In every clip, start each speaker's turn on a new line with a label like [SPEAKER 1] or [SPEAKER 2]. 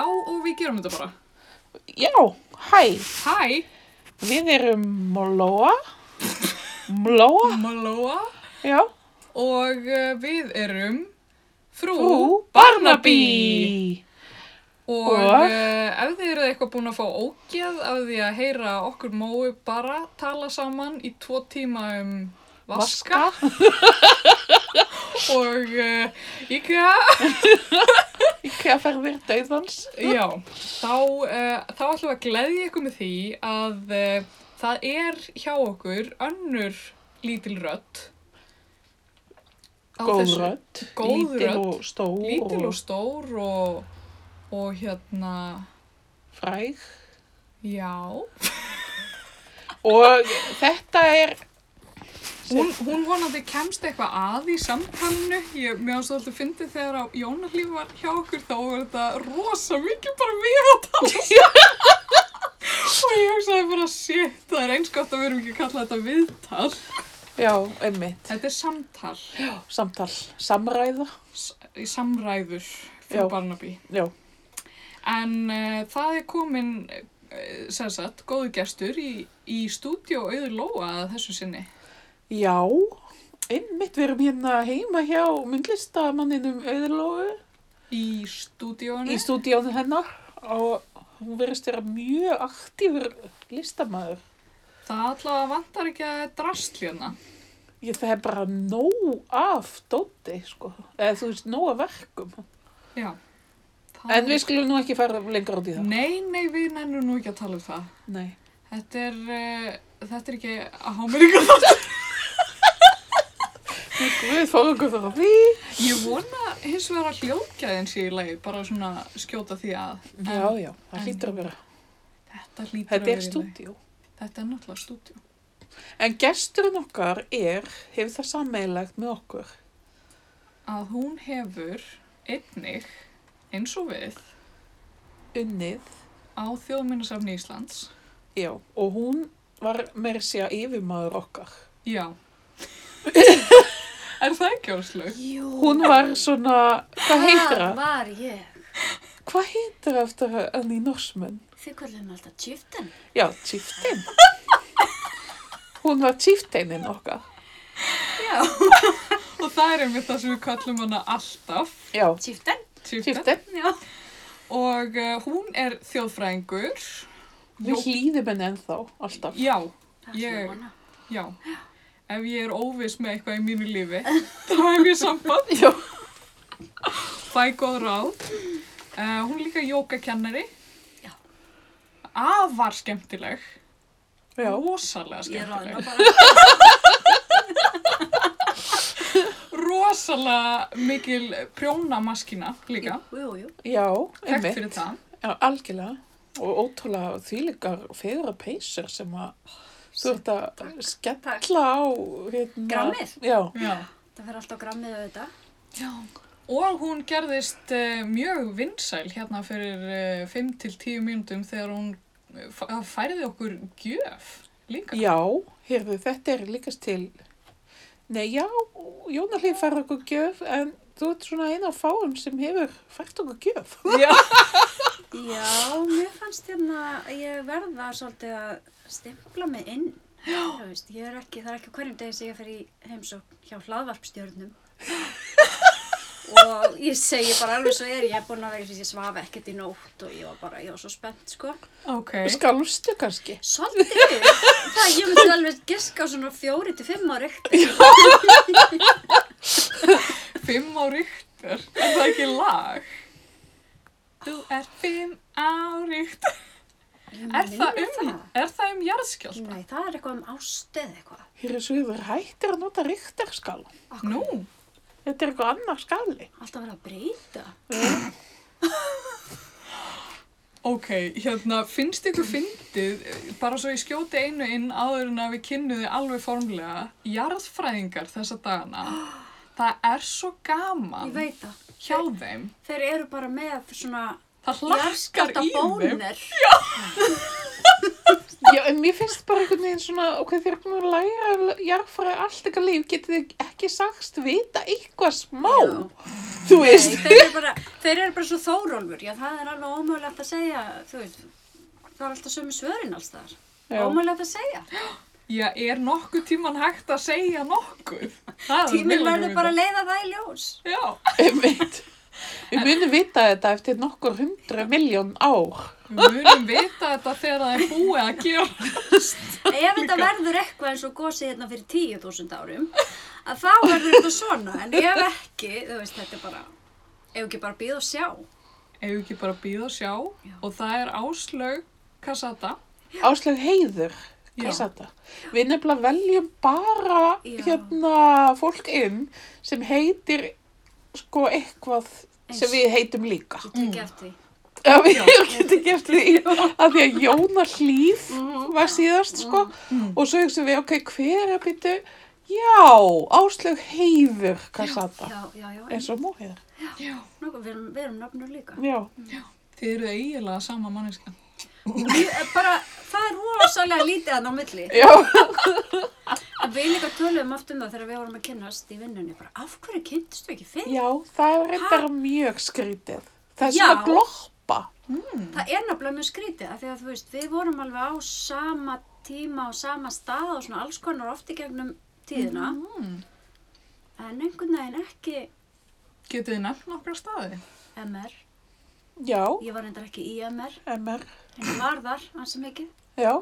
[SPEAKER 1] og við gerum þetta bara.
[SPEAKER 2] Já, hæ,
[SPEAKER 1] Hæ,
[SPEAKER 2] við erum Mlóa. Mlóa,
[SPEAKER 1] Maloa
[SPEAKER 2] já.
[SPEAKER 1] og uh, við erum frú,
[SPEAKER 2] Ú,
[SPEAKER 1] Barnaby. Og,
[SPEAKER 2] Og?
[SPEAKER 1] og ef þið eruð eitthvað búin að fá ógeð af því að heyra okkur mói bara tala saman í tvo tíma um vaska,
[SPEAKER 2] Vaska.
[SPEAKER 1] og uh, IKEA,
[SPEAKER 2] Íkja ferðir dauðans.
[SPEAKER 1] já, þá, uh, þá ætlum við að gleðja ykkur með því að uh, það er hjá okkur önnur lítil rödd. á þessu-
[SPEAKER 2] Góðrödd.
[SPEAKER 1] Góð
[SPEAKER 2] Lítil
[SPEAKER 1] rödd.
[SPEAKER 2] og stór.
[SPEAKER 1] Lítil og stór og, og hérna,
[SPEAKER 2] Fræg.
[SPEAKER 1] já.
[SPEAKER 2] Og þetta er,
[SPEAKER 1] Hún, hún vonandi kemst eitthvað að í samtalinu. Ég mér finnst alltaf fyndið þegar að Jónahlíf var hjá okkur þá var þetta rosa mikið bara við að tala saman. og ég hugsaði bara, shit, það er eins gott að við erum ekki að kalla þetta viðtal.
[SPEAKER 2] já, einmitt,
[SPEAKER 1] Þetta er samtal
[SPEAKER 2] samtal, samræða.
[SPEAKER 1] s- í samræður
[SPEAKER 2] Já.
[SPEAKER 1] fyrir Barnaby.
[SPEAKER 2] Já,
[SPEAKER 1] En uh, það er komin, uh, sem sagt, góðu gestur í, í stúdíó auður Lóa að þessu sinni.
[SPEAKER 2] já, einmitt, við erum hérna heima hjá myndlistamanninum Auðurlóu.
[SPEAKER 1] Í stúdíónu.
[SPEAKER 2] í stúdíónu hennar og hún verðist vera mjög aktífur listamaður.
[SPEAKER 1] það allavega vantar ekki að drast hérna.
[SPEAKER 2] Ég það er bara nóg af dóti, sko. Eða þú veist, nóg af verkum.
[SPEAKER 1] Já. Það
[SPEAKER 2] En við skulum nú ekki fara lengur út í það.
[SPEAKER 1] Nei, nei, við nennum nú ekki að tala um það.
[SPEAKER 2] Nei.
[SPEAKER 1] Þetta er, uh, þetta er ekki að hámeringa þátt.
[SPEAKER 2] Við fórum okkur frá því.
[SPEAKER 1] Ég vona hins vegar að hljóðgæðin sé í lagi, bara svona skjóta því að. En
[SPEAKER 2] Já, já,
[SPEAKER 1] en-
[SPEAKER 2] það hlýtur að vera.
[SPEAKER 1] Þetta hlýtur
[SPEAKER 2] Þetta
[SPEAKER 1] að
[SPEAKER 2] er
[SPEAKER 1] vera í lagi.
[SPEAKER 2] stúdíó.
[SPEAKER 1] Þetta er náttúrulega stúdíu.
[SPEAKER 2] En gesturinn okkar er, hefur það sammeilagt með okkur,
[SPEAKER 1] Að hún hefur einnig, eins og við,
[SPEAKER 2] unnið,
[SPEAKER 1] á þjóðminnasafni Íslands.
[SPEAKER 2] já, og hún var meira að segja yfirmaður okkar.
[SPEAKER 1] Já. er það ekki áslug?
[SPEAKER 3] Jú.
[SPEAKER 2] Hún var svona, hvað heitir
[SPEAKER 3] það?
[SPEAKER 2] það?
[SPEAKER 3] var ég.
[SPEAKER 2] Hvað heitir það eftir hann í norsmenn?
[SPEAKER 3] Þið kallar hann alltaf tjúftan.
[SPEAKER 2] Já, tíftin. Hún var tífteinin okkar.
[SPEAKER 3] Já.
[SPEAKER 1] Og það er einmitt það sem við kallum hana alltaf.
[SPEAKER 2] Já,
[SPEAKER 3] Tjúftan?
[SPEAKER 1] Tjúftin.
[SPEAKER 2] tíftin.
[SPEAKER 3] Já.
[SPEAKER 1] Og uh, hún er þjóðfræðingur.
[SPEAKER 2] Við hlýðum henni ennþá, alltaf.
[SPEAKER 1] Já,
[SPEAKER 3] Það
[SPEAKER 1] Ég-
[SPEAKER 3] er svona.
[SPEAKER 1] já. Ef ég er óviss með eitthvað í mínu lífi, þá hef ég samband.
[SPEAKER 2] Já.
[SPEAKER 1] Fæ góð ráð. Uh, hún er líka jókakennari.
[SPEAKER 3] Já.
[SPEAKER 1] Afar skemmtileg.
[SPEAKER 2] Já,
[SPEAKER 1] Rosalega
[SPEAKER 3] Ég ráðna
[SPEAKER 1] skemmtileg.
[SPEAKER 3] bara.
[SPEAKER 1] Rosalega mikil prjónamaskina líka.
[SPEAKER 3] Jú, jú.
[SPEAKER 2] já,
[SPEAKER 1] Þekkt
[SPEAKER 2] einmitt.
[SPEAKER 1] fyrir það.
[SPEAKER 2] Já, algjörlega. Og ótrúlega þýlikar fegra peysir sem að þú ert að skella á hérna.
[SPEAKER 3] Grammið?
[SPEAKER 2] Já,
[SPEAKER 1] Já.
[SPEAKER 3] Það fer alltaf grammið auðvitað.
[SPEAKER 1] Já. Og hún gerðist uh, mjög vinsæl hérna fyrir uh, 5-10 mínútum þegar hún eh, fa- færði okkur gjöf líka.
[SPEAKER 2] já, heyrðu, þetta er líkast til, nei, já, Jónalíf fær okkur gjöf, en þú ert svona eina af fáum sem hefur fært okkur gjöf.
[SPEAKER 1] Já.
[SPEAKER 3] Já, mér fannst hérna að ég verða svolítið að stimpla mig inn. Já. Þú veist, ég er ekki, það er ekki á hverjum degi sem ég fer í heimsókn hjá hlaðvarpstjörnum. og ég segi bara alveg svo er, ég er búin að vera, ég svaf ekkert í nótt og ég var bara, ég var svo spennt, sko.
[SPEAKER 1] Ok.
[SPEAKER 2] Skalstu kannski?
[SPEAKER 3] Svolítið, það ég
[SPEAKER 1] Sko.
[SPEAKER 3] myndi alveg giska á svona fjóri til fimm ári eftir.
[SPEAKER 1] Fimm á ríktur. Er það ekki lag? Þú er fimm á ríktur. Er, það um, er það um jarðskjálf?
[SPEAKER 3] Nei, það er eitthvað um ástu eða eitthvað.
[SPEAKER 2] Hér er svo yfir hættir að nota ríktarskala.
[SPEAKER 3] Akkur,
[SPEAKER 1] Nú,
[SPEAKER 2] Þetta er eitthvað annar skali.
[SPEAKER 3] Alltaf verið að breyta.
[SPEAKER 1] ok, hérna, finnst ykkur fyndið, eh, bara svo ég skjóti einu inn áður en að við kynnuði alveg formlega, jarðfræðingar þessa dagana, það er svo gaman.
[SPEAKER 3] Ég veit það.
[SPEAKER 1] hjá þeim.
[SPEAKER 3] Þeir eru bara með svona
[SPEAKER 1] Það hlakkar
[SPEAKER 3] jarðskjálta
[SPEAKER 1] í þeim.
[SPEAKER 3] bónir.
[SPEAKER 2] Já, en mér finnst bara einhvern veginn svona, ok, þið eru búin að læra jarðfræði allt eitthvað líf, getið þið ekki sagst vita eitthvað smá.
[SPEAKER 3] Já.
[SPEAKER 2] þú veist.
[SPEAKER 3] þeir, eru bara, þeir eru bara svo þórólfur, já það er alveg ómögulegt að segja, þú veist, það er alltaf sömu svörin alls þar,
[SPEAKER 2] Já.
[SPEAKER 3] ómögulegt að segja.
[SPEAKER 1] Já, er nokkuð tíman hægt að segja nokkuð? Það er
[SPEAKER 3] Tíminn
[SPEAKER 1] meðlunum
[SPEAKER 3] verður
[SPEAKER 1] í það.
[SPEAKER 3] bara að leiða það í ljós.
[SPEAKER 1] Já,
[SPEAKER 2] Einmitt. Við munum vita þetta eftir nokkur hundra miljón ár.
[SPEAKER 1] við munum vita þetta þegar það er búið að gera.
[SPEAKER 3] Ef þetta verður eitthvað eins og gósið hérna fyrir 10.000 árum, að þá verður þetta svona, en ef ekki, þú veist, þetta er bara, ef ekki bara býð og sjá.
[SPEAKER 1] Ef við ekki bara býða og sjá og það er áslög Kassata.
[SPEAKER 2] Áslag heiður,
[SPEAKER 1] Já.
[SPEAKER 2] hvað satt það? Við nefnilega veljum bara
[SPEAKER 3] Já.
[SPEAKER 2] hérna fólk inn sem heitir sko eitthvað sem
[SPEAKER 3] Eins.
[SPEAKER 2] við heitum líka.
[SPEAKER 3] Ég tek eftir því.
[SPEAKER 2] Já, við hefum getið gert því að því að Jóna Hlíf
[SPEAKER 3] Mm.
[SPEAKER 2] var síðast, sko, og svo hugsaðum við, ok, hver er býttu? Já, Áslaug Heiður, hvað satt það?
[SPEAKER 3] Já, já, já,
[SPEAKER 2] Eins og móheiður.
[SPEAKER 1] Já.
[SPEAKER 3] nokkuð, við erum, við erum nöfnur líka.
[SPEAKER 2] Já,
[SPEAKER 1] Þið eru eiginlega sama manneska.
[SPEAKER 3] Ég, eh, bara, það er rosalega lítið hann á milli.
[SPEAKER 2] já,
[SPEAKER 3] En Við líka töluðum oft um það þegar við vorum að kynnast í vinnunni, bara af hverju kynntustu ekki fyrir?
[SPEAKER 2] já, það er reyndar mjög skrítið. Það er
[SPEAKER 3] Já.
[SPEAKER 2] svona gloppa.
[SPEAKER 3] Það er nefnilega mjög skrítið af því að þú veist, við vorum alveg á sama tíma og sama stað og svona alls konar oft í gegnum tíðina en einhvern veginn ekki
[SPEAKER 1] Getið þið nefnt nokkra staði?
[SPEAKER 3] MR,
[SPEAKER 2] Já,
[SPEAKER 3] ég var reyndar ekki í MR
[SPEAKER 2] MR,
[SPEAKER 3] en ég var þar ansi mikið,
[SPEAKER 2] já,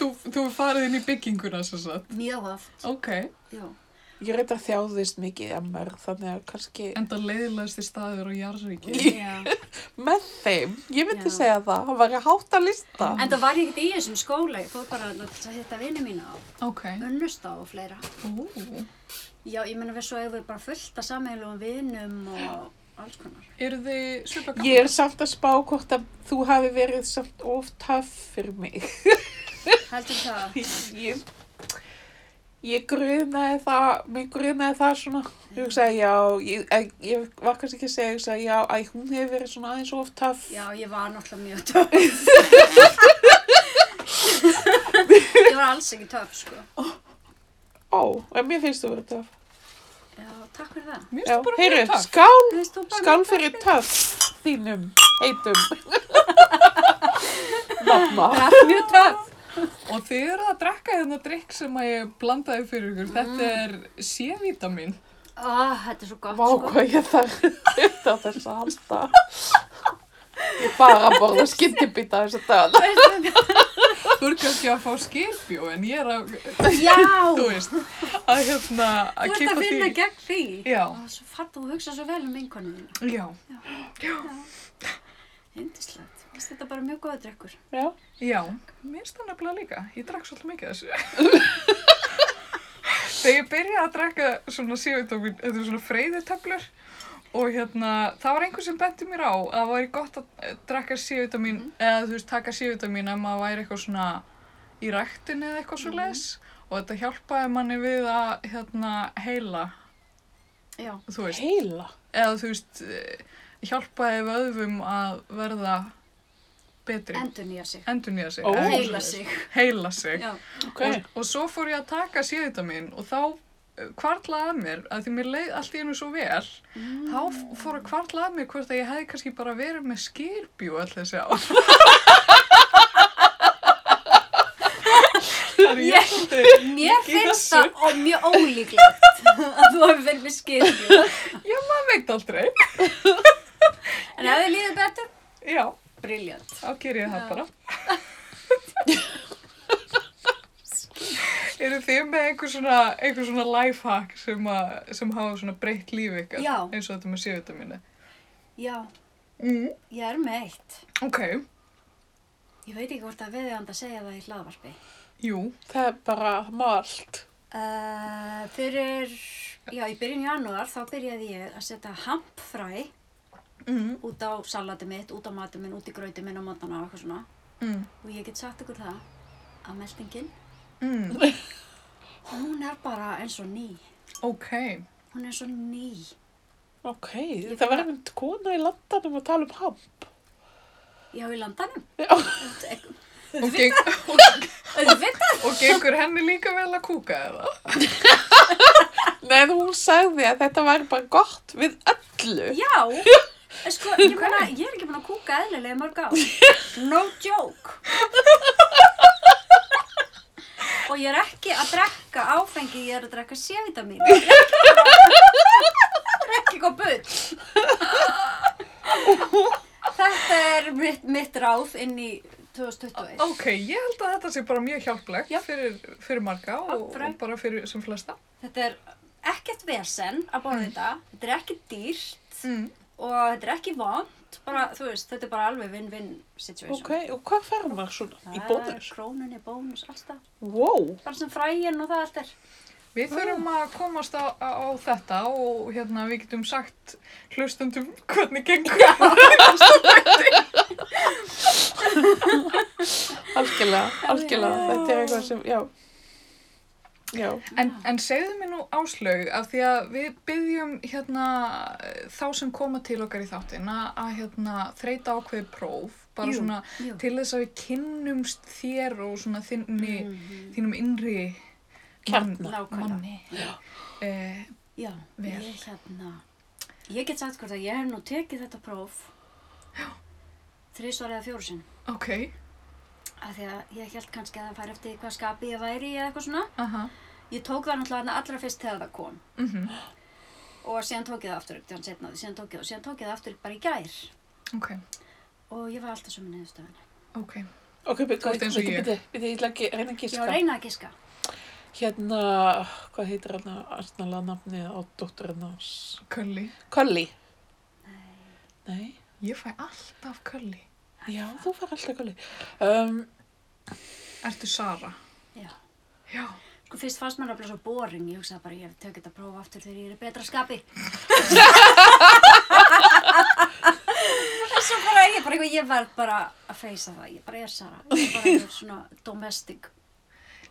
[SPEAKER 1] Þú, þú er farið inn í bygginguna sem sagt.
[SPEAKER 3] mjög oft
[SPEAKER 1] Ok,
[SPEAKER 3] já,
[SPEAKER 2] ég reyndar þjáðist mikið í MR, þannig að kannski
[SPEAKER 1] enda leiðilegasti staður á Jarðvíki.
[SPEAKER 3] já.
[SPEAKER 2] með þeim, ég myndi
[SPEAKER 3] Já.
[SPEAKER 2] segja það, það var að hátta lista.
[SPEAKER 3] en það var ég ekkert í þessum skóla ég fór bara þarna til að hitta vini mína á
[SPEAKER 1] Ok.
[SPEAKER 3] unnusta og fleira
[SPEAKER 1] Ú,
[SPEAKER 3] já, ég meina við svo hefur bara fullt af sammeilum vinum og alls konar
[SPEAKER 1] eru þið svipað
[SPEAKER 2] Ég er samt að spá hvort að þú hafi verið samt of töff fyrir mig.
[SPEAKER 3] heldur það
[SPEAKER 2] Ég, ég grunaði það, mig grunaði það svona, ég hugsaði já, ég, ég, ég var kannski ekki að segja, ég hugsaði já, æ, hún hefur verið svona aðeins of töff.
[SPEAKER 3] Já, ég var náttúrulega mjög töf. ég var alls ekki töf, sko.
[SPEAKER 2] Ó, en mér finnst þú verið töff.
[SPEAKER 3] Já, takk fyrir það.
[SPEAKER 1] Mér
[SPEAKER 2] Já,
[SPEAKER 1] finnst bara
[SPEAKER 2] heyrðu,
[SPEAKER 1] mjög takk.
[SPEAKER 2] skál,
[SPEAKER 3] Veist þú bara
[SPEAKER 2] skál
[SPEAKER 3] mjög töff
[SPEAKER 2] fyrir töff þínum, heitum. Mamma.
[SPEAKER 3] Það er mjög töf.
[SPEAKER 1] Og þið eru að drekka hérna drikk sem að ég blandaði fyrir ykkur. Þetta er C-vitamin.
[SPEAKER 3] Ó, þetta er svo gott,
[SPEAKER 2] Vá,
[SPEAKER 3] sko.
[SPEAKER 2] hvað ég þarf þetta þess að halda. Ég bara borða skyndibita þess að dagana.
[SPEAKER 3] Veistu,
[SPEAKER 1] Þú eru kannski að fá skilbjó en ég er að,
[SPEAKER 3] Já,
[SPEAKER 1] þú veist, að hérna
[SPEAKER 3] þú
[SPEAKER 1] að
[SPEAKER 3] ert að
[SPEAKER 1] kippa
[SPEAKER 3] vinna
[SPEAKER 1] því.
[SPEAKER 3] gegn því.
[SPEAKER 1] Já,
[SPEAKER 3] Ó, svo fatt þú hugsa svo vel um einhvern veginn.
[SPEAKER 1] já,
[SPEAKER 3] Hindislegt. Vist þetta bara mjög góða drekkur.
[SPEAKER 2] Já.
[SPEAKER 1] já. Mér finnst það nefnilega líka. Ég drakk svolítið mikið af þessu. Þegar ég byrjaði að drekka svona C-vitamin, þetta er svona freyðitöflur og hérna, það var einhver sem benti mér á að það væri gott að eh, drekka C-vitamin
[SPEAKER 3] Mhm.
[SPEAKER 1] eða þú veist, taka C-vitamin ef maður væri eitthvað svona í ræktinni eða eitthvað svo
[SPEAKER 3] Mhm.
[SPEAKER 1] og þetta hjálpaði manni við að hérna heila,
[SPEAKER 3] Já,
[SPEAKER 1] þú veist.
[SPEAKER 2] Heila.
[SPEAKER 1] eða þú veist eh, hjálpaði vöðvum að verða betri,
[SPEAKER 3] endur nýja sig.
[SPEAKER 1] endur nýja sig
[SPEAKER 2] Ó.
[SPEAKER 1] eða eitthvað
[SPEAKER 3] Heila
[SPEAKER 1] svoleiðis.
[SPEAKER 3] sig.
[SPEAKER 1] heila sig.
[SPEAKER 3] Já,
[SPEAKER 2] Ok.
[SPEAKER 1] Og, og svo fór ég að taka síðita mín og þá eh, hvarlaði að mér að því mér leið allt í einu svo vel þá f- fór að hvarla að mér hvort að ég hefði kannski bara verið með skýrbjú all þessi á
[SPEAKER 3] Ég- mér finnst það ó- mjög ólíklegt að þú hefur verið með skilju.
[SPEAKER 1] Já, maður veit aldrei
[SPEAKER 3] En ef þið líður betur,
[SPEAKER 1] Já,
[SPEAKER 3] briljant.
[SPEAKER 1] þá ger ég það bara Eru þið með einhver svona, einhver svona lifehack sem, að, sem hafa svona breytt líf ykkar
[SPEAKER 3] Já.
[SPEAKER 1] eins og þetta með séutaminu?
[SPEAKER 3] Já,
[SPEAKER 1] Mm.
[SPEAKER 3] ég er með eitt.
[SPEAKER 1] Ok,
[SPEAKER 3] Ég veit ekki hvort að við að segja það í hlaðvarpi.
[SPEAKER 1] jú,
[SPEAKER 2] Það er bara mált.
[SPEAKER 3] Uh, fyrir, já, í byrjun janúar þá byrjaði ég að setja hampfræ
[SPEAKER 1] mm.
[SPEAKER 3] út á salati mitt, út á mati minn, út í grauti minn á mótana og eitthvað svona.
[SPEAKER 1] Mm.
[SPEAKER 3] Og ég get sagt ykkur það að meldingin,
[SPEAKER 1] Mm.
[SPEAKER 3] hún er bara eins og ný.
[SPEAKER 1] ok,
[SPEAKER 3] Hún er eins og ný.
[SPEAKER 2] Ok, það var einhvern kona í landanum að tala um hamp.
[SPEAKER 3] Já, í landanum.
[SPEAKER 2] Já.
[SPEAKER 1] og, geng, og,
[SPEAKER 3] Auðvitað.
[SPEAKER 1] og gengur henni líka vel að kúka eða?
[SPEAKER 2] Nei, hún sagði að þetta væri bara gott við öllu.
[SPEAKER 3] Já, en sko, ég, meina, ég er ekki búin að kúka eðlilega í mörg á. No joke. Og ég er ekki að drekka áfengi, ég er að drekka C-vitamín. Ég er ekki að drekka bull. Þetta er mitt, mitt ráð inn í 2021.
[SPEAKER 1] Ok, ég held að þetta sé bara mjög hjálplegt
[SPEAKER 3] Já.
[SPEAKER 1] fyrir, fyrir marga og,
[SPEAKER 3] Allt fræ.
[SPEAKER 1] og bara fyrir sem flesta.
[SPEAKER 3] Þetta er ekkert vesen að borða þetta. Þetta er ekki dýrt
[SPEAKER 1] Mm.
[SPEAKER 3] og þetta er ekki vond. Bara, þú veist, þetta er bara alveg win-win situation.
[SPEAKER 2] Ok, og hvað fer maður svona í bónus?
[SPEAKER 3] er krónunni, bónus, alltaf.
[SPEAKER 2] Wow.
[SPEAKER 3] Bara sem fræin og það allt er.
[SPEAKER 1] Við þurfum að komast á, á, á þetta og hérna við getum sagt hlustundum hvernig gengur.
[SPEAKER 2] Algjörlega, algjörlega.
[SPEAKER 3] Já.
[SPEAKER 2] Þetta er eitthvað sem, já. Já.
[SPEAKER 1] En, en segðu mér nú áslaug af því að við byggjum hérna þá sem koma til okkar í þáttin að, að hérna þreita ákveði próf bara
[SPEAKER 3] Jú,
[SPEAKER 1] svona
[SPEAKER 3] jú.
[SPEAKER 1] til þess að við kynnumst þér og svona þinni, þínum innri
[SPEAKER 2] Kjarna.
[SPEAKER 1] mann-
[SPEAKER 3] Mhm. Nákvæmlega.
[SPEAKER 1] manni. Eh,
[SPEAKER 3] Já,
[SPEAKER 1] Vel.
[SPEAKER 3] ég hérna, ég get sagt hvort að ég hef nú tekið þetta próf þrísvar eða fjóru sinn.
[SPEAKER 1] ok,
[SPEAKER 3] Af því að ég held kannski að það fær eftir hvað skapi ég væri eða eitthvað svona.
[SPEAKER 1] aha,
[SPEAKER 3] Ég tók það náttúrulega þarna allra fyrst þegar það kom.
[SPEAKER 1] mhm,
[SPEAKER 3] Og síðan tók ég það aftur upp, þannig setna, síðan tók ég það, síðan tók ég það aftur upp bara í gær.
[SPEAKER 1] ok,
[SPEAKER 3] Og ég var alltaf sömu niðurstöðunni.
[SPEAKER 1] ok.
[SPEAKER 2] Ok, byrja,
[SPEAKER 1] ert eins og
[SPEAKER 2] byrja,
[SPEAKER 1] ég.
[SPEAKER 2] byrja, byrja, ég ætla að ge- reyna að
[SPEAKER 3] Ég var
[SPEAKER 2] gíska.
[SPEAKER 3] að reyna að giska.
[SPEAKER 2] Hérna, hvað heitir hérna arsnalega nafnið á dótturinn hans?
[SPEAKER 1] Kölli,
[SPEAKER 2] Kölli. Nei.
[SPEAKER 1] ég fæ alltaf kölli.
[SPEAKER 2] Já, þú fær alltaf kölli. Um,
[SPEAKER 1] Ertu Sara?
[SPEAKER 3] Já.
[SPEAKER 1] Já.
[SPEAKER 3] Sko fyrst fannst mér nefnilega svo boring, ég hugsaði bara ég tök þetta próf aftur þegar ég er í betra skapi. Þess að bara, ég bara, eitthvað- ég verð bara að feysa það, ég bara er Sara, ég bara er svona domestic.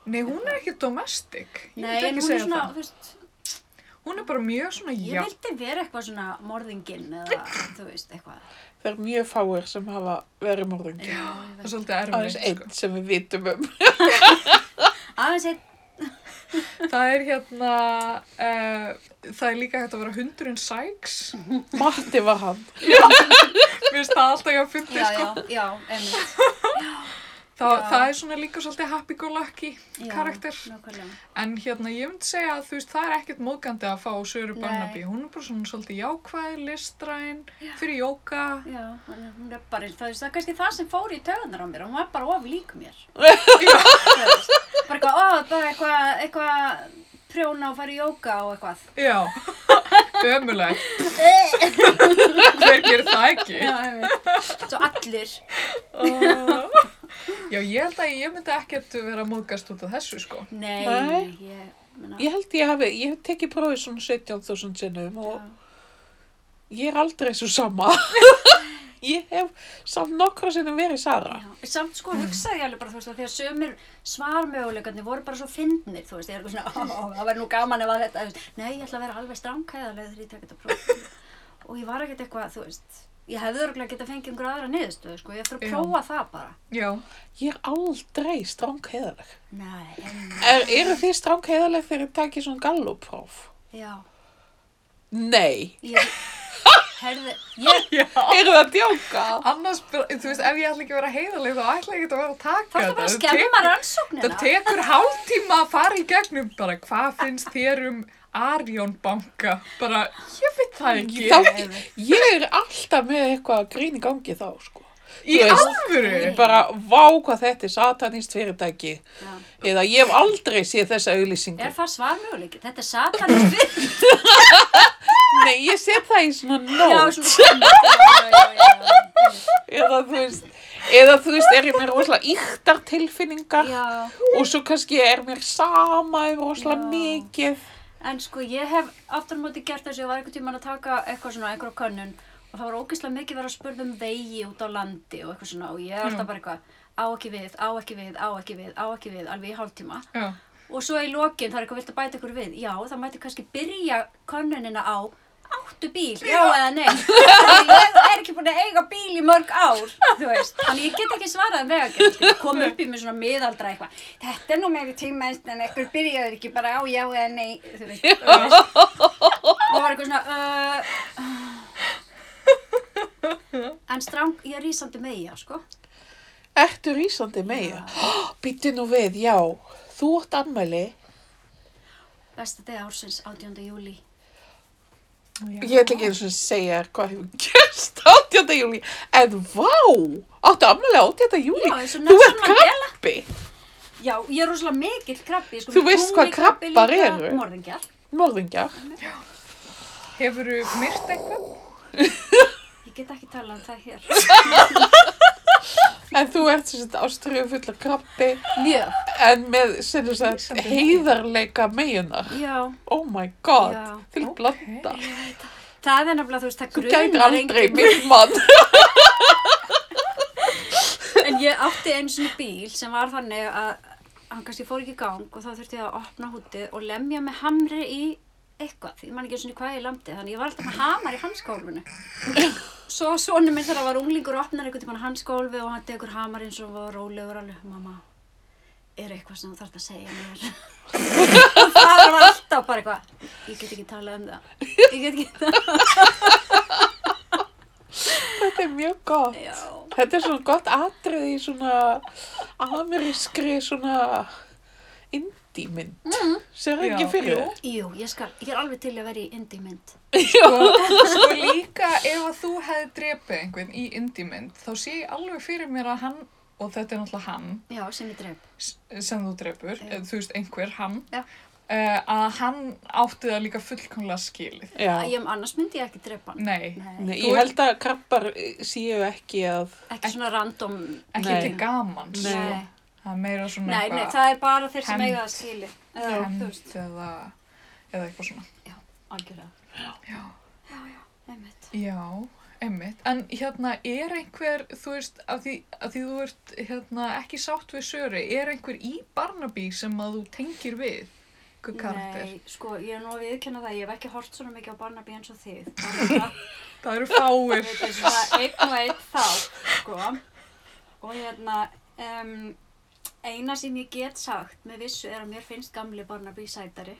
[SPEAKER 1] Nei, hún er ekki domestic. Ég
[SPEAKER 3] Nei,
[SPEAKER 1] myndi
[SPEAKER 3] en
[SPEAKER 1] ekki
[SPEAKER 3] hún er
[SPEAKER 1] segja
[SPEAKER 3] svona,
[SPEAKER 1] það.
[SPEAKER 3] þú veist,
[SPEAKER 1] Hún er bara mjög svona
[SPEAKER 3] ég
[SPEAKER 1] já.
[SPEAKER 3] vildi vera eitthvað svona morðinginn eða, þú veist, eitthvað.
[SPEAKER 2] það er mjög fáir sem hafa verið morðingi.
[SPEAKER 3] Já, ég
[SPEAKER 1] Það er
[SPEAKER 3] veit.
[SPEAKER 1] svolítið
[SPEAKER 2] Aðeins
[SPEAKER 1] erfitt,
[SPEAKER 3] sko.
[SPEAKER 2] einn sem við vitum um.
[SPEAKER 3] Aðeins eitt,
[SPEAKER 1] sko. Það er hérna, uh, það er líka hægt að vera hundurinn Sykes.
[SPEAKER 3] Mhm.
[SPEAKER 2] Matti var hann.
[SPEAKER 1] Mér finnst það alltaf ég að
[SPEAKER 3] já,
[SPEAKER 1] fyndi, sko.
[SPEAKER 3] já, já, einmitt.
[SPEAKER 1] Það,
[SPEAKER 3] Já.
[SPEAKER 1] það er svona líka svolítið happy-go-lucky
[SPEAKER 3] Já,
[SPEAKER 1] karakter.
[SPEAKER 3] Nákvæmlega.
[SPEAKER 1] En hérna, ég myndi segja að þú veist, það er ekkert móðgandi að fá Söru
[SPEAKER 3] Nei.
[SPEAKER 1] Barnaby. Hún er bara svona svolítið jákvæð, listræn, fyrir jóka.
[SPEAKER 3] Já, hún er- hún er bara, það veist, það er kannski það sem fór í töðunar á mér, hún var bara of lík mér. Þú veist, bara eitthvað, ó, bara eitthvað, eitthvað prjóna og fara í jóka og eitthvað.
[SPEAKER 1] Já, ömulegt. Hver gerir það ekki?
[SPEAKER 3] Já, ég veit. Svo allir.
[SPEAKER 1] Já, ég held að ég myndi ekkert vera að móðgast út af þessu, sko.
[SPEAKER 3] Nei,
[SPEAKER 2] Nei.
[SPEAKER 3] ég, menna,
[SPEAKER 2] Ég held ég hafi, ég hef tekið prófið svona 17.000 sinnum og ég er aldrei svo sama. ég hef samt nokkra sinnum verið Sara.
[SPEAKER 3] Já, samt sko hugsaði ég alveg bara, þú veist, að því að sömur svarmöguleikarnir voru bara svo fyndnir, þú veist, ég er eitthvað svona, ó, það væri nú gaman ef að þetta, þú veist, nei, ég ætla að vera alveg stránkæðarlega þegar ég tek þetta próf. og ég var ekkert eitthvað, þú veist, ég hefði örgulega getað fengið einhverja aðra niðurstöðu, sko, ég ætla að
[SPEAKER 1] Já.
[SPEAKER 3] prófa það bara.
[SPEAKER 1] Já.
[SPEAKER 2] Ég er aldrei stráng heiðaleg.
[SPEAKER 3] Nei, en-
[SPEAKER 2] Er, eru þið stráng heiðaleg þegar þið takið svona gallupróf?
[SPEAKER 3] já,
[SPEAKER 2] Nei.
[SPEAKER 3] ég, herði, ég,
[SPEAKER 1] Já.
[SPEAKER 2] Eru það að djóka?
[SPEAKER 1] Annars, bara- þú veist, ef ég ætla ekki að vera heiðaleg þá ætla ég ekki að vera að taka
[SPEAKER 3] þá er það bara að
[SPEAKER 1] Það
[SPEAKER 3] skemma
[SPEAKER 1] tekur-
[SPEAKER 3] rannsóknina.
[SPEAKER 1] Það tekur hálftíma að fara í gegnum bara, hvað finnst þér um Arjón banka? Bara, ég veit það ekki.
[SPEAKER 2] Þá, ég er alltaf með eitthvað grín í gangi þá, sko.
[SPEAKER 1] í
[SPEAKER 2] þú veist,
[SPEAKER 1] alvöru?
[SPEAKER 2] Bara vá hvað þetta er satanist fyrirtæki.
[SPEAKER 3] Já.
[SPEAKER 2] Eða ég hef aldrei séð þessa auglýsingu.
[SPEAKER 3] Er það svarmöguleiki? Þetta er satanist við.
[SPEAKER 2] Nei, ég set það í svona
[SPEAKER 3] Já,
[SPEAKER 2] nót.
[SPEAKER 3] svona svona. Já, já, já, já.
[SPEAKER 2] Eða þú veist, eða þú veist, er ég með rosalega yktar tilfinningar
[SPEAKER 3] Já,
[SPEAKER 2] og svo kannski er mér sama um rosalega
[SPEAKER 3] Já.
[SPEAKER 2] mikið.
[SPEAKER 3] en sko ég hef aftur á móti gert þess að ég var einhvern tímann að taka eitthvað svona, einhverja könnun og það var ógeðslega mikið verið að spurða um vegi út á landi og eitthvað svona og ég er alltaf bara eitthvað á ekki við, á ekki við, á ekki við, á ekki við, alveg í hálftíma.
[SPEAKER 1] Já.
[SPEAKER 3] Og svo í lokin það er eitthvað vilt að bæta ykkur við. Já, það mætti kannski byrja könnunina á áttu bíl, já eða nei ég er ekki búin að eiga bíl í mörg ár þú veist, þannig ég get ekki svarað um vegagerð, kom upp í mig svona miðaldra eitthvað, þetta er nú meiri tíma en ekkur byrjaður ekki bara á já eða nei þú veist, þú veist. og var eitthvað svona uh, uh. en strang, ég er rísandi meia sko,
[SPEAKER 2] Ertu rísandi meira? Býttu nú við, já. Þú átt ammæli.
[SPEAKER 3] besta degi ársins 18. júli
[SPEAKER 2] Ég ætla ekki eins og segja þér hvað hefur gerst 18. júli. En vá, áttu ammæli 18. júli.
[SPEAKER 3] Já, eins og
[SPEAKER 2] Þú ert
[SPEAKER 3] Nelson Mandela.
[SPEAKER 2] krabbi.
[SPEAKER 3] Já, ég er rosalega mikill krabbi. Sko,
[SPEAKER 2] Þú veist hvað
[SPEAKER 3] tunglkrabbi
[SPEAKER 2] krabbar
[SPEAKER 3] líka,
[SPEAKER 2] eru?
[SPEAKER 3] Morðingjar.
[SPEAKER 2] Morðingjar.
[SPEAKER 1] Hefurðu myrt eitthvað?
[SPEAKER 3] Ég get ekki talað um það hér.
[SPEAKER 2] En þú ert sem sagt ástriðu fulla krabbi
[SPEAKER 3] Mjög.
[SPEAKER 2] en með sem sagt
[SPEAKER 1] Lýsandi.
[SPEAKER 2] heiðarleika meginar.
[SPEAKER 3] Já,
[SPEAKER 2] Oh my god,
[SPEAKER 3] Já.
[SPEAKER 2] til
[SPEAKER 1] Ok.
[SPEAKER 2] blanda.
[SPEAKER 3] það er nefnilega, þú veist, það
[SPEAKER 2] Þú gætir
[SPEAKER 3] grunar
[SPEAKER 2] aldrei
[SPEAKER 3] enginn.
[SPEAKER 2] minn mann.
[SPEAKER 3] En ég átti einu svona bíl sem var þannig að hann kannski fór ekki í gang og þá þurfti ég að opna hútið og lemja með hamri í eitthvað. Ég man ekki svona hvað ég lamdi, þannig ég var alltaf með hamar í hanskólfinu. Svo sonur minn þegar hann var unglingur og opnar einhvern tímann hanskólfi og hann tekur hamar eins og var rólegur alveg, mamma, er eitthvað sem þú þarf að segja mér? og það var alltaf bara eitthvað, ég get ekki talað um það, ég get ekki talað um
[SPEAKER 2] Þetta er mjög gott.
[SPEAKER 3] það, já.
[SPEAKER 2] Þetta er svona gott atrið í svona amerískri svona indímynd. Mm. Sér
[SPEAKER 1] Já,
[SPEAKER 2] ekki fyrir
[SPEAKER 1] jú.
[SPEAKER 2] þér?
[SPEAKER 3] Jú, ég skal, ég er alveg til að vera í indie mynd.
[SPEAKER 1] Sko, sko líka ef að þú hefði drepið einhvern í indímynd þá sé ég alveg fyrir mér að hann og þetta er náttúrulega hann
[SPEAKER 3] Já, sem ég dref.
[SPEAKER 1] s- sem þú drepur,
[SPEAKER 3] Já.
[SPEAKER 1] eða þú veist einhver hann
[SPEAKER 3] Já.
[SPEAKER 1] eh, að hann átti það líka fullkomlega skilið.
[SPEAKER 2] Já.
[SPEAKER 3] Ég, um, annars myndi ég ekki drepa hann.
[SPEAKER 1] Nei,
[SPEAKER 2] Nei,
[SPEAKER 1] Þú
[SPEAKER 2] ég held að krabbar eh, séu ekki að...
[SPEAKER 3] Ekki svona random.
[SPEAKER 1] ekki
[SPEAKER 2] Nei.
[SPEAKER 1] til gamans.
[SPEAKER 2] Nei.
[SPEAKER 1] Það er meira svona
[SPEAKER 3] Nei, nei,
[SPEAKER 1] eitthvað
[SPEAKER 3] það er bara þeir sem
[SPEAKER 1] Hefnd.
[SPEAKER 3] eiga það skili. Já, þú
[SPEAKER 1] hefnd
[SPEAKER 3] veist,
[SPEAKER 1] eða, eða eitthvað svona.
[SPEAKER 3] algjörlega.
[SPEAKER 1] Já.
[SPEAKER 3] Einmitt.
[SPEAKER 1] Já, einmitt. En hérna, er einhver, þú veist, af því, af því þú ert hérna, ekki sátt við Söri, er einhver í Barnaby sem að þú tengir við? Einhver karakter?
[SPEAKER 3] Nei, sko, ég er nú að viðkynna það, ég hef ekki hort svona mikið á Barnaby eins og þið. Bara
[SPEAKER 1] Það eru fáir.
[SPEAKER 3] þetta er svona einn og einn þá, sko. Og hérna, um, eina sem ég get sagt með vissu er að mér finnst gamli Barnaby sætari.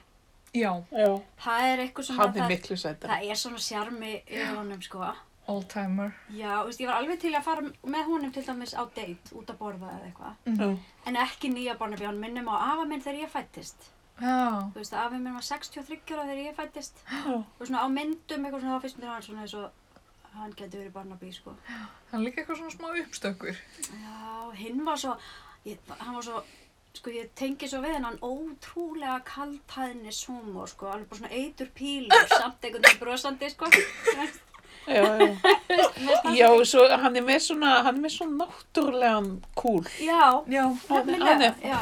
[SPEAKER 1] Já,
[SPEAKER 2] Já.
[SPEAKER 3] Það er eitthvað sem
[SPEAKER 2] Hann
[SPEAKER 3] það,
[SPEAKER 2] er miklu sættar.
[SPEAKER 3] það er svona sjarmi yfir honum, sko.
[SPEAKER 1] oldtimer.
[SPEAKER 3] Já, þú veist, ég var alveg til að fara með honum til dæmis á date, út að borða eða eitthvað.
[SPEAKER 2] Já.
[SPEAKER 3] En ekki nýja Barnaby, hann minnum á afa minn þegar ég fættist.
[SPEAKER 1] Já,
[SPEAKER 3] Þú veist, afi minn var 63 ára þegar ég fættist.
[SPEAKER 2] Já.
[SPEAKER 3] Og svona á myndum eitthvað svona, þá finnst mér hann svona eins og hann getur verið Barnaby, sko.
[SPEAKER 1] hann er líka eitthvað svona smá uppstökkur.
[SPEAKER 3] Já, hinn var svo, ég, hann var svo, sko, ég tengi svo við hennan ótrúlega kaldhæðni sumor, sko. Alveg bara svona eitur pílur, samt einhvern veginn brosandi, sko. Þú veist,
[SPEAKER 2] Já, já.
[SPEAKER 3] mér finnst það
[SPEAKER 2] Já,
[SPEAKER 3] svo-
[SPEAKER 2] svo hann er með svona, hann er með svona náttúrulegan kúl.
[SPEAKER 3] Já,
[SPEAKER 1] Já,
[SPEAKER 2] Hann- hann
[SPEAKER 3] nefnilega,
[SPEAKER 2] er-
[SPEAKER 3] já,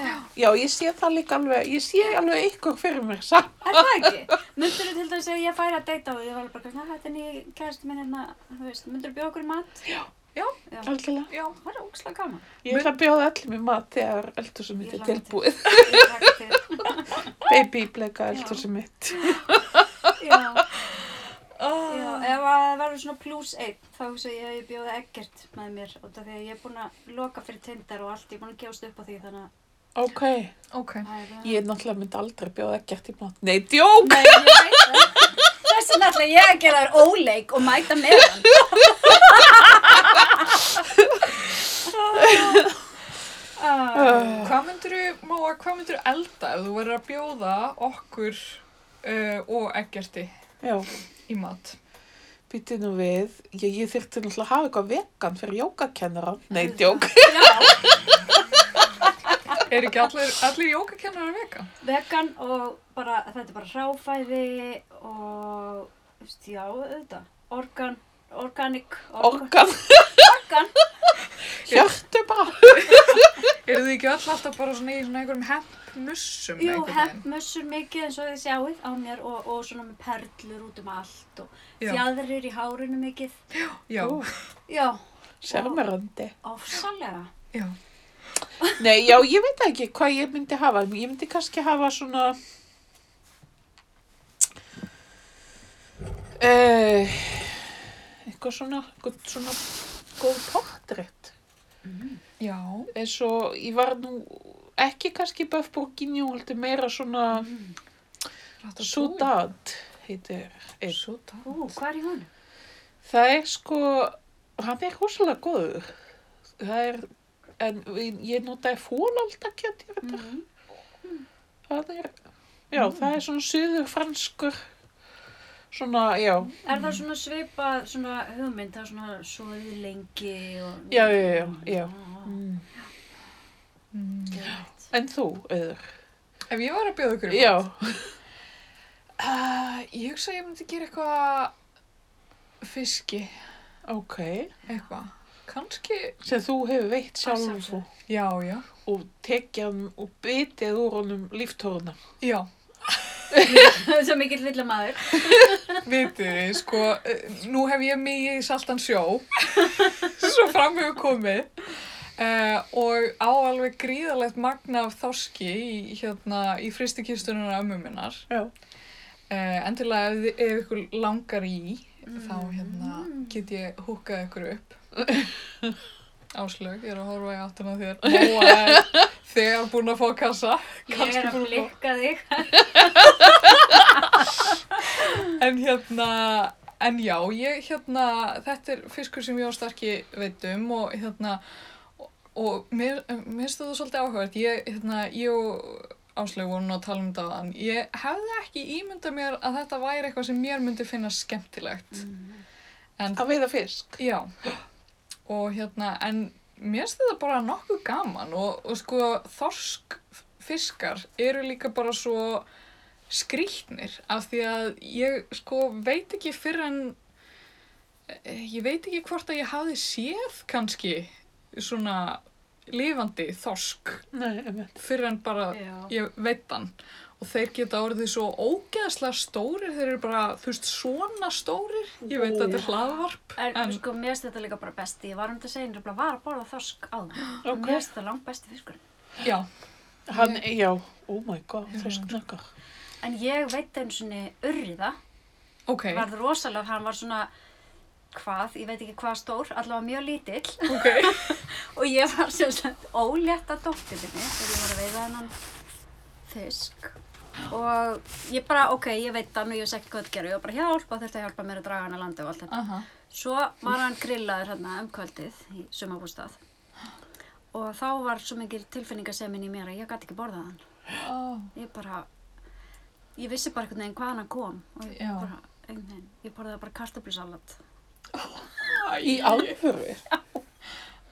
[SPEAKER 3] já.
[SPEAKER 2] Já, ég sé það líka alveg, ég sé alveg ykkur fyrir mér samt.
[SPEAKER 3] Er það ekki? Myndur þú til dæmis ef ég færi að deyta á því, ég var alveg bara, "Na, þetta er nýja kæðist minn hérna, þú veist, myndur þú bjóða okkur í mat?
[SPEAKER 2] Algjörlega.
[SPEAKER 1] já.
[SPEAKER 3] Það er ógslag gaman.
[SPEAKER 2] Ég ætla að bjóða öllum í mat þegar eldhúsum mitt
[SPEAKER 3] Ég
[SPEAKER 2] er
[SPEAKER 3] hlakka til.
[SPEAKER 2] tilbúið.
[SPEAKER 3] Ég hlakka til.
[SPEAKER 2] Baby bleika eldhúsum mitt.
[SPEAKER 3] Já, já,
[SPEAKER 1] Oh.
[SPEAKER 3] ef að það verður svona pluss einn, þá hugsa ég að ég bjóða ekkert með mér, út af því að ég er búin að loka fyrir tindar og allt, ég er búin að gefast upp á því, þannig að
[SPEAKER 2] Ok.
[SPEAKER 1] Ok.
[SPEAKER 3] það er það.
[SPEAKER 2] Ég náttúrulega myndi aldrei bjóða ekkert í mat. Nei, djók!
[SPEAKER 3] Nei, ég veit það. Þess vegna ætla ég að gera þér óleik og mæta með hann. Ah.
[SPEAKER 2] Uh,
[SPEAKER 1] Hvað myndirðu, Móa, hvað myndirðu elda ef þú verður að bjóða okkur uh, og Eggerti
[SPEAKER 2] já,
[SPEAKER 1] í mat?
[SPEAKER 2] býtti nú við. Ég, ég þyrfti náttúrulega að hafa eitthvað vegan fyrir jókakennara. Nei,
[SPEAKER 3] Auðvitað.
[SPEAKER 2] djók.
[SPEAKER 3] Já.
[SPEAKER 1] Er ekki allir, allir jókakennarar vegan?
[SPEAKER 3] vegan og bara, þetta er bara ráfæði og, þú veist, já, auðvitað, organ, organic, organ,
[SPEAKER 2] Organ,
[SPEAKER 3] organ.
[SPEAKER 2] hjörtu bara.
[SPEAKER 1] Eru þið ekki öll alltaf bara svona í svona einhverjum hempnussum?
[SPEAKER 3] Jú,
[SPEAKER 1] einhvern veginn?
[SPEAKER 3] hemmössur mikið eins og þið sjáuð á mér og, og svona með perlur út um allt og
[SPEAKER 1] Já.
[SPEAKER 3] fjadrir í hárinu mikið.
[SPEAKER 1] Já,
[SPEAKER 2] Ú.
[SPEAKER 3] Já,
[SPEAKER 2] Sérmerandi.
[SPEAKER 3] ofsalega.
[SPEAKER 1] já.
[SPEAKER 2] Nei, já, ég veit ekki hvað ég myndi hafa. Ég myndi kannski hafa svona... Eh, eitthvað svona, eitthvað svona góð portrétt.
[SPEAKER 1] Já.
[SPEAKER 2] Eins og ég var nú ekki kannski Böf Borginjó, heldur meira svona
[SPEAKER 1] Láttu
[SPEAKER 2] Sudad, heitir einn.
[SPEAKER 1] Súdán.
[SPEAKER 3] Ú, hvað er í honum?
[SPEAKER 2] Það er sko, hann er rosalega góður. Það er, en við- ég notaði fólaldakjöt í þetta. Það er, já, það er svona suður franskur, svona, já,
[SPEAKER 3] Er það svona svipað svona hugmynd, það er svona svoðið lengi og...
[SPEAKER 2] Já, já, já, já.
[SPEAKER 3] Ah, geðveikt.
[SPEAKER 2] en þú, auður.
[SPEAKER 1] Mm. Ef ég var að bjóða ykkur um
[SPEAKER 2] Já,
[SPEAKER 1] Uh, ég hugsa að ég myndi gera eitthvað fiski,
[SPEAKER 2] ok,
[SPEAKER 1] eitthvað. Kanski,
[SPEAKER 2] sem þú hefur veitt sjálf
[SPEAKER 3] sjálfsögðu.
[SPEAKER 2] og-
[SPEAKER 1] já, já,
[SPEAKER 2] og tekið hann og bitið úr honum líftóruna.
[SPEAKER 1] já,
[SPEAKER 3] Svo mikill vilja maður.
[SPEAKER 1] vitið þið, sko, eh, nú hef ég mig í saltan sjó, svo fram hefur komið uh, og á alveg gríðalegt magna af þorski í, hérna, í fristikistunum ömmu minnar.
[SPEAKER 2] Já.
[SPEAKER 1] Uh, endilega ef, þið- ef ykkur langar í, þá hérna
[SPEAKER 3] Mm.
[SPEAKER 1] get ég húkað ykkur upp. Áslög, ég er að horfa í áttuna þér. Móa er þegar búin að fá kassa.
[SPEAKER 3] Ég
[SPEAKER 1] kannski
[SPEAKER 3] er að
[SPEAKER 1] búin að fá-
[SPEAKER 3] blikka þig.
[SPEAKER 1] En hérna, en já, ég hérna, þetta er fiskur sem ég á starki veitum og hérna, og, og mér mér finnst þetta svolítið áhugavert. Ég, hérna, ég og Áslög vorum nú að tala um þetta aðan. Ég hefði ekki ímyndað mér að þetta væri eitthvað sem mér myndi finna skemmtilegt. En
[SPEAKER 2] Að veiða fisk.
[SPEAKER 1] Já, og hérna, en mér finnst þetta bara nokkuð gaman og, og sko þorskfiskar eru líka bara svo skrýtnir af því að ég sko veit ekki fyrir en, eh, ég veit ekki hvort að ég hafi séð kannski svona lifandi þorsk
[SPEAKER 2] Nei, einmitt.
[SPEAKER 1] fyrir en bara
[SPEAKER 3] Já.
[SPEAKER 1] ég veit hann og þeir geta orðið svo ógeðslega stórir, þeir eru bara, þú veist, svona stórir, ég veit að þetta er hlaðvarp.
[SPEAKER 3] En,
[SPEAKER 1] En-
[SPEAKER 3] sko, mér finnst þetta líka bara besti. Ég var um þetta að segja, ég nefnilega var að borða þorsk á það.
[SPEAKER 2] Ok.
[SPEAKER 3] Mér finnst þetta langt besti fiskurinn.
[SPEAKER 1] Já,
[SPEAKER 2] Hann, já, oh my god, þorsknakkar.
[SPEAKER 3] En ég veit einu svona urriða.
[SPEAKER 1] ok.
[SPEAKER 3] Varð rosalega, hann var svona, hvað, ég veit ekki hvað stór, allavega mjög lítill.
[SPEAKER 1] Ok,
[SPEAKER 3] Og ég var sem sagt ólétt að dóttir minni þegar ég var að veiða hennan fisk. Og ég bara, ok, ég veit hann og ég vissi ekki hvað það gera. Ég var bara hjálpa, þurfti að hjálpa mér að draga hann að landa og allt þetta.
[SPEAKER 1] aha,
[SPEAKER 3] Svo var hann grillaður hérna um kvöldið í sumabústað. Og þá var svo mikil tilfinningasemin í mér að ég gæti ekki borðað hann.
[SPEAKER 1] oh,
[SPEAKER 3] Ég bara, ég vissi bara einhvern veginn hvaðan hann kom. Og ég
[SPEAKER 1] Já.
[SPEAKER 3] bara, einhvern veginn, ég borðaði bara kartöflusalat.
[SPEAKER 2] Í alvöru?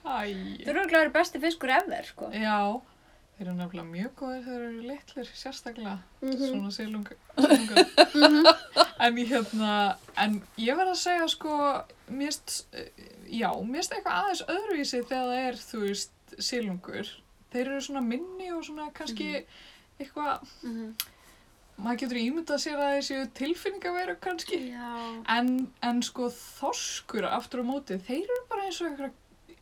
[SPEAKER 1] æj,
[SPEAKER 3] Þú eru glæður besti fiskur ever, sko.
[SPEAKER 1] já, þeir eru nefnilega mjög góðir, þeir eru litlir, sérstaklega, svona silunga, silunga. en ég hérna, en ég verð að segja sko, mist, já, mist eitthvað aðeins öðruvísi þegar það er, þú veist, silungur, þeir eru svona minni og svona kannski eitthvað,
[SPEAKER 3] Mhm.
[SPEAKER 1] maður getur ímyndað sér að þeir séu tilfinningaveru kannski.
[SPEAKER 3] Já.
[SPEAKER 1] En, en sko þorskur aftur á móti, þeir eru bara eins og einhver,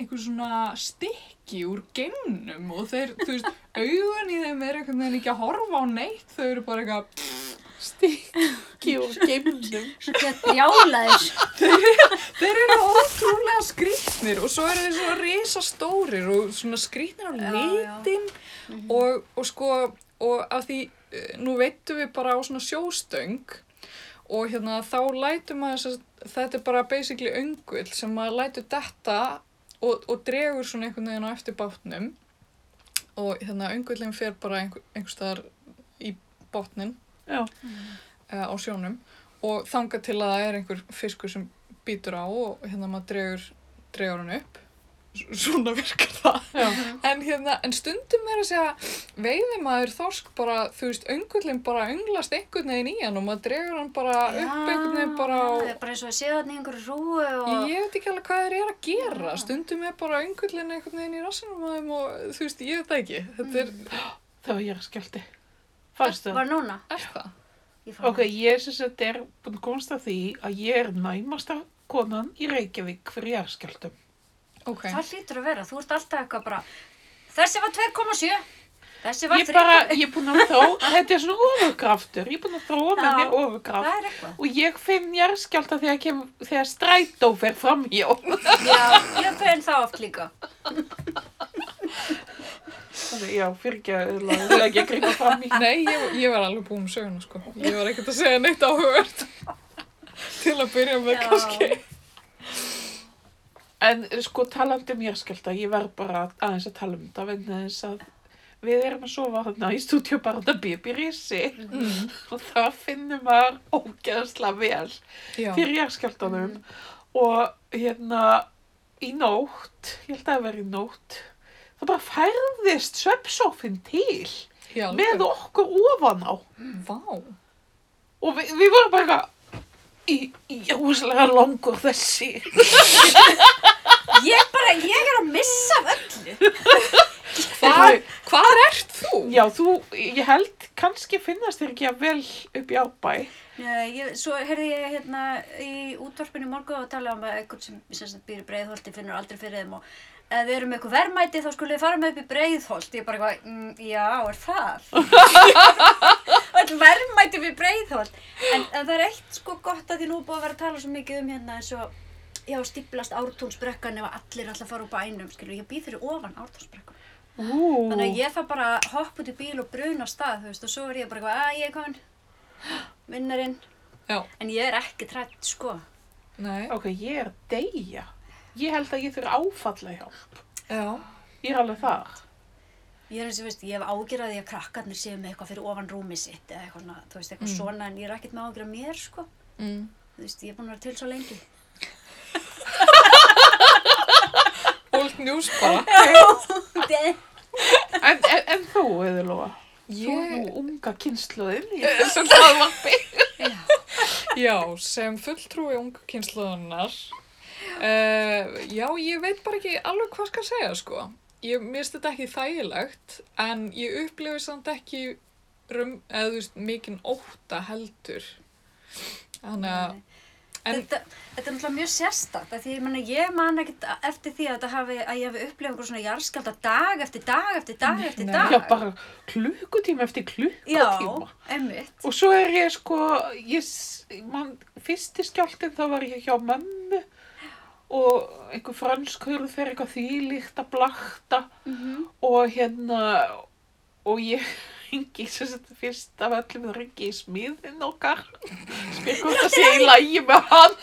[SPEAKER 1] einhver svona stykki úr gennum og þeir, þú veist, augun í þeim er einhvern veginn ekki að horfa á neitt, þau eru bara eitthvað,
[SPEAKER 2] Stikki og geimnum.
[SPEAKER 3] Svo gett brjálaður.
[SPEAKER 1] þeir eru ótrúlega skrýtnir og svo eru þeir svona risastórir og svona skrýtnir á
[SPEAKER 3] Já, Mhm. já.
[SPEAKER 1] litin og, og sko, og af því, eh, nú veitum við bara á svona sjóstöng og hérna þá lætur maður þess að þetta er bara basically öngull sem maður lætur detta og, og dregur svona einhvern veginn á eftir bátnum og hérna öngullin fer bara einhver, einhver staðar í bátnin
[SPEAKER 2] Já.
[SPEAKER 1] uh, á sjónum og þanga til að það er einhver fiskur sem býtur á og hérna maður dregur, dregur hann upp S- svona virkar það
[SPEAKER 2] Já.
[SPEAKER 1] en, hérna, en stundum er að segja veiði maður þorsk bara þú veist, öngullin bara önglast einhvern veginn í hann og maður dregur hann bara upp einhvern veginn bara á
[SPEAKER 3] Það er bara eins og að séu þarna í einhverju rúu og...
[SPEAKER 1] ég veit ekki alveg hvað þeir eru að gera stundum er bara öngullin einhvern veginn í rassinum á þeim og þú veist, ég veit það ekki þetta er,
[SPEAKER 2] Það var ég að skjálti. Fannstu það?
[SPEAKER 3] Var núna?
[SPEAKER 1] er það?
[SPEAKER 3] Ég fann
[SPEAKER 2] Ok, ég sem sagt er búin að komast að því að ég er næmasta konan í Reykjavík fyrir jarðskjáltum.
[SPEAKER 1] ok,
[SPEAKER 3] Það hlýtur að vera. Þú ert alltaf eitthvað bara... Þessi var 2,7. Þessi var
[SPEAKER 2] Ég bara, ég er búin að þróa, þetta er svona ofurkraftur, ég er búin að þróa með
[SPEAKER 3] Já.
[SPEAKER 2] mér ofurkraft
[SPEAKER 3] Það er eitthvað.
[SPEAKER 2] og ég finn jarðskjálta þegar, kem, þegar strætó fer fram hjá.
[SPEAKER 3] Já, ég finn það oft líka.
[SPEAKER 2] Já, fyrir ekki að, eiginlega ekki að grípa fram í.
[SPEAKER 1] Nei, ég, ég var alveg búin um söguna sko. Ég var ekkert að segja neitt áhugavert til að byrja með
[SPEAKER 3] Já.
[SPEAKER 1] kannski.
[SPEAKER 2] En sko talandi um jarðskjálta, ég verð bara aðeins að tala um þetta vegna þess að við erum að sofa þarna í stúdíu bara þetta Bibi Risi
[SPEAKER 1] Mhm. Mm.
[SPEAKER 2] og það finnum maður ógeðslega vel
[SPEAKER 1] Já, Mhm.
[SPEAKER 2] fyrir jarðskjáltanum og hérna í nótt, ég held að það veri í nótt, það bara færðist svepsófin til
[SPEAKER 1] já,
[SPEAKER 2] með
[SPEAKER 1] alveg.
[SPEAKER 2] okkur ofan á
[SPEAKER 1] Vá.
[SPEAKER 2] og við, við vorum bara eitthvað, í, í rosalega langur þessi.
[SPEAKER 3] Ég bara, ég er að missa af öllu.
[SPEAKER 1] Hvar, hvar ert þú?
[SPEAKER 2] Já, þú, ég held, kannski finnast þér ekki að vel upp í árbæ.
[SPEAKER 3] Nei, ég, svo heyrði ég hérna í útvarpinu í morgun og talaði um að einhvern sem, sem sagt býr í breiðholti finnur aldrei fyrir þeim og ef við erum með eitthvað verðmæti þá skulle við fara með upp í breiðholt. Ég bara eitthvað, mm, já, er það? Öll verðmæti við breiðholt. En, en það er eitt sko gott að því nú er búið að vera að tala svo mikið um hérna eins og Já, stíplast ártúnsbrekkan ef allir ætla að fara úr bænum, skilur, ég býð fyrir ofan ártúnsbrekkan.
[SPEAKER 2] Ú,
[SPEAKER 3] Þannig að ég þarf bara að hoppa út í bíl og bruna á stað, þú veist, og svo er ég bara eitthvað, að ég er komin, vinnarinn.
[SPEAKER 1] Já,
[SPEAKER 3] En ég er ekki trætt, sko.
[SPEAKER 1] nei,
[SPEAKER 2] ok, ég er að deyja. Ég held að ég þurfi áfalla hjálp.
[SPEAKER 1] já,
[SPEAKER 2] Ég er alveg þar.
[SPEAKER 3] Ég er eins og, veist, ég hef ágjörð að því að krakkarnir séu með eitthvað fyrir ofan rúmið sitt eða eitthvað, svona, þú veist, eitthvað svona, en ég er ekkert með ágjörð að mér, sko.
[SPEAKER 1] mm.
[SPEAKER 3] Þú veist, ég er búin að vera til svo lengi.
[SPEAKER 1] old news bara.
[SPEAKER 2] En, en, en þú, Eðurlóa, þú er
[SPEAKER 1] Ég,
[SPEAKER 2] nú unga kynsluðin í þessu hlaðvarpi.
[SPEAKER 1] já, sem fulltrúi ungu kynsluðunar. Uh, já, ég veit bara ekki alveg hvað skal segja, sko. Ég mist þetta ekki þægilegt, en ég upplifi samt ekki rum, eða þú veist, mikinn ótta heldur. Þannig að, en,
[SPEAKER 3] þetta, þetta er náttúrulega mjög sérstakt af því ég, mena, ég man ekkert eftir því að, þetta hafi, að ég hafi upplifað einhver svona jarðskjálta dag eftir dag eftir dag eftir
[SPEAKER 1] Nei.
[SPEAKER 3] dag.
[SPEAKER 2] Já, bara klukkutíma eftir klukkutíma.
[SPEAKER 3] Já, einmitt.
[SPEAKER 2] Og svo er ég sko, ég, s- man, fyrsti skjáltinn þá var ég hjá mömmu og einhver franskurð fer eitthvað þvílíkt að blakta og hérna, og ég ringi, sem sagt, fyrst af öllum þá ringi í smiðin okkar, spyr hvort það sé í lægi með hann,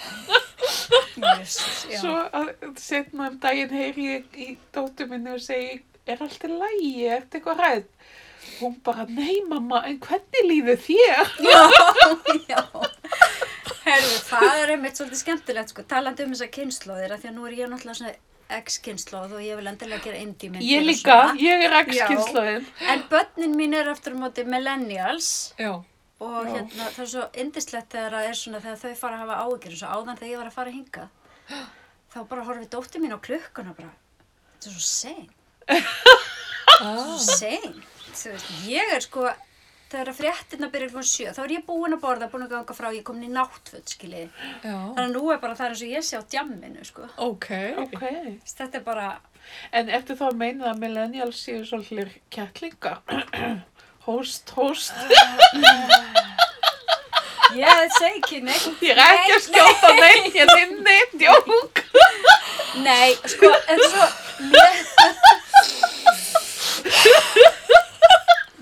[SPEAKER 3] Jesus, já.
[SPEAKER 2] svo að setna um daginn heyri ég í dóttu minni og segi, er allt í lægi, er þetta eitthvað ræð? Hún bara, nei mamma, en hvernig líður þér?
[SPEAKER 3] Já, já. Herru, það er einmitt svolítið skemmtilegt sko, talandi um þessa kynnslóðir, af því að nú er ég náttúrulega svona ex-kynnslóð og ég vil endilega gera indie myndir.
[SPEAKER 2] Ég
[SPEAKER 3] og
[SPEAKER 2] líka,
[SPEAKER 3] svona.
[SPEAKER 2] ég er
[SPEAKER 3] Já.
[SPEAKER 2] X-kynnslóðin.
[SPEAKER 3] En börnin mín er aftur á móti millennials
[SPEAKER 1] já,
[SPEAKER 3] og
[SPEAKER 2] Já.
[SPEAKER 3] hérna, það er svo indislegt þegar það er svona þegar þau fara að hafa áhyggjur eins og áðan þegar ég var að fara hingað. Þá bara horfið dóttir mín á klukkuna bara, þetta er svo sein,
[SPEAKER 1] ah,
[SPEAKER 3] sein. Þú veist, ég er sko, þegar að fréttina byrjar fyrir sjö, þá er ég búin að borða, búin að ganga frá, ég er komin í náttföt, skiljiði.
[SPEAKER 1] já,
[SPEAKER 3] Þannig að nú er bara það er eins og ég sé á djamminu, sko.
[SPEAKER 1] ok,
[SPEAKER 2] Ok.
[SPEAKER 3] Þess, Þetta er bara,
[SPEAKER 2] En eftir þá að meina að millennials séu svolítið kettlingar. Host, host.
[SPEAKER 3] ég segi ekki neitt.
[SPEAKER 2] Ég er ekki að skjóta neinn, ég er inn neitt, jók.
[SPEAKER 3] Nei, sko, en svo, mér...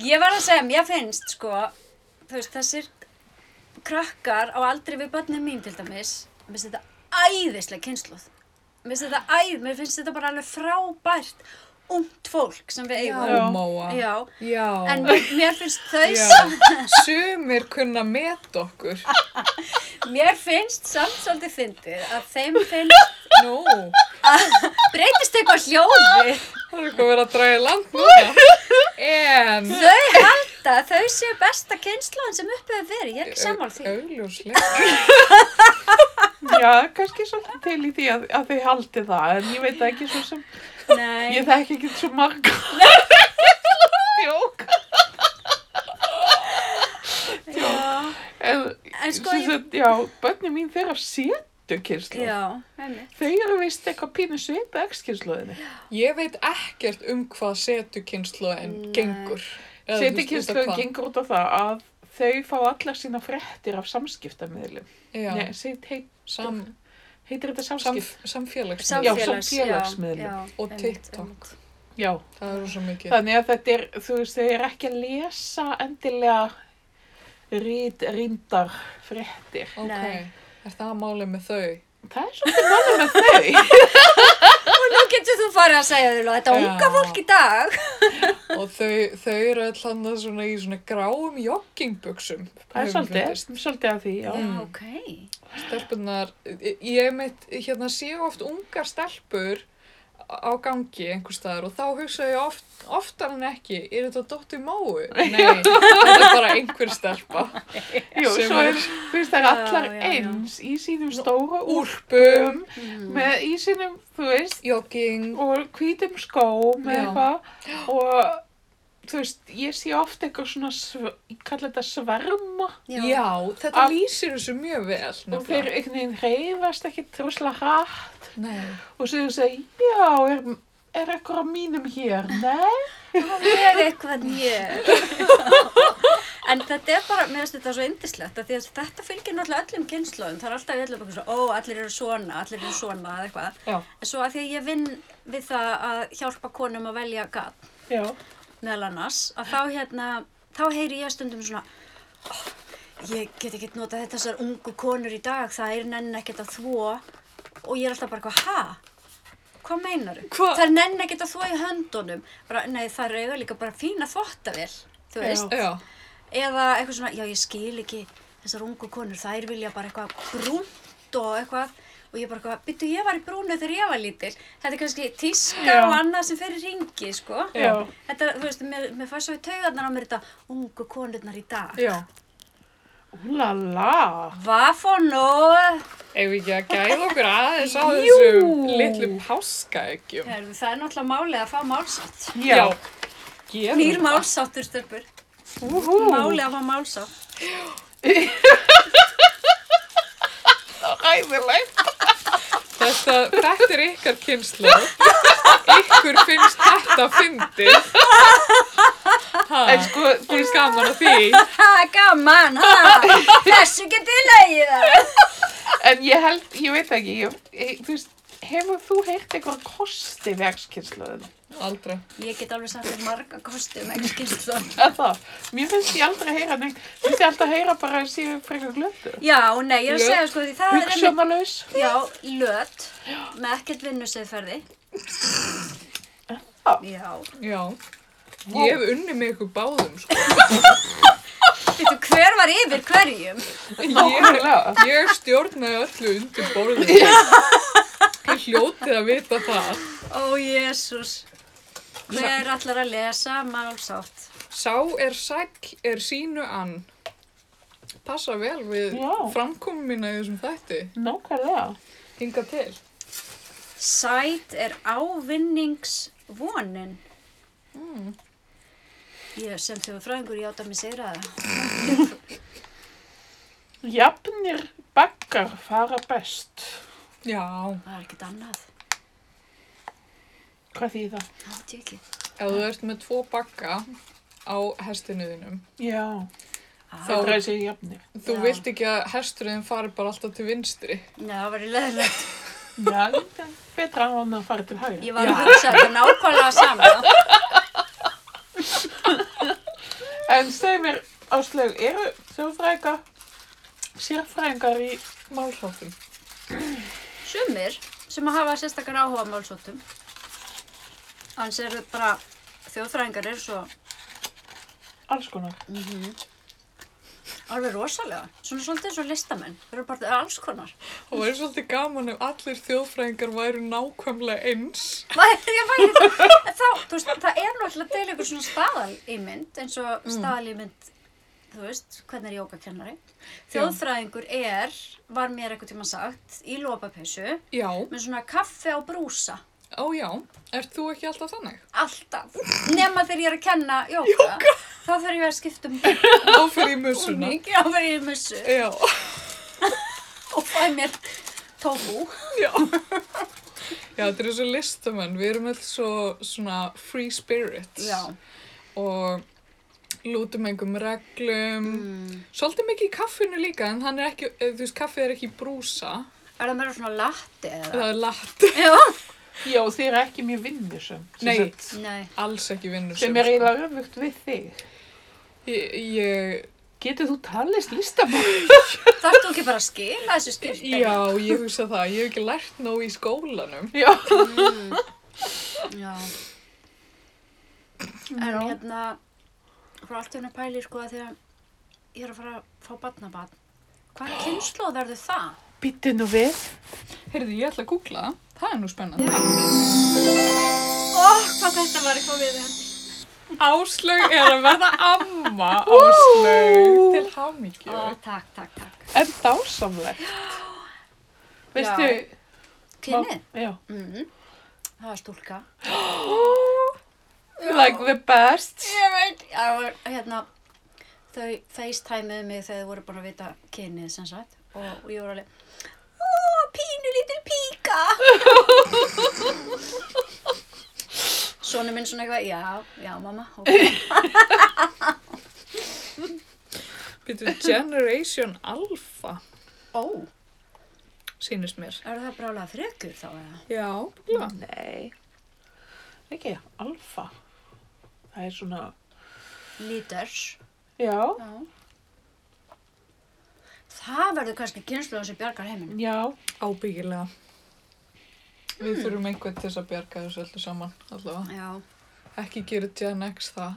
[SPEAKER 3] Ég var að segja, mér finnst, sko, þú veist, þessir krakkar á aldrei við börnin mín til dæmis, mér finnst þetta æðislega kynsluð. Mér finnst þetta æð, mér finnst þetta bara alveg frábært ungt fólk sem við eigum.
[SPEAKER 1] já, Móa,
[SPEAKER 3] Já.
[SPEAKER 1] já.
[SPEAKER 3] En mér finnst þau
[SPEAKER 1] Já,
[SPEAKER 3] samt
[SPEAKER 1] sumir kunna met okkur.
[SPEAKER 3] Mér finnst samt svolítið fyndið að þeim finnst
[SPEAKER 1] Nú,
[SPEAKER 3] breytist eitthvað hljóði.
[SPEAKER 1] það er eitthvað verið að draga í land núna. En...
[SPEAKER 3] Þau halda að þau séu besta kynnslóðin sem uppið að verið. Ég er ekki sammál því.
[SPEAKER 1] Augljóslega.
[SPEAKER 2] Já, kannski svolítið til í því að, að þau haldi það, en ég veit það ekki svo sem,
[SPEAKER 3] Nei.
[SPEAKER 2] ég þekki ekki svo marga. Jók.
[SPEAKER 3] Já.
[SPEAKER 2] En,
[SPEAKER 3] En sko,
[SPEAKER 2] sem
[SPEAKER 3] ég-
[SPEAKER 1] sko,
[SPEAKER 2] sagt, já, bönni mín þeirra setu yngstu kynslu.
[SPEAKER 3] sko, Já, einmitt.
[SPEAKER 2] Þau eru vist eitthvað pínu svipa x-kynsluðinni.
[SPEAKER 1] Ég veit ekkert um hvað setukynnslóðin
[SPEAKER 3] Nei.
[SPEAKER 1] gengur. Eða, þú veist,
[SPEAKER 2] Setukynsluðin
[SPEAKER 1] hvað-
[SPEAKER 2] gengur út á það að þau fá allar sína fréttir af samskiptamiðlum.
[SPEAKER 1] Já,
[SPEAKER 2] Nei, seit- heit,
[SPEAKER 1] sam,
[SPEAKER 2] heitir þetta
[SPEAKER 1] sam,
[SPEAKER 2] samskipt?
[SPEAKER 1] samfélagsmiðl.
[SPEAKER 2] Já,
[SPEAKER 3] Samfélags-
[SPEAKER 2] samfélagsmiðlum.
[SPEAKER 3] já,
[SPEAKER 1] Og
[SPEAKER 3] einmitt,
[SPEAKER 1] TikTok.
[SPEAKER 3] einmitt.
[SPEAKER 2] Já,
[SPEAKER 1] Það eru svo mikið.
[SPEAKER 2] þannig að þetta er, þú veist, þau eru ekki að lesa endilega rít, ríndar fréttir.
[SPEAKER 1] Ok,
[SPEAKER 3] Nei.
[SPEAKER 1] er það málið með þau?
[SPEAKER 2] Það er svolítið málum með þau.
[SPEAKER 3] Og nú getur þú farið að segja þér, þetta
[SPEAKER 1] Já.
[SPEAKER 3] unga fólk í dag.
[SPEAKER 1] Og þau, þau eru alltaf þarna svona í svona gráum joggingbuksum.
[SPEAKER 2] Það er svolítið, svolítið að því, já.
[SPEAKER 1] Mm.
[SPEAKER 3] ok.
[SPEAKER 1] Stelpunar, ég mitt, hérna séu oft ungar stelpur á gangi einhvers staðar og þá hugsa ég oft, oftar en ekki, er þetta dóttir máu? Nei, þetta er bara einhver stelpa.
[SPEAKER 2] Jú,
[SPEAKER 1] Sem
[SPEAKER 2] svo
[SPEAKER 1] er-
[SPEAKER 2] er, þú veist, það er
[SPEAKER 3] Já,
[SPEAKER 2] allar
[SPEAKER 3] já, já.
[SPEAKER 2] eins í sínum stóra
[SPEAKER 1] Úrpum,
[SPEAKER 2] úrpum, með í sínum, þú veist,
[SPEAKER 1] jogging,
[SPEAKER 2] og hvítum skóm
[SPEAKER 1] Já.
[SPEAKER 2] eða eitthvað og þú veist, ég sé oft eitthvað svona, sv- ég kalla þetta sverma
[SPEAKER 1] já, þetta
[SPEAKER 2] Af-
[SPEAKER 1] lýsir þessu mjög vel.
[SPEAKER 2] og þeir einhvern veginn reyfast ekki trúslega hratt
[SPEAKER 1] Nei,
[SPEAKER 2] og svo þú segir, já, er, er eitthvað á mínum hér? Nei?
[SPEAKER 3] Það er eitthvað nýjur. en þetta er bara, mér finnst þetta svo yndislegt, af því að þetta fylgir náttúrulega öllum kynnslóðum. Það er alltaf í öllum eitthvað svona, ó, allir eru svona, allir eru svona, eða eitthvað.
[SPEAKER 1] já,
[SPEAKER 3] En Svo að því að ég vinn við það að hjálpa konum að velja gat,
[SPEAKER 2] Já.
[SPEAKER 3] meðal annars, að þá hérna, þá heyri ég stundum svona, "Oh, ég get ekki notað þetta þessar ungu konur í dag, það er nenn ekkert að þvo og ég er alltaf bara eitthvað, ha? Hvað meinaru?
[SPEAKER 1] Hva-
[SPEAKER 3] Það er nenn ekkert að þvo í höndunum, bara, nei það eru eiga líka bara fína þvottavél, þú veist,
[SPEAKER 1] já,
[SPEAKER 3] eða eitthvað svona, já ég skil ekki þessar ungu konur, þær vilja bara eitthvað brúnt og eitthvað og ég bara eitthvað, byttu ég var í brúnu þegar ég var lítil þetta er kannski tíska
[SPEAKER 2] Já.
[SPEAKER 3] og annað sem fer í ringi, sko
[SPEAKER 2] Já.
[SPEAKER 3] þetta, þú veist, mér, mér fær svo í taugarnar á mér þetta ungu konurnar í dag
[SPEAKER 1] já.
[SPEAKER 2] Úlala.
[SPEAKER 3] Vafonó
[SPEAKER 1] Ef ekki að gæða okkur aðeins á
[SPEAKER 2] Jú.
[SPEAKER 1] þessum litlu páskaeggjum.
[SPEAKER 3] Herðu, það er náttúrulega málið að fá málsátt
[SPEAKER 2] Já.
[SPEAKER 1] Gerum
[SPEAKER 3] nýr
[SPEAKER 1] það.
[SPEAKER 3] málsáttur stöpur
[SPEAKER 2] Úhú.
[SPEAKER 3] málið að fá málsátt
[SPEAKER 2] Ræðilegt.
[SPEAKER 1] Þetta, þetta er ykkar kynslu. Ykkur finnst þetta fyndið. Ha,
[SPEAKER 2] En sko, þú
[SPEAKER 1] finnst gaman að því.
[SPEAKER 3] ha, gaman, ha þessu getið leiðið
[SPEAKER 2] En ég held, ég veit ekki, ég, ég, þú veist, hefur þú heyrt eitthvað kosti við x-kynsluðinu?
[SPEAKER 1] Aldrei.
[SPEAKER 3] ég get alveg sagt þér marga kosti um ekki skilslan
[SPEAKER 2] Eða það? Mér finnst ég aldrei heyra neitt, mér finnst ég alltaf heyra bara að séu frekar glötu.
[SPEAKER 3] Já, nei, ég er að
[SPEAKER 1] Löt.
[SPEAKER 3] segja sko því það er einmitt,
[SPEAKER 2] Hugsanalaus.
[SPEAKER 3] já, löt, með ekkert vinnuseðferði.
[SPEAKER 2] Já.
[SPEAKER 3] Já,
[SPEAKER 1] Já. Ég hef unni með ykkur báðum, sko.
[SPEAKER 3] veitu, hver var yfir hverjum?
[SPEAKER 1] Ég,
[SPEAKER 2] Nákvæmlega.
[SPEAKER 1] ég stjórnaði öllu undir borðið. Ég hljótið að vita það.
[SPEAKER 3] Ó, Jésús, hver ætlar að lesa málsátt?
[SPEAKER 1] Sá er sæll er sínu ann. Passa vel við
[SPEAKER 2] Já.
[SPEAKER 1] framkomum mína í þessum þætti.
[SPEAKER 2] Nákvæmlega.
[SPEAKER 1] Hinga til.
[SPEAKER 3] Sæt er ávinningsvonin. Ég sem þjóðfræðingur ég átta mig sigra það.
[SPEAKER 2] Jafnir baggar fara best.
[SPEAKER 1] Já.
[SPEAKER 3] Það er ekkert annað,
[SPEAKER 2] Hvað þýð það?
[SPEAKER 3] það veit ég ekki.
[SPEAKER 1] Ef þú ert með tvo bakka á hestinu þínum,
[SPEAKER 2] Já.
[SPEAKER 1] Þá-
[SPEAKER 2] Það dræði sig jafnir.
[SPEAKER 1] þú
[SPEAKER 3] Já.
[SPEAKER 1] vilt ekki að hesturinn fari bara alltaf til vinstri.
[SPEAKER 3] Nei, það var í leðilegt.
[SPEAKER 2] Já, það er betra að hann að fara til hægri.
[SPEAKER 3] Ég var að hugsa þetta nákvæmlega sama.
[SPEAKER 2] En segir mér, Áslaug, eru þjóðfræðingar, sérfræðingar í
[SPEAKER 1] Málsáttum.
[SPEAKER 3] Sumir sem að hafa sérstakar áhuga á málsóttum. Annars eru bara þjóðfræðingar eru svo
[SPEAKER 2] alls konar?
[SPEAKER 3] alveg rosalega. Svona svolítið eins og listamenn. Þeir eru bara alls konar.
[SPEAKER 1] Það væri svolítið gaman ef allir þjóðfræðingar væru nákvæmlega eins.
[SPEAKER 3] Væri- ég væri það- en Þá, þú veist, það er náttúrulega til einhver svona staðalýmynd eins og staðalýmynd, þú veist, hvernig er jógakennari. Þjóðfræðingur er, var mér eitthvað tíma sagt, í lopapessu
[SPEAKER 1] Já,
[SPEAKER 3] með svona kaffe á brúsa.
[SPEAKER 1] á já, ert þú ekki alltaf þannig?
[SPEAKER 3] Alltaf. Nema þegar ég er að kenna jóga. jóga. Þá þarf ég að skipta um búning.
[SPEAKER 1] Þá fer ég musuna.
[SPEAKER 3] Mikið á verið í mussu.
[SPEAKER 1] Já,
[SPEAKER 3] og fæ mér tófu.
[SPEAKER 1] Já, þetta er svo listamenn, við erum alls svo svona free spirits
[SPEAKER 3] Já.
[SPEAKER 1] og lútum engum reglum,
[SPEAKER 3] Mm.
[SPEAKER 1] svolítið mikið í kaffinu líka en hann er ekki, eh, þú veist, kaffið er ekki í brúsa,
[SPEAKER 3] Er það meira svona latti eða?
[SPEAKER 1] það er latte,
[SPEAKER 3] Já.
[SPEAKER 2] Já, þið er ekki mjög vinnusum.
[SPEAKER 1] Nei.
[SPEAKER 3] Nei.
[SPEAKER 1] alls ekki vinnur sko.
[SPEAKER 2] Sem er eiginlega öfugt við þig.
[SPEAKER 1] Ég, ég,
[SPEAKER 2] Getur þú talist listamann?
[SPEAKER 3] Þarf þú ekki bara að skila þessu skilti?
[SPEAKER 1] já, ég hugsa það, ég hef ekki lært nóg í skólanum.
[SPEAKER 2] Já.
[SPEAKER 3] Mm. Já. En
[SPEAKER 2] Já.
[SPEAKER 3] hérna, frá allt hérna pæli sko að þegar ég er að fara að fá barnabarn, hvað kynnslóð verður það?
[SPEAKER 2] Býttu nú við.
[SPEAKER 1] Heyrðu, ég ætla að googla það. Það er nú spennandi.
[SPEAKER 3] Ó, hvað þetta var eitthvað við henni.
[SPEAKER 1] Áslaug er að verða amma Áslaug. Til hamingju.
[SPEAKER 3] Ó, takk, takk, takk.
[SPEAKER 2] En dásamlegt. Veistu,
[SPEAKER 3] Kynnið?
[SPEAKER 2] já.
[SPEAKER 3] Mm. Það var stúlka.
[SPEAKER 2] Like the best.
[SPEAKER 3] Ég veit. Það var, hérna, þau facetimeðu mig þegar þau voru búin að vita kynnið sem sagt og, og ég voru alveg, ó, pínu lítil píka. Sónu minn svona eitthvað, já, já, mamma, ok.
[SPEAKER 1] Býtu Generation Alpha,
[SPEAKER 3] Ó,
[SPEAKER 1] sýnist mér.
[SPEAKER 3] eru það brálega frekur þá eða?
[SPEAKER 1] Já, já.
[SPEAKER 2] Nei. Ekki, alfa. Það er svona,
[SPEAKER 3] Líters.
[SPEAKER 2] já.
[SPEAKER 3] Já. Það verður kannski kynnslóðan sem bjargar heiminn.
[SPEAKER 2] Já,
[SPEAKER 1] ábyggilega. Við þurfum einhvern til þess að bjarga þessu öllu saman allavega.
[SPEAKER 3] Já.
[SPEAKER 1] Ekki gera Gen X það.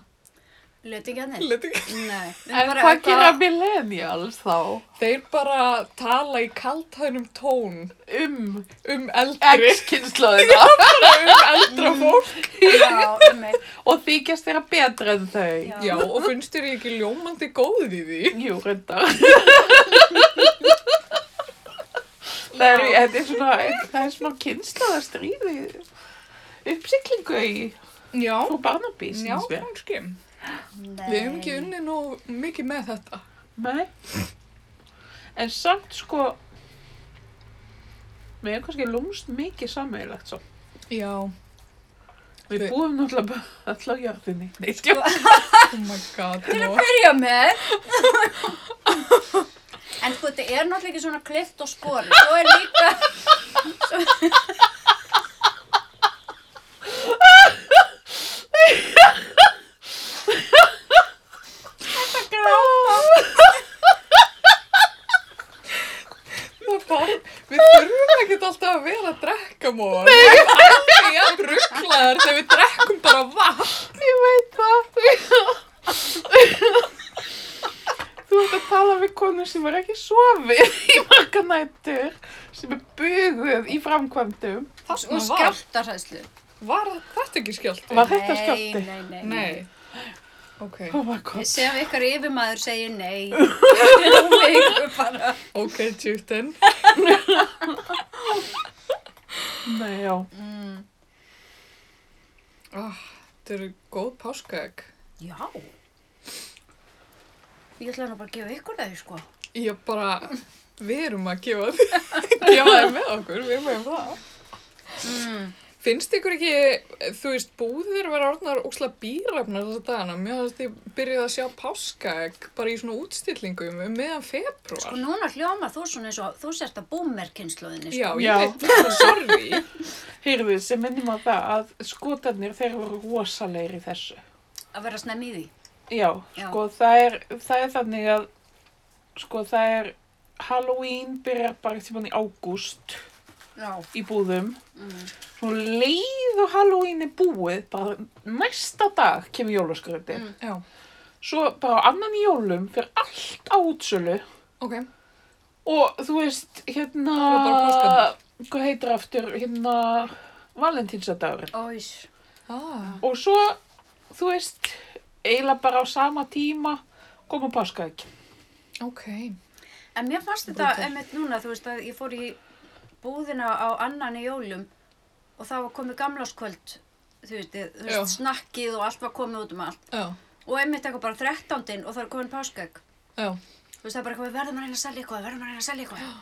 [SPEAKER 3] Letingjarnir?
[SPEAKER 1] Leti ekki.
[SPEAKER 3] Nei. við
[SPEAKER 2] en
[SPEAKER 3] bara
[SPEAKER 2] hvað
[SPEAKER 3] eitthvað-
[SPEAKER 2] gera millennials þá?
[SPEAKER 1] Þeir bara tala í kaltænum tón
[SPEAKER 2] Um
[SPEAKER 1] um eldri,
[SPEAKER 2] X-kynnslóðina
[SPEAKER 1] um eldra fólk.
[SPEAKER 3] Já, um mig.
[SPEAKER 2] og þykjast þeirra betra en þau.
[SPEAKER 3] Já.
[SPEAKER 1] Já, og finnst þér ég ekki ljómandi góðið í því?
[SPEAKER 2] Jú, reyndar. það er, þetta er svona, það er svona kynnslóðastríði uppsiklingu í
[SPEAKER 1] Já,
[SPEAKER 2] frú Barnaby,
[SPEAKER 1] já,
[SPEAKER 2] síns við.
[SPEAKER 1] kannski.
[SPEAKER 3] Nei.
[SPEAKER 1] Við hefum ekki unnið nú mikið með þetta.
[SPEAKER 2] Nei. En samt sko, við erum kannski lúmst mikið sammeilagt svo.
[SPEAKER 1] Já.
[SPEAKER 2] Við
[SPEAKER 1] Þau-
[SPEAKER 2] búum náttúrulega bara alltaf á jörðinni. Nei, sko.
[SPEAKER 1] Oh my god.
[SPEAKER 3] til að
[SPEAKER 1] Lóa.
[SPEAKER 3] byrja með en sko þetta er náttúrulega ekki svona klift og skori svo er líka
[SPEAKER 1] Það bara, við þurfum ekkert alltaf að vera að drekka mór. Nei. Við erum alltaf jafn rugglaðar þegar við drekkum bara vatn.
[SPEAKER 2] Ég veit það. Þú ert að tala við konu sem er ekki sofið í marga nættur, sem er buguð í framkvæmdum.
[SPEAKER 1] Þarna
[SPEAKER 3] og
[SPEAKER 1] var,
[SPEAKER 3] skjáltarhæslu
[SPEAKER 1] var þetta ekki skjálti?
[SPEAKER 2] Var þetta skjálfti?
[SPEAKER 3] nei, nei, nei.
[SPEAKER 1] Nei. Ok,
[SPEAKER 2] Oh my god.
[SPEAKER 3] sem ykkar yfirmaður segir nei hún leikur bara
[SPEAKER 1] ok, tjúttinn.
[SPEAKER 2] Nei, já.
[SPEAKER 3] mm.
[SPEAKER 1] Oh, þetta eru góð páskaegg.
[SPEAKER 3] já ég ætla nú bara að gefa ykkur þau sko
[SPEAKER 1] Ég bara, við erum að gefa þið, gefa þið með okkur, við meðum það.
[SPEAKER 3] mm.
[SPEAKER 1] Finnst ykkur ekki, þú veist, búðir vera orðnar ósla bírafnar þessa dagana? Mér finnst ég byrjaði að sjá páskaegg bara í svona útstillingum um meðan
[SPEAKER 3] sko
[SPEAKER 1] februar.
[SPEAKER 3] núna hljóma þú svona eins og þú sérst að búmerkynnslóðinni sko.
[SPEAKER 1] Já,
[SPEAKER 2] Já.
[SPEAKER 1] ég veit það, sorry.
[SPEAKER 2] Heyrðu, sem minnum á það að skotarnir þeir voru rosalegir í þessu.
[SPEAKER 3] að vera snemmi í því
[SPEAKER 2] Já,
[SPEAKER 3] Já.
[SPEAKER 2] sko það er, það er þannig að, sko það er, Halloween byrjar bara tíman í ágúst
[SPEAKER 3] já,
[SPEAKER 2] í búðum.
[SPEAKER 3] mm.
[SPEAKER 2] Svo leið og Halloween er búið, bara næsta dag kemur jólaskröndi.
[SPEAKER 3] Mm.
[SPEAKER 1] Já,
[SPEAKER 2] Svo bara á annan í jólum fyrir allt á útsölu
[SPEAKER 1] ok.
[SPEAKER 2] og þú veist, hérna,
[SPEAKER 1] Það var bara páskarnar.
[SPEAKER 2] hvað heitir aftur, hérna, valentínsadagur.
[SPEAKER 3] ós
[SPEAKER 1] Ah,
[SPEAKER 2] Og svo, þú veist, eiginlega bara á sama tíma koma páskaegg.
[SPEAKER 1] ok.
[SPEAKER 3] En mér fannst þetta
[SPEAKER 1] Brútal.
[SPEAKER 3] einmitt núna, þú veist að ég fór í búðina á annan í jólum og það var komið gamláskvöld, þú veist, þú
[SPEAKER 1] Já.
[SPEAKER 3] veist snakkið og allt var komið út um allt.
[SPEAKER 1] Já,
[SPEAKER 3] Og einmitt eitthvað bara 13. og það er komin páskegg.
[SPEAKER 1] já.
[SPEAKER 3] Þú veist það er bara eitthvað, við verðum að reyna að selja eitthvað, við verðum að reyna að selja eitthvað.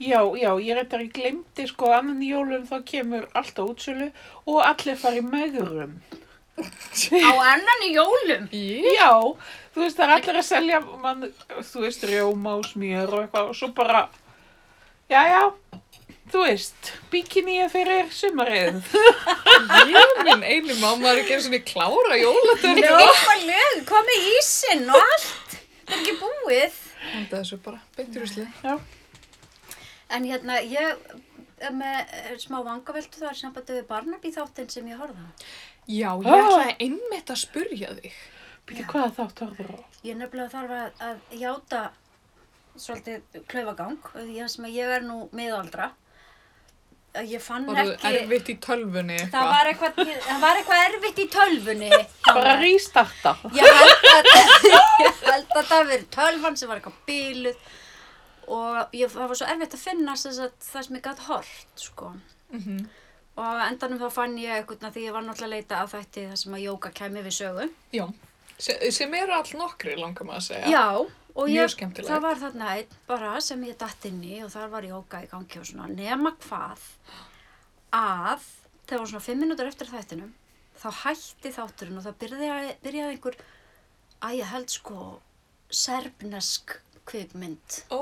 [SPEAKER 2] Já, já, ég reyndar ég glemdi sko annan í jólum þá kemur allt á útsölu og allir fara í megrum.
[SPEAKER 3] Á annan í jólum.
[SPEAKER 2] Já, þú veist það er allir að selja, mann, þú veist, rjóma og smjör og eitthvað og svo bara, já, já, þú veist, bikini er fyrir sumarið.
[SPEAKER 1] Ég minn einu mamma er ekki einu svona klára jólatöfni.
[SPEAKER 3] Eitthvað lög, hvað með ísinn og allt. Það er ekki búið.
[SPEAKER 1] Enda þessu bara, beint í rusli.
[SPEAKER 2] Já,
[SPEAKER 3] En hérna, ég er með eh, smá vangaveltu þar sambandi við Barnaby þáttinn sem ég horfði á.
[SPEAKER 1] Já, ég
[SPEAKER 2] Ah.
[SPEAKER 1] ætlaði einmitt að spurja þig.
[SPEAKER 2] byrju hvaða þátt horfður á?
[SPEAKER 3] Ég nefnilega þarf að, að játa svolítið klaufagang því að sem að ég er nú miðaldra. Að Ég fann
[SPEAKER 1] Var þú
[SPEAKER 3] ekki...
[SPEAKER 1] erfitt í tölvunni
[SPEAKER 3] Það
[SPEAKER 1] eitthvað?
[SPEAKER 3] var eitthvað, það var eitthvað erfitt í tölvunni. hjá
[SPEAKER 2] Bara
[SPEAKER 3] mér.
[SPEAKER 2] rístarta.
[SPEAKER 3] Ég held að, ég held að það hafi verið tölvan sem var eitthvað bíluð og ég, það var svo erfitt að finna þess að það sem ég gæti hort, sko.
[SPEAKER 1] Mhm.
[SPEAKER 3] Og á endanum þá fann ég eitthvað því ég var náttúrulega að leita að þætti það sem að jóka kæmi við sögu.
[SPEAKER 1] Já, Se, sem eru all nokkri langar maður að segja.
[SPEAKER 3] Já, og
[SPEAKER 1] Mjög
[SPEAKER 3] ég,
[SPEAKER 1] skemmtilegt.
[SPEAKER 3] það var þarna einn bara sem ég datt inn í og þar var jóka í gangi og svona nema hvað að þegar var svona fimm minútur eftir þættinum þá hætti þátturinn og það byrjaði, byrjaði einhver að ég held sko serbnesk kvikmynd
[SPEAKER 1] Ó,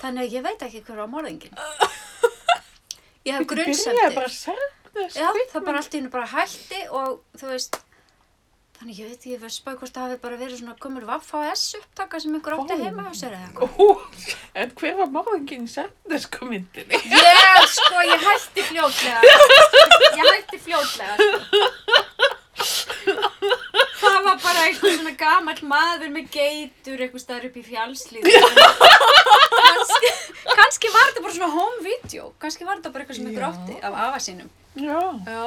[SPEAKER 3] þannig að ég veit ekki hver var morðingin ég hef
[SPEAKER 2] Byrju, Byrjaði
[SPEAKER 3] grunnsendir
[SPEAKER 2] bara að senda
[SPEAKER 3] Já, það bara allt í hennu bara hætti og þú veist, þannig ég veit ekki, ég verð spáði hvort það hafi bara verið svona gömur VHS upptaka sem einhver átti
[SPEAKER 2] Ó.
[SPEAKER 3] heima á sér eða eitthvað.
[SPEAKER 2] Ú, en hver var morðingin í sendesku myndinni?
[SPEAKER 3] Ég, sko, ég hætti fljótlega. Ég hætti fljótlega, sko. Það var bara einhver svona gamall maður með geitur einhver staðar upp í fjallslíðu. Kanski, kannski var þetta bara svona home video, kannski var þetta bara eitthvað sem
[SPEAKER 1] Já.
[SPEAKER 3] einhver átti af afa sínum.
[SPEAKER 2] Já.
[SPEAKER 1] já.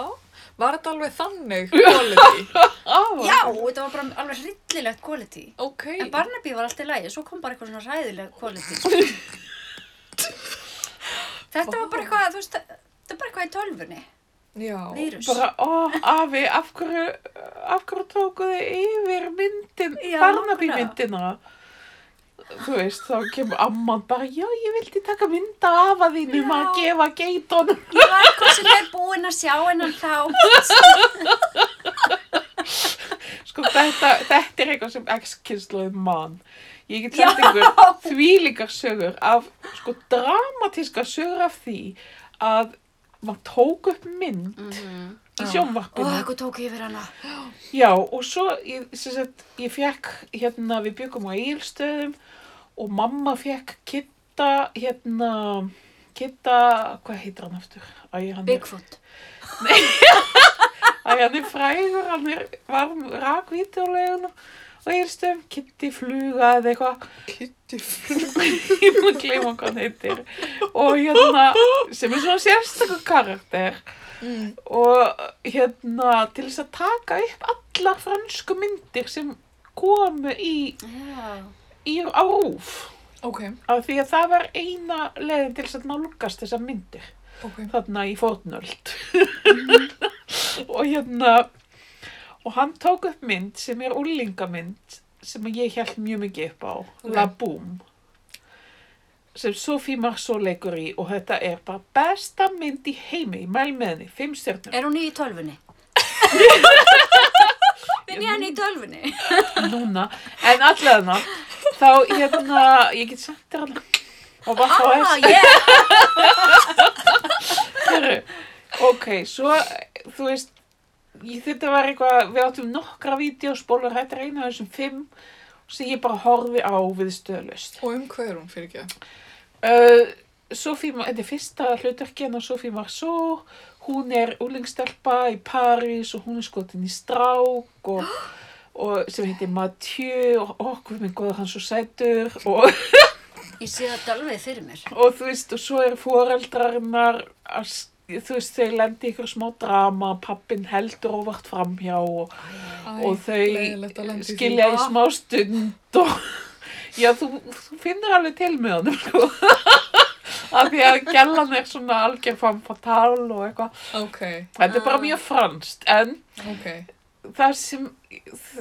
[SPEAKER 1] Var þetta alveg þannig quality?
[SPEAKER 2] Á,
[SPEAKER 3] Já, þetta var bara alveg hryllilegt quality.
[SPEAKER 1] Ok.
[SPEAKER 3] En Barnaby var alltaf í lagi, svo kom bara eitthvað svona ræðileg quality. sko. Þetta var bara eitthvað, þú veist, þetta er bara eitthvað í tölvunni,
[SPEAKER 1] Já.
[SPEAKER 3] vírus.
[SPEAKER 2] Bara, ó, afi, af hverju, af hverju tókuðu yfir myndin,
[SPEAKER 3] Já,
[SPEAKER 2] Barnaby
[SPEAKER 3] nákvæmlega.
[SPEAKER 2] myndina? Þú veist, þá kemur amman bara, já, ég vildi taka mynda af að þínum að
[SPEAKER 3] Já.
[SPEAKER 2] gefa geitunum.
[SPEAKER 3] Ég var eitthvað sem er búin að sjá hennan þá.
[SPEAKER 2] Sko, þetta, þetta er eitthvað sem ex-kynsluð mann. Ég get
[SPEAKER 3] Já.
[SPEAKER 2] sagt ykkur þvílíkar sögur af, sko, dramatíska sögur af því að maður tók upp mynd
[SPEAKER 3] Mhm.
[SPEAKER 2] í
[SPEAKER 3] Og
[SPEAKER 2] sjónvarpinu.
[SPEAKER 3] eitthvað tók yfir hana.
[SPEAKER 2] Já, og svo, ég, sem sagt, ég fekk, hérna, við byggum á Ílstöðum og mamma fekk kitta, hérna, kitta, hvað heitir hann aftur? Æ, hann er,
[SPEAKER 3] Bigfoot.
[SPEAKER 2] æ, hann er frægur, hann er, var rakvítulegun á Ílstöðum, kitti fluga eða eitthvað,
[SPEAKER 1] Kitty
[SPEAKER 2] ég má gleyma hvað hann heitir, og hérna, sem er svona sérstakur karakter.
[SPEAKER 1] Mm.
[SPEAKER 2] og hérna til þess að taka upp allar fransku myndir sem komu í,
[SPEAKER 3] Já.
[SPEAKER 2] í á rúf
[SPEAKER 1] Ok,
[SPEAKER 2] af því að það var eina leiðin til þess að nálgast þessar myndir
[SPEAKER 1] ok.
[SPEAKER 2] þarna í fornöld og hérna og hann tók upp mynd sem er úlingamynd sem ég held mjög mikið upp á
[SPEAKER 1] Ok.
[SPEAKER 2] La Boom sem Sophie Marceau leikur í og þetta er bara besta mynd í heimi, ég mæl með henni, fimm stjörnum
[SPEAKER 3] Er hún í tölvunni? Finn ég hann í tölvunni?
[SPEAKER 2] núna, en allavega þá hérna, ég get sagt þér hana og var þá
[SPEAKER 3] Ah,
[SPEAKER 2] þess
[SPEAKER 3] yeah.
[SPEAKER 2] Heru, ok, svo þú veist, ég, þetta var eitthvað við áttum nokkra vídeospólur þetta er eina af þessum fimm sem ég bara horfi á við stöðlust
[SPEAKER 1] Og um hvað er hún fyrir ekki?
[SPEAKER 2] uh, Sophie, Ma- þetta er fyrsta hlutverki hennar Sophie Marceau hún er úlingstelpa í París og hún er skotin í strák og, og sem heitir Mathieu og okkur minn góður hann er svo sætur og
[SPEAKER 3] Ég sé það dölvið fyrir mér.
[SPEAKER 2] og þú veist, og svo eru foreldrarinnar að, s- þú veist, þau lendi í ykkur smá drama, pappin heldur óvart framhjá og,
[SPEAKER 1] Æ,
[SPEAKER 2] og
[SPEAKER 1] leiðilegt að
[SPEAKER 2] þau
[SPEAKER 1] lenda í því.
[SPEAKER 2] skilja í
[SPEAKER 3] Ah.
[SPEAKER 2] smá stund og já, þú, þú finnir alveg til með honum, sko af því að gellan er svona algjör fann fatal og eitthvað
[SPEAKER 1] Ok,
[SPEAKER 2] þetta er bara
[SPEAKER 3] Ah.
[SPEAKER 2] mjög franskt, en
[SPEAKER 1] ok.
[SPEAKER 2] það sem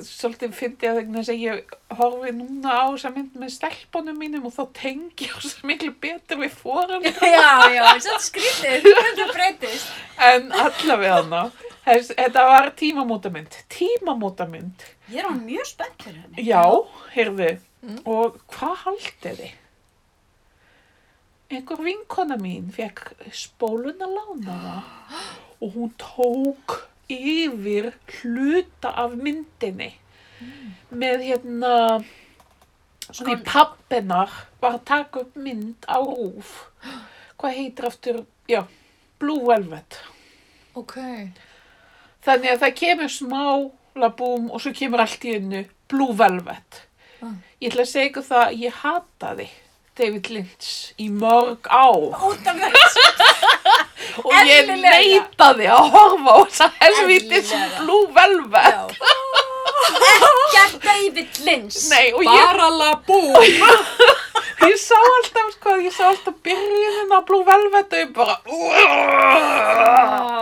[SPEAKER 2] svolítið fyndi að vegna þess að ég horfi núna á þessa mynd með stelpunum mínum og þá tengi ég svo miklu betur við fóran
[SPEAKER 3] Já, já, þetta er skrítið, þetta breytist.
[SPEAKER 2] en allavega hana. Þess, þetta var tímamótamynd, tímamótamynd,
[SPEAKER 3] Ég er á mjög spennt fyrir henni.
[SPEAKER 2] já, heyrðu, og hvað haldið þið? Einhver vinkona mín fekk spóluna lánaða og hún tók yfir hluta af myndinni með hérna, svona í
[SPEAKER 3] Skon-
[SPEAKER 2] pappinar var að taka upp mynd á rúf. Hvað heitir aftur, já, Blue Velvet.
[SPEAKER 1] Ok.
[SPEAKER 2] Þannig að það kemur smá labúm og svo kemur allt í einu Blue Velvet.
[SPEAKER 1] Ah.
[SPEAKER 2] Ég ætla að segja ykkur það að ég hataði David Lynch í mörg ár
[SPEAKER 3] Út af þessu.
[SPEAKER 2] og ég
[SPEAKER 3] Eðlilega.
[SPEAKER 2] neitaði að horfa á þess að helvitis
[SPEAKER 3] Eðlilega.
[SPEAKER 2] Blue Velvet.
[SPEAKER 3] Já. Ekkert David Lynch.
[SPEAKER 2] Nei, og ég,
[SPEAKER 1] Bara labú.
[SPEAKER 2] ég sá alltaf, sko, ég sá alltaf byrjunin á Blue Velvet og ég bara...
[SPEAKER 3] Ó,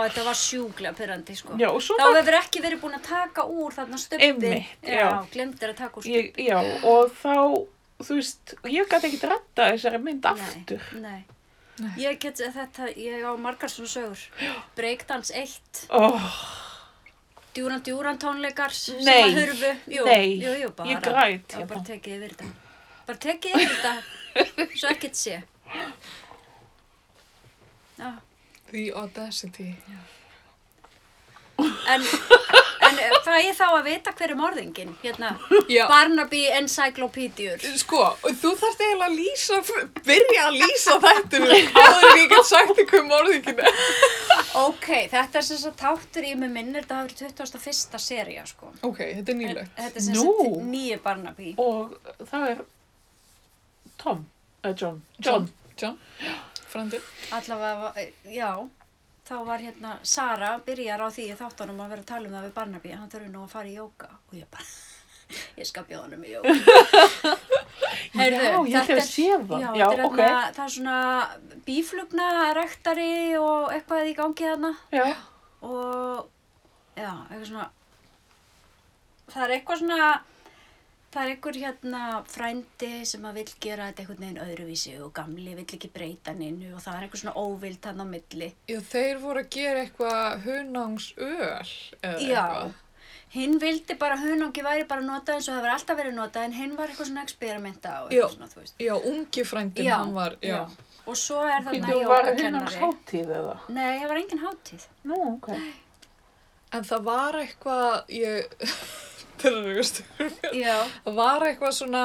[SPEAKER 3] þetta var sjúklega pyrrandi, sko.
[SPEAKER 2] Já, og svo
[SPEAKER 3] Þá hefur ekki verið búin að taka úr þarna stöppi.
[SPEAKER 2] Einmitt,
[SPEAKER 3] já.
[SPEAKER 2] já.
[SPEAKER 3] Glemtir að taka úr stöppi.
[SPEAKER 2] ég, já, og þá, þú veist, ég gæti ekkert retta þessari mynd aftur.
[SPEAKER 3] Nei, nei.
[SPEAKER 1] Nei.
[SPEAKER 3] Ég get þetta, ég á margar svona sögur. Breakdance 1,
[SPEAKER 2] Oh.
[SPEAKER 3] Djúran Djúran tónleikar sem
[SPEAKER 2] Nei,
[SPEAKER 3] að hurfu. Jú,
[SPEAKER 2] nei,
[SPEAKER 3] jú, jú, bara.
[SPEAKER 2] ég græt
[SPEAKER 3] Já,
[SPEAKER 2] hérna.
[SPEAKER 3] bara tekið yfir þetta. Bara tekið yfir þetta, svo ekkert sé. Já,
[SPEAKER 1] The Audacity.
[SPEAKER 3] en, en fæ ég þá að vita hver er morðingin, hérna,
[SPEAKER 1] Já.
[SPEAKER 3] Barnaby Encyclopediur.
[SPEAKER 1] Sko, þú þarft eiginlega að lýsa, byrja að lýsa þetta áður en ég get sagt ykkur um morðingina.
[SPEAKER 3] Ok, þetta er sem sagt tátur í mig minnir, þetta hafi verið 21. seria, sko.
[SPEAKER 1] Ok, þetta er
[SPEAKER 3] En,
[SPEAKER 1] nýlegt.
[SPEAKER 3] þetta er sem
[SPEAKER 2] Nú.
[SPEAKER 3] sagt nýju Barnaby.
[SPEAKER 2] og það er Tom, eða John, John.
[SPEAKER 1] John. Frandi.
[SPEAKER 3] Allavega, eh, já, þá var hérna, Sara byrjar á því í þáttunum að vera að tala um það við Barnaby, hann þurfi nú að fara í jóka og ég bara, ég skal bjóða hann um í jóka. Heyrðu,
[SPEAKER 2] Já, ég
[SPEAKER 3] þetta
[SPEAKER 2] ætla að
[SPEAKER 3] er-
[SPEAKER 2] sé það.
[SPEAKER 3] Já,
[SPEAKER 2] Já,
[SPEAKER 3] þetta er
[SPEAKER 2] ok.
[SPEAKER 3] hérna, það er svona bíflugna, rektari og eitthvað í gangi þarna
[SPEAKER 2] Já,
[SPEAKER 3] og já, eitthvað svona, það er eitthvað svona, það er einhver hérna frændi sem að vil gera þetta einhvern veginn öðruvísi og gamli vill ekki breyta ninu og það er eitthvað svona óvild hann á milli.
[SPEAKER 1] Já, þeir voru að gera eitthvað hunangsöl eða
[SPEAKER 3] Já,
[SPEAKER 1] eitthvað.
[SPEAKER 3] hinn vildi bara hunangi væri bara notað eins og það var alltaf verið notað en hinn var eitthvað svona experimenta og
[SPEAKER 1] Já.
[SPEAKER 3] eitthvað svona, þú veist.
[SPEAKER 1] Já, ungi frændin, hann var, já.
[SPEAKER 3] Og svo er þarna
[SPEAKER 2] þú var hinn hans
[SPEAKER 3] jógakennari.
[SPEAKER 2] hátíð eða?
[SPEAKER 3] Nei, það var engin hátíð.
[SPEAKER 2] Nú, ok.
[SPEAKER 1] En það var eitthvað, ég, þetta er eitthvað stjórn,
[SPEAKER 3] Já,
[SPEAKER 1] það var eitthvað svona,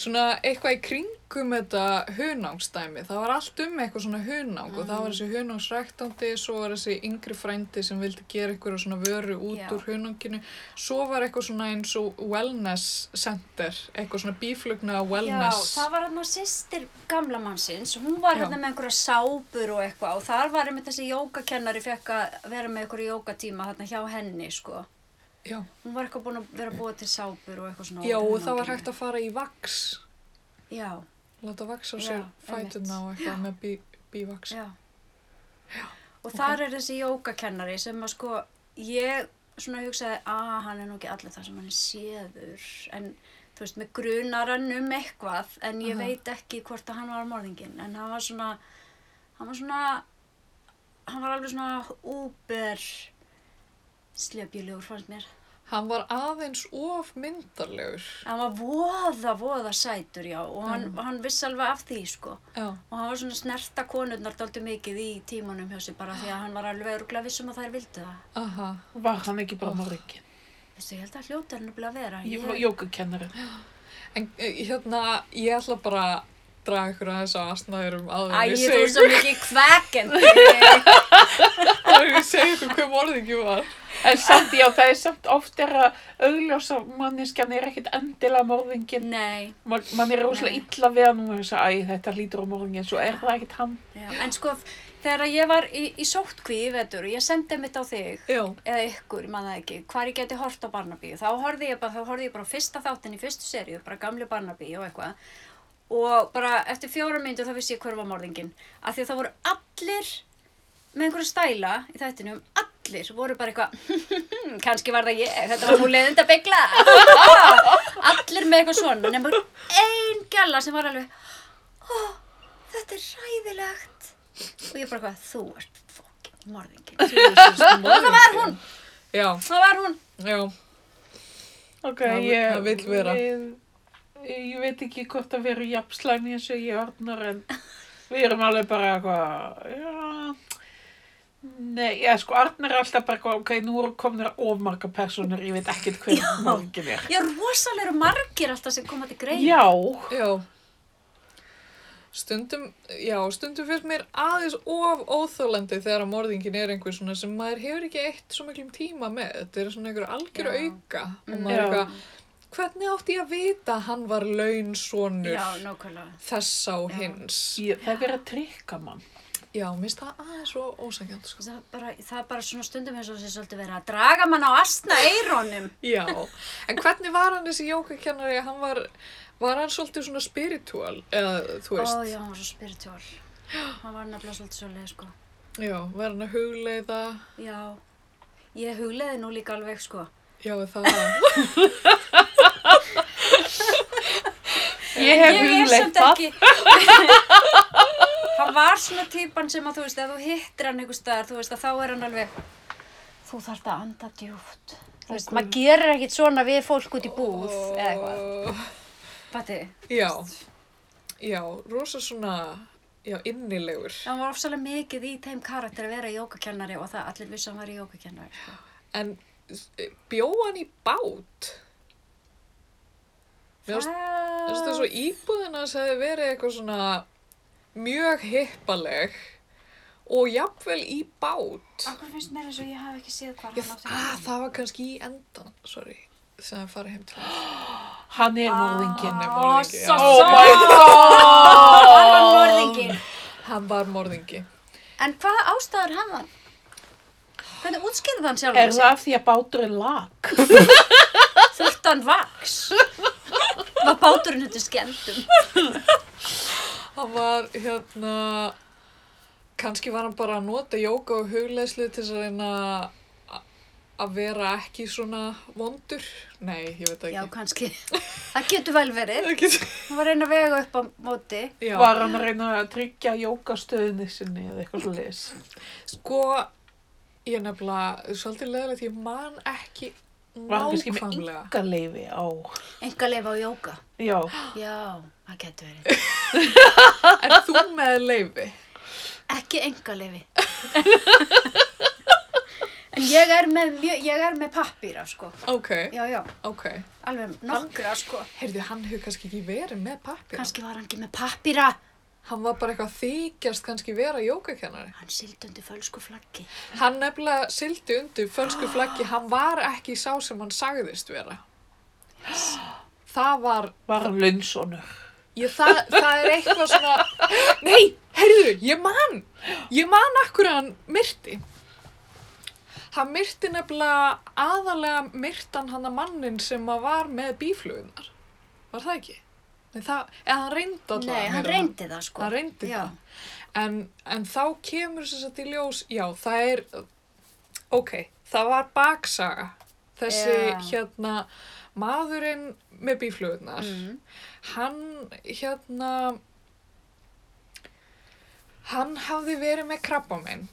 [SPEAKER 1] svona eitthvað í kringum þetta hunangsdæmi. Það var allt um eitthvað svona hunang og
[SPEAKER 3] Mm.
[SPEAKER 1] það var þessi hunangsræktandi, svo var þessi yngri frændi sem vildi gera eitthvað svona vöru út
[SPEAKER 3] Já.
[SPEAKER 1] úr hunanginu. Svo var eitthvað svona eins og wellness center, eitthvað svona bíflugna wellness.
[SPEAKER 3] já, það var hann sýstir gamla mannsins, hún var
[SPEAKER 1] Já.
[SPEAKER 3] hérna með einhverja sápur og eitthvað og þar var einmitt þessi jógakennari fekk að vera með einhverju jógatíma þarna hjá henni, sko.
[SPEAKER 1] Já.
[SPEAKER 3] Hún var eitthvað búin að vera að búa til sápur og eitthvað svona.
[SPEAKER 1] Já, og það var hægt að fara í vaks,
[SPEAKER 3] Já,
[SPEAKER 1] láta vaksa á
[SPEAKER 3] Já,
[SPEAKER 1] sér
[SPEAKER 3] einmitt.
[SPEAKER 1] fætuna og eitthvað með bí, bívaks.
[SPEAKER 3] Já. Og þar er þessi jógakennari sem að sko, ég svona hugsaði að hann er nú ekki allir það sem hann er séður en þú veist, með grunar hann um eitthvað en ég
[SPEAKER 1] Aha.
[SPEAKER 3] veit ekki hvort að hann var morðinginn en hann var svona, hann var svona, hann var alveg svona úber slepjulegur fannst mér.
[SPEAKER 1] Hann var aðeins of myndarlegur.
[SPEAKER 3] Hann var voða, voða sætur já og hann, hann vissi alveg af því sko.
[SPEAKER 1] Já.
[SPEAKER 3] og hann var svona að snerta konurnar dálítið mikið í tímanum hjá sér bara því að hann var alveg örgulega vissum að þær vildu það.
[SPEAKER 1] Aha.
[SPEAKER 2] Var hann ekki bara morgin?
[SPEAKER 3] Veistu, ég held að hljóta hann er að vera.
[SPEAKER 2] Jókakennari.
[SPEAKER 1] En eh, hérna, ég ætla bara að draga ykkur aðeins á asnaðurum áður en
[SPEAKER 3] Æ,
[SPEAKER 1] ég
[SPEAKER 3] þú er
[SPEAKER 1] segi
[SPEAKER 3] svo
[SPEAKER 1] ykkur,
[SPEAKER 3] mikið kvekendi.
[SPEAKER 1] áður en ég segi ykkur hver morðingi var.
[SPEAKER 2] En samt, já, það er samt oft er að augljósa manneskjan er ekkit endilega morðingin.
[SPEAKER 3] Nei,
[SPEAKER 2] Man, man er rosalega
[SPEAKER 3] Nei.
[SPEAKER 2] illa við hann og þess að æ, þetta lítur á morgin, svo er það ekkit hann.
[SPEAKER 3] já. en sko þegar ég var í, í sóttkví í vetur og ég sendi mitt á þig
[SPEAKER 1] Já.
[SPEAKER 3] eða ykkur, ég man það ekki, hvar ég geti hort á Barnabíu. Þá horfði ég bara, þá horfði ég bara á fyrsta þáttin í fyrstu seríu, bara gamli Barnabíu og eitthvað. Og bara eftir fjóra myndu þá vissi ég hver var morðingin. Af því að það voru allir með einhverja stæla í þættinum, allir allir voru bara eitthvað "Hmm, kannski var það ég, þetta var nú leiðind að byggla allir með eitthvað svona nema ein gæla sem var alveg ó, þetta er ræðilegt og ég bara hvað, þú ert fokkin morðingin og það var hún,
[SPEAKER 1] já,
[SPEAKER 3] það var hún
[SPEAKER 1] já.
[SPEAKER 2] Ok,
[SPEAKER 1] Það-
[SPEAKER 2] ég...
[SPEAKER 1] það vill vera.
[SPEAKER 2] Ég, ég veit ekki hvort að við erum jafnslæm eins og ég orðnar en við erum alveg bara eitthvað, já... Nei, já, sko, Arnar er alltaf bara eitthvað, ok, nú eru komnir of marga personur, ég veit ekkert hver morgin er.
[SPEAKER 3] já, rosalega eru margir alltaf sem koma til greið
[SPEAKER 2] Já,
[SPEAKER 1] Já. Stundum, já, stundum finnst mér aðeins of óþólandi þegar að morðingin er einhver svona sem maður hefur ekki eitt svo miklum tíma með. Þetta er svona einhver algjör
[SPEAKER 3] Já.
[SPEAKER 1] auka og
[SPEAKER 3] Mm.
[SPEAKER 1] maður
[SPEAKER 2] Já.
[SPEAKER 1] er eitthvað, hvernig átti ég að vita að hann var launsonur
[SPEAKER 3] já, nákvæmlega
[SPEAKER 1] þessa og
[SPEAKER 3] Já.
[SPEAKER 1] hins?
[SPEAKER 2] ég, það er verið að trikka mann.
[SPEAKER 1] Já, mér finnst það aðeins svo ósækjandi, sko.
[SPEAKER 3] það er bara, það er bara svona stundum eins og þessi svolítið verið að draga mann á astna eirónum
[SPEAKER 1] Já, en hvernig var hann þessi jókakennari? Hann var, var hann svolítið svona spiritual, eða þú veist?
[SPEAKER 3] ó já, hann var svo spiritual hann var nefnilega svolítið svolítið sko
[SPEAKER 1] Já, var hann að hugleiða?
[SPEAKER 3] já, ég hugleði nú líka alveg sko
[SPEAKER 1] Já, er það var hann.
[SPEAKER 2] Ég hef
[SPEAKER 3] ég er
[SPEAKER 2] hugleitt
[SPEAKER 3] samt
[SPEAKER 2] það.
[SPEAKER 3] ekki hann var svona típan sem að þú veist, ef þú hittir hann einhver staðar, þú veist að þá er hann alveg þú þarft að anda djúft þú veist, maður gerir ekkit svona við fólk út í búð eða eitthvað, patti
[SPEAKER 1] Já, já, rosa svona, já, innilegur.
[SPEAKER 3] hann var ofsalega mikið í þeim karakter að vera jókakennari og það allir vissi að hann var jókakennari sko.
[SPEAKER 1] En bjóðan í bát? Mér finnst- mér finnst það svo íbúðina að það verið eitthvað svona mjög hippaleg og jafnvel í bát.
[SPEAKER 3] Akkur finnst mér eins og ég hafi ekki séð hvað
[SPEAKER 1] Já, ah, það var kannski í endan, sorry, sem að fara heim til hans.
[SPEAKER 2] Hann er morðingin.
[SPEAKER 1] Hann er morðingi,
[SPEAKER 3] Sossa.
[SPEAKER 2] Oh
[SPEAKER 1] já.
[SPEAKER 2] my god!
[SPEAKER 3] Hann var norðingin.
[SPEAKER 1] Hann var morðingi.
[SPEAKER 3] En hvaða ástæður hafði hann? Hvernig útskýrði hann sjálf?
[SPEAKER 2] Er það af því að bátur er lag?
[SPEAKER 3] Þurfti hann vaks? Var báturinn undir skemmtum?
[SPEAKER 1] Hann var, hérna, kannski var hann bara að nota jóka og hugleðslu til þess að reyna a- að vera ekki svona vondur. Nei, ég veit það
[SPEAKER 3] Já,
[SPEAKER 1] ekki.
[SPEAKER 3] kannski. Það getur vel verið.
[SPEAKER 1] Það getur-
[SPEAKER 3] Hann var að reyna að vega upp á móti.
[SPEAKER 1] Já,
[SPEAKER 2] Var hann að reyna að tryggja jókastöðinni sinni eða eitthvað svo
[SPEAKER 1] sko, ég nefnilega, svolítið leðilegt, ég man ekki
[SPEAKER 2] Var hann kannski með
[SPEAKER 1] nákvæmlega.
[SPEAKER 2] yngaleifi á...
[SPEAKER 3] Enga leifa á jóka.
[SPEAKER 2] Já,
[SPEAKER 3] Já, það getur verið.
[SPEAKER 1] En þú með leifi?
[SPEAKER 3] Ekki enga leifi. En ég er með, mjö- ég er með pappýra, sko.
[SPEAKER 1] Ok,
[SPEAKER 3] Já, já,
[SPEAKER 1] ok.
[SPEAKER 3] alveg nokkra, sko.
[SPEAKER 1] Heyrðu, hann hefur kannski ekki verið með pappir.
[SPEAKER 3] Kannski var hann ekki með pappýra.
[SPEAKER 1] Hann var bara eitthvað að þykjast kannski vera jókakennari.
[SPEAKER 3] Hann sildi undir fölsku flaggi.
[SPEAKER 1] Hann nefnilega sildi undir fölsku flaggi, hann var ekki sá sem hann sagðist vera. Það var,
[SPEAKER 2] var hann lunnsonur.
[SPEAKER 1] ég, það, það er eitthvað svona, nei, heyrðu, ég man, ég man akkur að hann myrti. Hann myrti nefnilega aðalega myrtan hann að mannin sem að var með bíflugunar. Var það ekki? Nei, það, eða hann reyndi alltaf.
[SPEAKER 3] Nei, hann reyndi það sko.
[SPEAKER 1] Hann reyndi
[SPEAKER 3] Já.
[SPEAKER 1] það. En, en þá kemur þess að í ljós, já, það er, ok, það var baksaga. Þessi,
[SPEAKER 3] Já.
[SPEAKER 1] hérna, maðurinn með bíflöðunar,
[SPEAKER 3] Mm.
[SPEAKER 1] hann, hérna, hann hafði verið með krabbamenn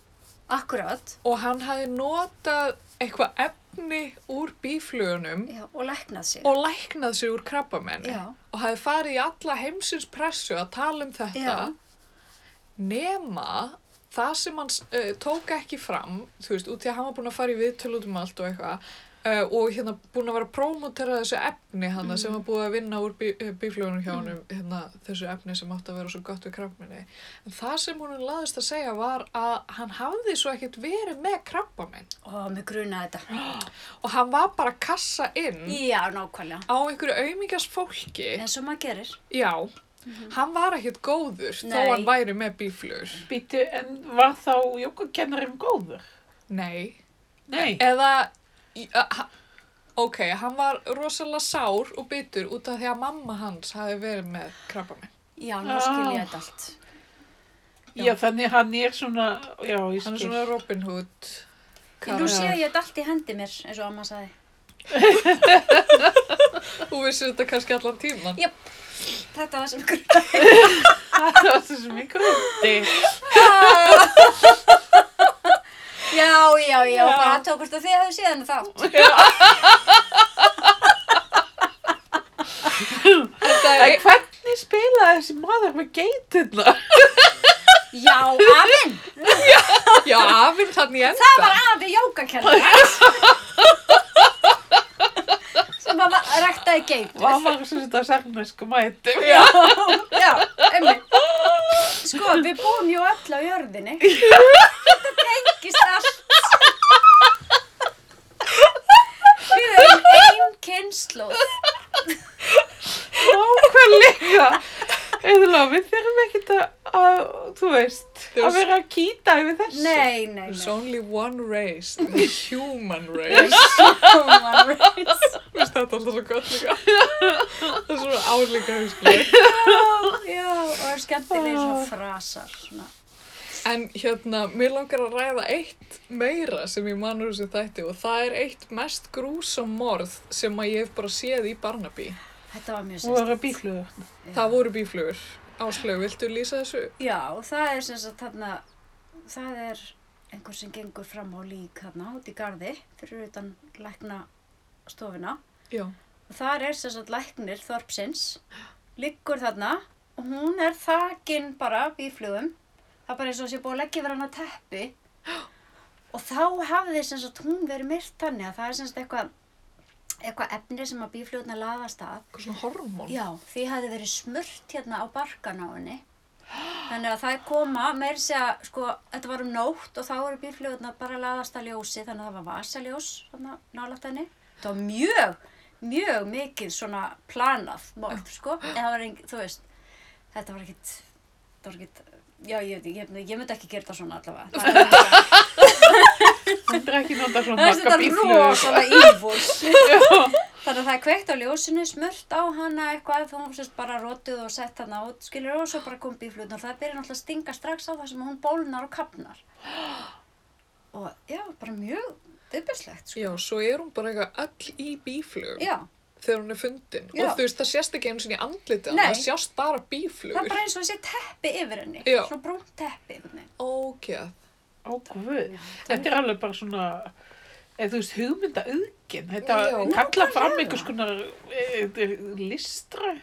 [SPEAKER 3] Akkurát.
[SPEAKER 1] og hann hafði notað eitthvað efni úr bíflöðunum
[SPEAKER 3] Já, og læknað sig.
[SPEAKER 1] og læknað sig úr krabbamenni
[SPEAKER 3] Já.
[SPEAKER 1] og hafði farið í alla heimsins pressu að tala um þetta
[SPEAKER 3] Já.
[SPEAKER 1] nema það sem hann uh, tók ekki fram þú veist, út í að hann var búin að fara í viðtöl út um allt og eitthvað uh, og hérna búin að vera að prómotera þessu efni hann sem var búið að vinna úr bí, bíflögunum hjá hann hérna, þessu efni sem átti að vera svo gott við krabbminni en það sem hún laðist að segja var að hann hafði svo ekkert verið með krabbamenn
[SPEAKER 3] Ó, mér grunaði þetta.
[SPEAKER 1] og hann var bara að kassa inn
[SPEAKER 3] Já, nákvæmlega.
[SPEAKER 1] á einhverju aumingjast fólki
[SPEAKER 3] En svo maður gerir.
[SPEAKER 1] Já, hann var ekkert góður
[SPEAKER 3] Mhm. Nei.
[SPEAKER 1] þó hann væri með bíflugur.
[SPEAKER 2] Býtu, en var þá jókakennarinn góður?
[SPEAKER 1] Nei.
[SPEAKER 2] Nei.
[SPEAKER 1] Eða, í- a- ha- ok, hann var rosalega sár og bitur út af því að mamma hans hafi verið með krabba
[SPEAKER 3] Já,
[SPEAKER 1] Ah.
[SPEAKER 3] nú skil
[SPEAKER 2] Já.
[SPEAKER 3] ég þetta allt.
[SPEAKER 2] Já, þannig hann er svona, já, ég
[SPEAKER 1] Hann
[SPEAKER 2] skil.
[SPEAKER 1] er svona Robin Hood.
[SPEAKER 3] Ég nú sé að ég þetta allt í hendi mér, eins og amma sagði.
[SPEAKER 1] Þú vissir þetta kannski allan tíman.
[SPEAKER 3] Jöp, þetta var sem grunna.
[SPEAKER 2] Það var þessi mikið hundi.
[SPEAKER 3] Já, já, já, bara tókust að þið hafið síðan þá.
[SPEAKER 1] Þetta
[SPEAKER 2] En hvernig spilaði þessi maður með geitirna?
[SPEAKER 3] Já, afinn,
[SPEAKER 1] já, afinn þannig enda.
[SPEAKER 3] það var afi jókakennar hans. sem að va- ræktaði geit.
[SPEAKER 2] Var maður sem þetta sagnisku mætum?
[SPEAKER 3] Já, já, einmitt. Sko, við búum jú öll á jörðinni. Þetta tengist allt. Við erum ein kynnslóð.
[SPEAKER 2] Nákvæmlega. Eðla, við þurfum ekkert að, að, þú veist,
[SPEAKER 1] Þú
[SPEAKER 2] að
[SPEAKER 1] veist-
[SPEAKER 2] vera að kýta yfir þessu.
[SPEAKER 3] Nei, nei,
[SPEAKER 1] There's
[SPEAKER 3] nei.
[SPEAKER 1] only one race, the human race.
[SPEAKER 3] Human rights.
[SPEAKER 1] Mér finnst þetta alltaf svo gott líka. Það er svona álíka hugsklega.
[SPEAKER 3] Já, og er skemmtilegir svona frasar. Svona.
[SPEAKER 1] En hérna, mér langar að ræða eitt meira sem ég manur þessu þætti og það er eitt mest grúsam morð sem að ég hef bara séð í Barnaby.
[SPEAKER 3] Þetta var mjög
[SPEAKER 2] Þú
[SPEAKER 3] sérst.
[SPEAKER 2] voru bíflugur.
[SPEAKER 1] Það voru bíflugur. Áslög, viltu lýsa þessu?
[SPEAKER 3] Já, og það er sem sagt þarna, það er einhver sem gengur fram á lík þarna út í garði fyrir utan lækna stofuna.
[SPEAKER 1] Já.
[SPEAKER 3] Og þar er sem sagt læknir Þorpsins, liggur þarna og hún er þakin bara bíflugum. Það er bara eins og sé búið að leggja verið hana teppi. Og þá hafði sem sagt hún verið myrt þannig að það er sem sagt eitthvað, eitthvað efni sem að bíflugurna laðast að
[SPEAKER 1] Eitthvað svona hormón.
[SPEAKER 3] Já, því hafði verið smurt hérna á barkan á henni. Þannig að það koma, meir segja, sko, þetta var um nótt og þá voru bílflugurnar bara laðast að ljósi, þannig að það var vasaljós þarna nálægt henni. Það var mjög, mjög mikið svona planað morð, sko, en það var engin, þú veist, þetta var ekkit, þetta var ekkit, já, ég veit ekki, ég, ég myndi ekki gera þetta svona allavega. Það er-
[SPEAKER 2] Hún er ekki nota svona
[SPEAKER 3] Það er
[SPEAKER 2] marga
[SPEAKER 3] þetta
[SPEAKER 2] bíflugur.
[SPEAKER 3] rosalega ívús.
[SPEAKER 2] Já.
[SPEAKER 3] Þannig að það er kveikt á ljósinu, smurt á hana eitthvað, þá hún sérst bara rotuð og sett hana út, skilur, og svo bara kom bíflutnar. Það byrja náttúrulega að stinga strax á það sem hún bólnar og kapnar. Og já, bara mjög viðbjörnslegt, sko.
[SPEAKER 1] Já, svo er hún bara eitthvað öll í bíflugum
[SPEAKER 3] Já,
[SPEAKER 1] þegar hún er fundin.
[SPEAKER 3] Já.
[SPEAKER 1] Og þú veist, það sést ekki einu sinni í andlitið,
[SPEAKER 3] Nei.
[SPEAKER 1] það sjást bara
[SPEAKER 3] það er
[SPEAKER 1] bíflugur.
[SPEAKER 3] bara eins og þessi teppi yfir henni,
[SPEAKER 1] Já.
[SPEAKER 3] svona brúnt teppi yfir henni.
[SPEAKER 1] Ógeð.
[SPEAKER 2] Ó, guð. Þetta er alveg bara svona, eða þú veist, hugmynda auðgin. Þetta
[SPEAKER 1] Já.
[SPEAKER 2] kalla fram einhvers konar eh, listra,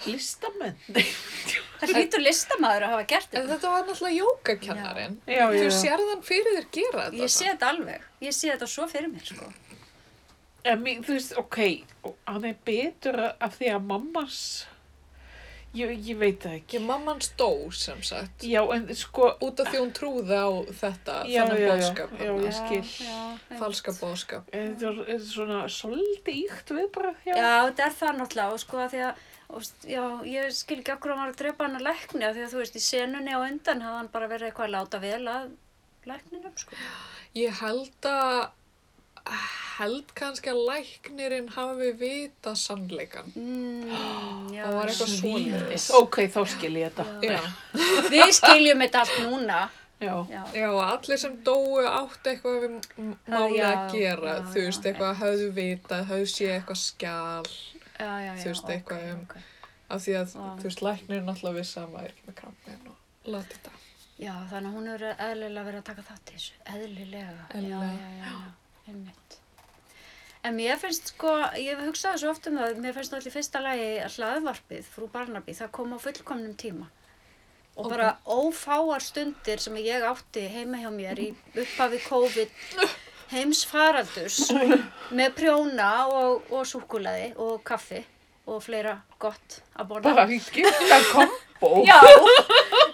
[SPEAKER 2] listamenn.
[SPEAKER 3] Það hlýtur listamaður að hafa gert
[SPEAKER 1] En
[SPEAKER 3] þetta.
[SPEAKER 1] þetta var náttúrulega jókakennarin.
[SPEAKER 2] Já,
[SPEAKER 1] Þú
[SPEAKER 2] já.
[SPEAKER 1] sérð hann fyrir þér gera þetta.
[SPEAKER 3] Ég sé þetta alveg, ég sé þetta svo fyrir mér, sko.
[SPEAKER 2] En mér, þú veist, ok, og hann er betur af því að mammas, ég, ég veit það ekki.
[SPEAKER 1] Ég mamman stó sem sagt.
[SPEAKER 2] Já, en sko,
[SPEAKER 1] Út af því hún trúði á þetta,
[SPEAKER 2] já,
[SPEAKER 1] þannig
[SPEAKER 2] já, já,
[SPEAKER 1] bóðskap.
[SPEAKER 2] já,
[SPEAKER 1] þarna.
[SPEAKER 2] ég skil.
[SPEAKER 3] Já, já,
[SPEAKER 1] Falska bóðskap.
[SPEAKER 2] En Þetta er, er svona svolítið íkt viðbröð, já.
[SPEAKER 3] Já, þetta er það náttúrulega og sko að því að, og, veist, já, ég skil ekki okkur að maður að drepa hann að lækni af því að þú veist, í senunni á undan hafði hann bara verið eitthvað að láta vel að lækninum, sko.
[SPEAKER 1] Ég held að, held kannski að læknirinn hafi vita sannleikan.
[SPEAKER 3] Mm, já,
[SPEAKER 1] Það var eitthvað
[SPEAKER 2] Svoleiðis.
[SPEAKER 1] svoleiðis.
[SPEAKER 2] Ok, þá skil ég þetta.
[SPEAKER 1] Já,
[SPEAKER 3] Við skiljum þetta allt núna.
[SPEAKER 2] Já.
[SPEAKER 3] Já,
[SPEAKER 1] já, allir sem dóu átt eitthvað við m- málið
[SPEAKER 3] já,
[SPEAKER 1] að gera,
[SPEAKER 3] já,
[SPEAKER 1] þú
[SPEAKER 3] já,
[SPEAKER 1] veist, eitthvað höfðu vitað, höfðu sé eitthvað skjál,
[SPEAKER 3] já, já.
[SPEAKER 1] Þú veist,
[SPEAKER 3] ok,
[SPEAKER 1] eitthvað um-
[SPEAKER 3] ok.
[SPEAKER 1] af því að,
[SPEAKER 3] Já.
[SPEAKER 1] þú veist, læknirinn alltaf vissi að maður er ekki með krampin og lati þetta.
[SPEAKER 3] Já, þannig að hún er eðlilega verið að taka þátt í þessu. Eðlilega.
[SPEAKER 1] Eðlilega.
[SPEAKER 3] Já, já, já, já. Einmitt. En mér finnst sko, ég hef hugsað svo oft um það, mér finnst allir fyrsta lagi að hlaðvarpið, frú Barnaby, það kom á fullkomnum tíma. Og bara ófáar stundir sem ég átti heima hjá mér í upphafi COVID heimsfaraldurs með prjóna og, og súkulaði og kaffi og fleira gott að borða.
[SPEAKER 2] Bara skipta kombo.
[SPEAKER 3] Já!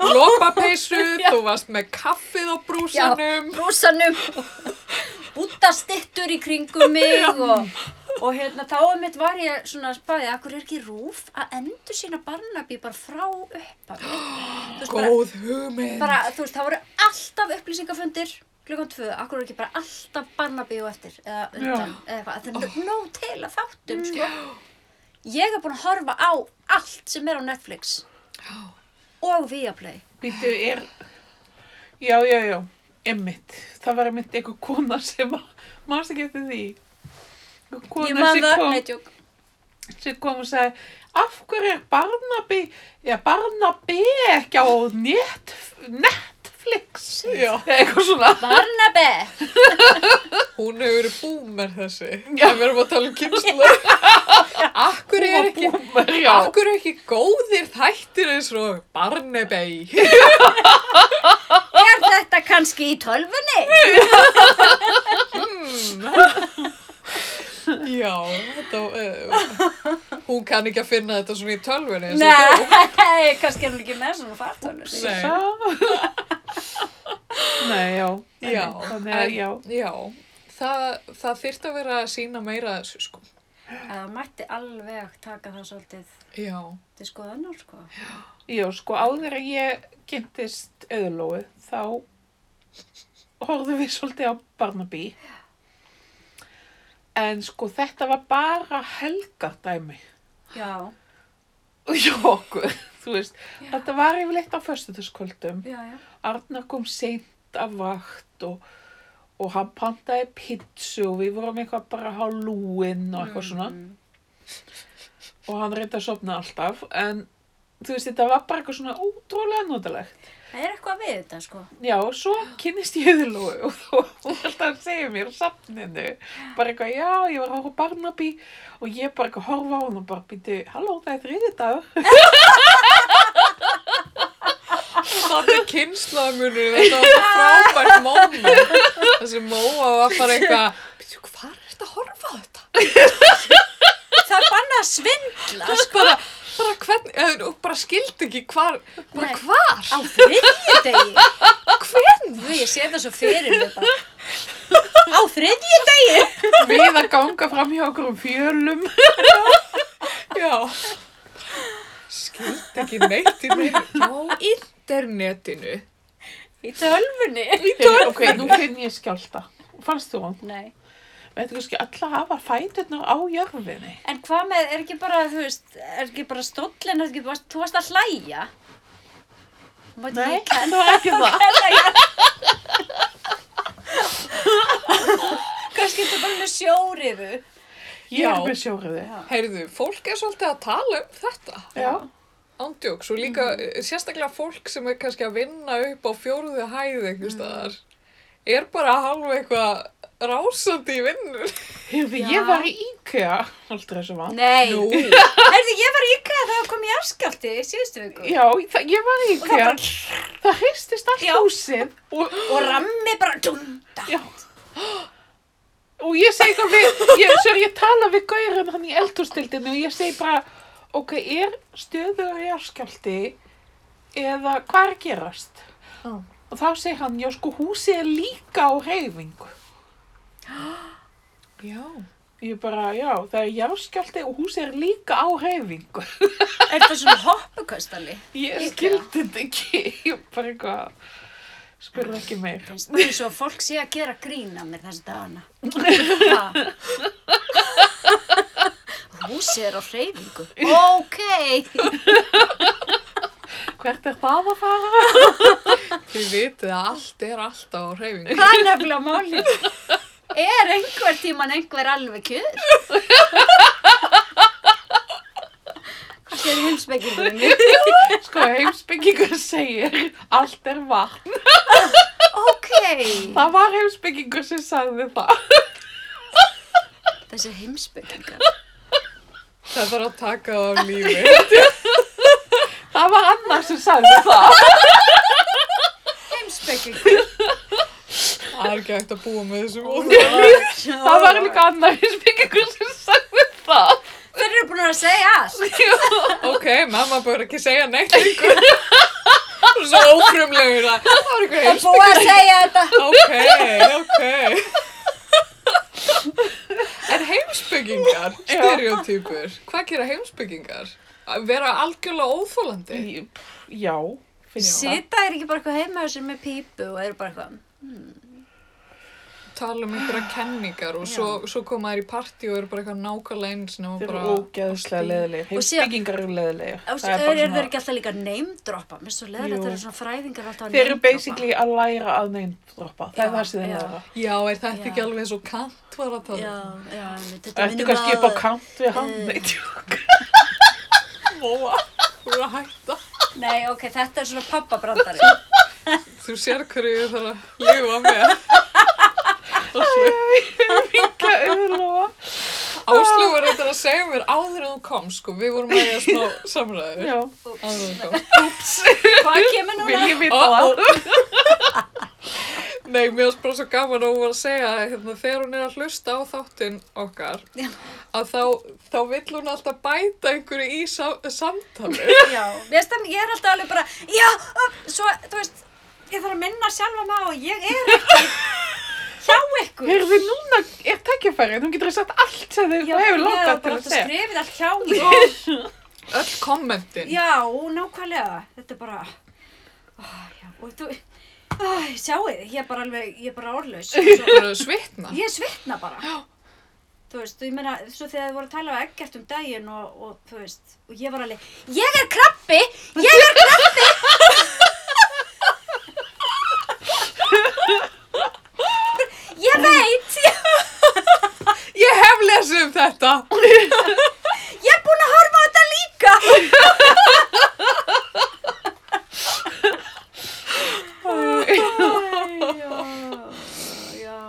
[SPEAKER 1] Lopapeysu, þú varst með kaffið á brúsanum.
[SPEAKER 3] brúsanum búttastittur í kringum mig og, og hérna þá um mitt var ég svona að spáði akkur er ekki rúf að endur sína barnabí bara frá upphafi Þú veist, bara,
[SPEAKER 1] Góð hugmynd.
[SPEAKER 3] bara, þú veist, það voru alltaf upplýsingafundir klukkan tvö, akkur er ekki bara alltaf barnabí og eftir eða undan, eða eitthvað, það er nóg til að þáttum sko. ég er búin að horfa á allt sem er á Netflix
[SPEAKER 1] Já.
[SPEAKER 3] og Viaplay
[SPEAKER 2] Býttu, er... Já, já, já. Emmitt, það var emmitt einhver kona sem að, maður ekki eftir því. Einhver
[SPEAKER 3] Ég
[SPEAKER 2] kona
[SPEAKER 3] man
[SPEAKER 2] sem
[SPEAKER 3] það,
[SPEAKER 2] kom,
[SPEAKER 3] neitjúk.
[SPEAKER 2] sem kom og sagði, af hverju er Barnaby, já Barnaby ekki á net, Netflix?
[SPEAKER 1] Já.
[SPEAKER 2] Eitthvað svona.
[SPEAKER 3] Barnabé!
[SPEAKER 1] Hún hefur verið boomer þessi.
[SPEAKER 2] Já.
[SPEAKER 1] Við erum að tala um kynslu. Akkur
[SPEAKER 2] Hún var
[SPEAKER 1] er ekki...
[SPEAKER 2] boomer, já.
[SPEAKER 1] Akkur er ekki góðir þættir eins og Barnebey?
[SPEAKER 3] Er þetta kannski í tölvunni?
[SPEAKER 1] Já, þetta, uh, hún kann ekki að finna þetta svona í tölvunni. eins og þú.
[SPEAKER 3] Nei, kannski er hún ekki með svona fartölvunni.
[SPEAKER 1] Nei.
[SPEAKER 2] Sá. Nei, já.
[SPEAKER 1] Já,
[SPEAKER 2] Þannig að,
[SPEAKER 1] en-
[SPEAKER 2] já.
[SPEAKER 1] já. Það, það þyrfti að vera að sína meira af þessu, sko.
[SPEAKER 3] Það mætti alveg taka það svolítið
[SPEAKER 1] Já.
[SPEAKER 3] til skoðanar, sko.
[SPEAKER 2] Já, sko, áður að ég kynntist auðlóið, þá horfðum við svolítið á Barnaby. En sko, þetta var bara helgardæmi
[SPEAKER 3] Já,
[SPEAKER 2] hjá okkur, þú veist. Þetta var yfirleitt á föstudagskvöldum.
[SPEAKER 3] já, já.
[SPEAKER 2] Arnar kom seint af vakt og, og hann pantaði pizzu og við vorum eitthvað bara að há lúinn og eitthvað svona.
[SPEAKER 3] Mm.
[SPEAKER 2] Og hann reyndi að sofna alltaf, en þú veist, þetta var bara eitthvað svona ótrúlega notalegt.
[SPEAKER 3] Það er eitthvað við þetta, sko.
[SPEAKER 2] Já, og svo kynnist ég Þulói og þú þú alltaf að segja mér á safninu, bara eitthvað, já, ég var að horfa á Barnaby og ég bara eitthvað að horfa á hann og bara býti, halló, það er þriðið dag.
[SPEAKER 1] Þannig kynslaðamunur, þetta var svo frábært moment. Þessi móa var bara eitthvað, veitu hvað er þetta að horfa á þetta?
[SPEAKER 3] Það er bannað að svindla, sko.
[SPEAKER 1] Þess bara, bara hvern, eða, og bara skildi ekki hvar, bara
[SPEAKER 3] Nei.
[SPEAKER 1] hvar,
[SPEAKER 3] Á þriðjudegi?
[SPEAKER 1] hvern?
[SPEAKER 3] Þú, ég sé það svo fyrir mig bara. Á þriðjudegi?
[SPEAKER 2] Við að ganga fram hjá okkur um fjölum.
[SPEAKER 1] Já. Skildi ekki neitt í mér á internetinu.
[SPEAKER 3] Í tölvunni?
[SPEAKER 2] Ok, nú finn ég skjálta. Fannst þú hann?
[SPEAKER 3] Nei.
[SPEAKER 2] Veitu kannski, alla hafa fæturnar á jörfinni.
[SPEAKER 3] En hvað með, er ekki bara, þú veist, er ekki bara stóllin, er ekki bara, þú varst að hlæja? Máttu
[SPEAKER 2] Nei,
[SPEAKER 3] ekki
[SPEAKER 2] það var ekki það.
[SPEAKER 3] Kannski þetta bara með sjóriðu.
[SPEAKER 2] Ég
[SPEAKER 1] Já.
[SPEAKER 2] er með sjóriði.
[SPEAKER 1] Heyrðu, fólk er svolítið að tala um þetta.
[SPEAKER 2] Já.
[SPEAKER 1] Ándjóks og líka eh, sérstaklega fólk sem er kannski að vinna upp á fjóruðu hæð einhvers staðar er bara hálfa eitthvað rásandi í vinnur.
[SPEAKER 2] Hérfi,
[SPEAKER 3] Já.
[SPEAKER 2] ég var í IKEA, aldrei sem var.
[SPEAKER 3] Nei.
[SPEAKER 1] Nú,
[SPEAKER 3] Erðu, ég var ykka þegar það kom í afskjátti síðustu viku.
[SPEAKER 2] Já, það- ég var í
[SPEAKER 3] það
[SPEAKER 2] IKEA. Það hristist allt
[SPEAKER 3] Já.
[SPEAKER 2] húsið og,
[SPEAKER 3] Og rammi bara dunda.
[SPEAKER 2] Já. Og ég segi eitthvað við, ég, sér ég tala við gaurinn hann í eldhústildinu og ég segi bara, ok, er stöðugur jarðskjálti eða hvað er að gerast?
[SPEAKER 1] Já.
[SPEAKER 2] Og þá segir hann, já sko, húsið er líka á reyfingu.
[SPEAKER 1] já.
[SPEAKER 2] Ég bara, já, það er jarðskjálti og húsið er líka á reyfingu.
[SPEAKER 3] Er þetta svona hoppukastali?
[SPEAKER 2] Ég
[SPEAKER 3] Líka.
[SPEAKER 2] skildi þetta ekki, ég bara eitthvað, spurði ekki meir.
[SPEAKER 3] Finnst mér svo að fólk sé að gera grína mér þessi dagana. Ha. Húsið er á hreyfingu. Ok.
[SPEAKER 2] Hvert er það að fara?
[SPEAKER 1] Þið vitið að allt er alltaf á hreyfingu.
[SPEAKER 3] Það er nefnilega málið. Er einhver tíman einhver alveg kjur? Hvað séu heimsbyggingum í?
[SPEAKER 2] Sko, heimsbyggingur segir, allt er vatn.
[SPEAKER 3] Ok.
[SPEAKER 2] Það var heimsbyggingur sem sagði það.
[SPEAKER 3] Þessi heimsbyggingar.
[SPEAKER 1] Það þarf að taka það af lífi.
[SPEAKER 2] Það var annar sem sagði það.
[SPEAKER 3] Heimsbyggingar.
[SPEAKER 1] Það er ekki hægt að búa með þessum óðum.
[SPEAKER 2] Það var líka annar heimsbyggingur sem sagði það.
[SPEAKER 3] Þeir eru búin að segja allt.
[SPEAKER 1] Ok, mamma bör ekki segja neitt ykkur. Svo ófrumlegur að það var eitthvað heims.
[SPEAKER 3] Það er búin að segja þetta.
[SPEAKER 1] Ok, ok. En heimsbyggingar, stereotypur, hvað gera heimsbyggingar? Að vera algjörlega óþólandi?
[SPEAKER 2] Já, finnst
[SPEAKER 3] Sita er ekki bara eitthvað heima sem er pípu og eru bara eitthvað.
[SPEAKER 1] tala um einhverja kenningar og
[SPEAKER 3] Já.
[SPEAKER 1] svo, svo koma þær í partí og eru bara eitthvað nákvæmlega eins nema
[SPEAKER 2] Þeir
[SPEAKER 1] bara
[SPEAKER 2] eru ógeðslega leðilegir,
[SPEAKER 3] Og síðan-
[SPEAKER 2] heimsbyggingar eru leðilegir.
[SPEAKER 3] Þú veist, eru þeir ekki alltaf líka neymdroppa? Mér er svo
[SPEAKER 2] Jú.
[SPEAKER 3] leðilegt þeir eru svona fræðingar alltaf að
[SPEAKER 2] Þeir eru
[SPEAKER 3] neymdroppa.
[SPEAKER 2] basically að læra að neymdroppa. Það er
[SPEAKER 3] Já,
[SPEAKER 2] það sem þeir
[SPEAKER 3] já.
[SPEAKER 2] læra.
[SPEAKER 1] Já, er þetta
[SPEAKER 3] Já.
[SPEAKER 1] ekki alveg svo kant var að tala?
[SPEAKER 3] Já,
[SPEAKER 1] um?
[SPEAKER 3] já, einmitt, þetta
[SPEAKER 2] Ertu
[SPEAKER 3] minnir
[SPEAKER 2] kannski
[SPEAKER 3] mig
[SPEAKER 2] upp á
[SPEAKER 3] á-
[SPEAKER 2] kant við hann?
[SPEAKER 3] Eh.
[SPEAKER 2] Nei, tjók.
[SPEAKER 1] Móa, þú er að hætta.
[SPEAKER 3] Nei, ok, þetta er svona pappabrandari.
[SPEAKER 1] Þú sér hverju ég þarf að lifa með.
[SPEAKER 2] Minga auðlóa.
[SPEAKER 1] Áslug var eitthvað að segja mér áður en þú kom, sko. Við vorum að eiga smá samræður.
[SPEAKER 2] Já,
[SPEAKER 1] Áður en þú kom.
[SPEAKER 3] Hvað kemur
[SPEAKER 2] vil
[SPEAKER 3] núna?
[SPEAKER 2] ég vita það?
[SPEAKER 1] Nei, mér varst bara svo gaman að hún var að segja að hérna, þegar hún er að hlusta á þáttinn okkar,
[SPEAKER 3] Já.
[SPEAKER 1] að þá, þá vill hún alltaf bæta einhverju í sa samtali.
[SPEAKER 3] Já, ég, stem, ég er alltaf alveg bara, já, uh, svo, þú veist, ég þarf að minna sjálfa mig á að ég er ekki hjá ykkur.
[SPEAKER 2] Heyrðu, núna er tækifærið, þú getur sagt allt sem þið
[SPEAKER 3] Já,
[SPEAKER 2] hefur
[SPEAKER 3] ég
[SPEAKER 2] látað
[SPEAKER 3] er
[SPEAKER 2] til
[SPEAKER 3] bara
[SPEAKER 2] að
[SPEAKER 3] alltaf
[SPEAKER 2] segja.
[SPEAKER 3] skrifið allt hjá mér.
[SPEAKER 1] Öll kommentin.
[SPEAKER 3] Já, nákvæmlega, þetta er bara, ó, já, og þú, ó, sjáið, ég er bara alveg, ég er bara orðlaus. Svo,
[SPEAKER 1] Bara svitna.
[SPEAKER 3] ég svitna bara. Þú veist, og ég meina, svo þegar þið voru að tala á ekkert um daginn og, og, þú veist, og ég var alveg, ég er krabbi, ég er krabbi. Ég veit, ég,
[SPEAKER 1] Ég hef lesið um þetta.
[SPEAKER 3] ég er búin að horfa á þetta líka. Æ, já, já.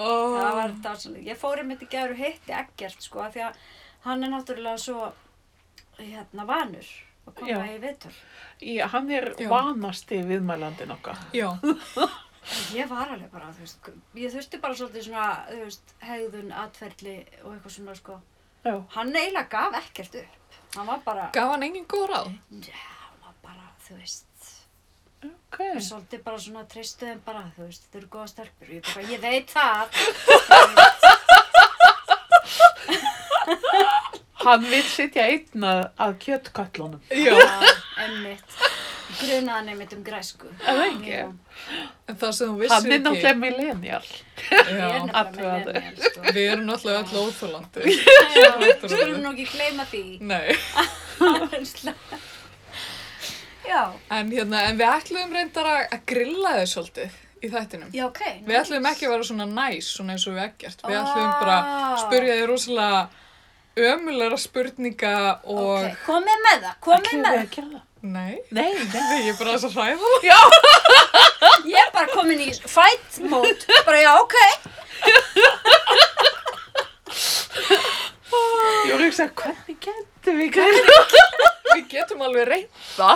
[SPEAKER 1] Oh.
[SPEAKER 3] það var dásalega. Ég fór einmitt í gæru hitti ekkert sko af því að hann er náttúrulega svo hérna vanur að koma
[SPEAKER 2] Já.
[SPEAKER 3] í viðtöl.
[SPEAKER 2] Já, hann er
[SPEAKER 1] Já.
[SPEAKER 2] vanasti viðmælandin okkar.
[SPEAKER 1] Já,
[SPEAKER 3] Ég var alveg bara, þú veist, ég þurfti bara svolítið svona, þú veist, hegðun, atferli og eitthvað svona sko.
[SPEAKER 2] Já.
[SPEAKER 3] Hann eiginlega gaf ekkert upp. Hann var bara,
[SPEAKER 1] gaf hann engin góð ráð?
[SPEAKER 3] já, hann var bara, þú veist,
[SPEAKER 2] Ok.
[SPEAKER 3] svolítið bara svona treystuðum bara, þú veist, þetta eru góða stelpur. Ég, bara, ég veit það.
[SPEAKER 2] Hann vil sitja einn að, að kjöttköllunum.
[SPEAKER 1] Já.
[SPEAKER 3] Já, einmitt. Grunaðan einmitt um græsku.
[SPEAKER 2] Er það ekki?
[SPEAKER 3] Já.
[SPEAKER 1] En það sem þú vissir
[SPEAKER 2] Hann er náttúrulega millennial.
[SPEAKER 3] Ég er
[SPEAKER 1] náttúrulega...
[SPEAKER 3] nefnilega
[SPEAKER 2] Athugaðu.
[SPEAKER 3] með mér, sko.
[SPEAKER 1] Við erum náttúrulega öll óþjólandi.
[SPEAKER 3] Já, skulum nú ekki gleyma því.
[SPEAKER 1] Nei.
[SPEAKER 3] já,
[SPEAKER 1] En, hérna, en við ætluðum reyndar að að grilla þið svolítið í þættinum.
[SPEAKER 3] já, ok.
[SPEAKER 1] Við ætluðum ekki að vera svona næs, svona eins og við ekkert. Við
[SPEAKER 3] Ah.
[SPEAKER 1] ætluðum bara að spurja þið rosalega ömulegra spurninga og...
[SPEAKER 3] Ok, komið með það,
[SPEAKER 2] Hvað
[SPEAKER 3] komið með
[SPEAKER 2] er að gera það?
[SPEAKER 1] Nei.
[SPEAKER 2] Nei, nei.
[SPEAKER 1] Nei, ég er bara þess að hræða það.
[SPEAKER 3] það. Ég er bara komin í fight mode, bara já, ok.
[SPEAKER 2] Ég voru ekki að segja, hvernig getum við gæla?
[SPEAKER 1] Við getum alveg reynda.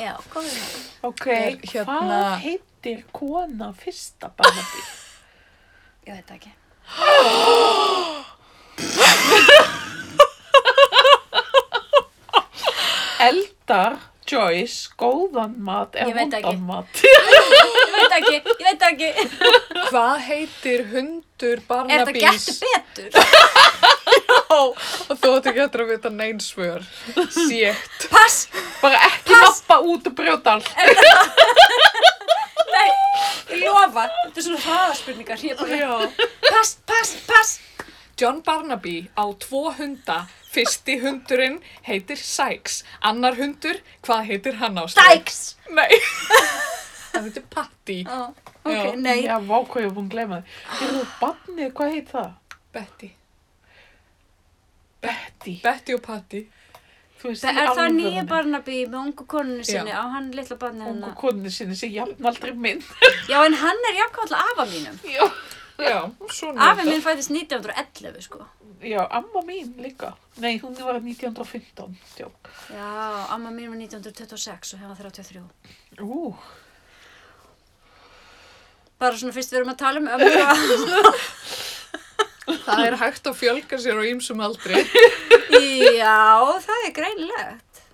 [SPEAKER 3] Já, komið með það.
[SPEAKER 2] Ok,
[SPEAKER 1] Er hérna-
[SPEAKER 2] hvað heitir kona fyrsta barnabí?
[SPEAKER 3] Ég veit það ekki.
[SPEAKER 2] Eldar Joyce, góðan mat
[SPEAKER 3] Ég
[SPEAKER 2] eða
[SPEAKER 3] veit ekki.
[SPEAKER 2] vondan mat?
[SPEAKER 3] Ég veit það ekki, ég veit það ekki.
[SPEAKER 1] Hvað heitir hundur
[SPEAKER 3] Er það
[SPEAKER 1] Barnabís?
[SPEAKER 3] gættu betur?
[SPEAKER 1] Já, og þú átt ekki eftir að vita neinsvör. Sétt.
[SPEAKER 3] Pass,
[SPEAKER 2] Bara ekki lappa út og brjóta allt.
[SPEAKER 3] nei, ég lofa. Þetta er svona hraðaspurningar, ég bara,
[SPEAKER 1] Já.
[SPEAKER 3] pass, pass, pass.
[SPEAKER 1] John Barnaby á tvo hunda. Fyrsti hundurinn heitir Sykes. Annar hundur, hvað heitir hann á
[SPEAKER 3] Dæks.
[SPEAKER 1] Nei. Það heitir Patty.
[SPEAKER 3] Ó,
[SPEAKER 1] Já.
[SPEAKER 3] Ok, nei.
[SPEAKER 2] Já, vá hvað ég er búin að gleyma þið. Eru barnið, hvað heit það?
[SPEAKER 1] Betty.
[SPEAKER 2] Betty.
[SPEAKER 1] Betty og Patty.
[SPEAKER 2] Þú veist,
[SPEAKER 3] Það er það nýja Barnaby með ungu konunni sinni
[SPEAKER 1] Já.
[SPEAKER 3] á hann litla barni
[SPEAKER 2] Ungu
[SPEAKER 3] hennar.
[SPEAKER 2] koninu sinni sem jafnaldri minn.
[SPEAKER 3] Já, en hann er jafnkvæmlega afa mínum.
[SPEAKER 2] Já.
[SPEAKER 1] Já, svona.
[SPEAKER 3] Afi minn fæðist 1911, sko.
[SPEAKER 2] Já, amma mín líka. Nei, hún var 1915. Tjók.
[SPEAKER 3] Já, amma mín var 1926 og hefði 33.
[SPEAKER 2] Ú,
[SPEAKER 3] Bara svona fyrst við erum að tala um ömmu og...
[SPEAKER 1] Það er hægt að fjölga sér á ýmsum aldri.
[SPEAKER 3] Já, það er greinilegt.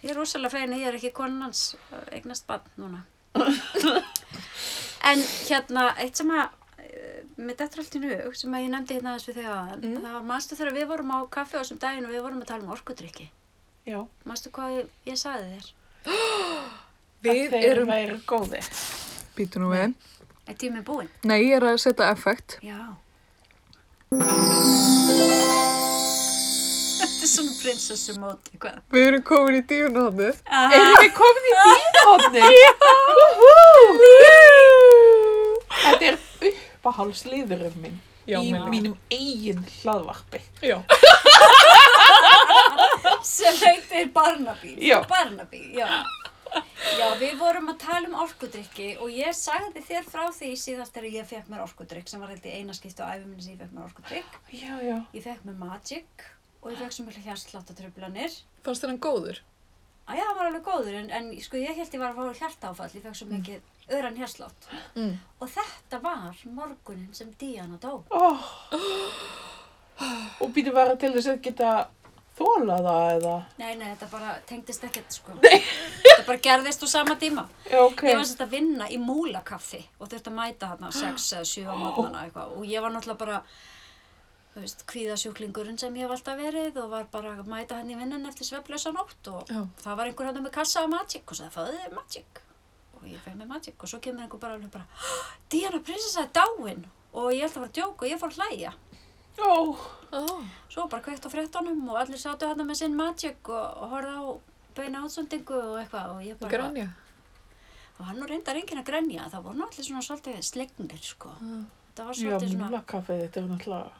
[SPEAKER 3] Ég er rosalega fegin að ég er ekki konan hans uh, eignast barn núna. En hérna, eitt sem að með þetta allt í nú, sem að ég nefndi hérna aðeins við þig aðan,
[SPEAKER 1] Mm.
[SPEAKER 3] það var manstu þegar við vorum á kaffi á þessum daginn og við vorum að tala um orkudrykki.
[SPEAKER 2] já.
[SPEAKER 3] Manstu hvað ég, ég sagði þér?
[SPEAKER 1] Við
[SPEAKER 2] að þeir
[SPEAKER 1] erum...
[SPEAKER 2] væru góði.
[SPEAKER 1] Býtu nú við.
[SPEAKER 3] Er tíminn búinn?
[SPEAKER 1] Nei, ég er að setja effekt.
[SPEAKER 3] Já. Þetta er svona prinsessumót, eitthvað.
[SPEAKER 1] Við erum komin í díunóðu.
[SPEAKER 2] Erum við komin í dýrhóðni? Þetta er uppahálsliðurum minn
[SPEAKER 1] Já,
[SPEAKER 2] í
[SPEAKER 1] mér líka.
[SPEAKER 2] mínum eigin hlaðvarpi.
[SPEAKER 1] Já.
[SPEAKER 3] Sem heitir Barnaby.
[SPEAKER 2] Já.
[SPEAKER 3] Barnaby, já. Já, við vorum að tala um orkudrykki og ég sagði þér frá því síðast þegar ég fekk mér orkudrykk sem var held í eina skipti á æfuminni sem ég fekk mér orkudrykk.
[SPEAKER 2] Já, já.
[SPEAKER 3] Ég fekk mér Magic og ég fekk sem mjög hjartsláttatröflanir.
[SPEAKER 1] Fannst þér hann góður?
[SPEAKER 3] Æja, það var alveg góður en, en sko ég held ég var að fá hjartáfall, ég fekk svo mikið öran hjarslátt.
[SPEAKER 1] Mm.
[SPEAKER 3] Og þetta var morgunin sem Díana dó.
[SPEAKER 2] Oh. Og býtu bara til þess að geta þóla það eða?
[SPEAKER 3] Nei, nei, þetta bara tengdist ekkert sko. Nei. Þetta bara gerðist úr sama tíma.
[SPEAKER 2] Já, ok.
[SPEAKER 3] Ég var sett að vinna í múlakaffi og þurfti að mæta þarna 6 eða 7 á mótnana eitthvað og ég var náttúrulega bara, þú veist, kvíðasjúklingurinn sem ég hef alltaf verið og var bara að mæta hann í vinnun eftir sveflösa nótt og
[SPEAKER 1] Já.
[SPEAKER 3] það var einhver hann með kassa af Magic og sagði, fáðu þið Magic og ég fæði með Magic og svo kemur einhver bara alveg bara, "Hah, Diana prinsessa er dáin og ég held að var að djóka og ég fór að hlæja.
[SPEAKER 2] Ó,
[SPEAKER 1] Oh.
[SPEAKER 3] Svo bara kveikt á fréttunum og allir sátu hérna með sinn Magic og, og horfði á beina átsöndingu og eitthvað og ég bara...
[SPEAKER 1] Grænja.
[SPEAKER 3] Og hann nú reyndar enginn að grenja, það voru nú allir svona svolítið slegnir, sko. Þetta var
[SPEAKER 2] já,
[SPEAKER 3] svolítið svona,
[SPEAKER 2] múlakaffið, þetta er náttúrulega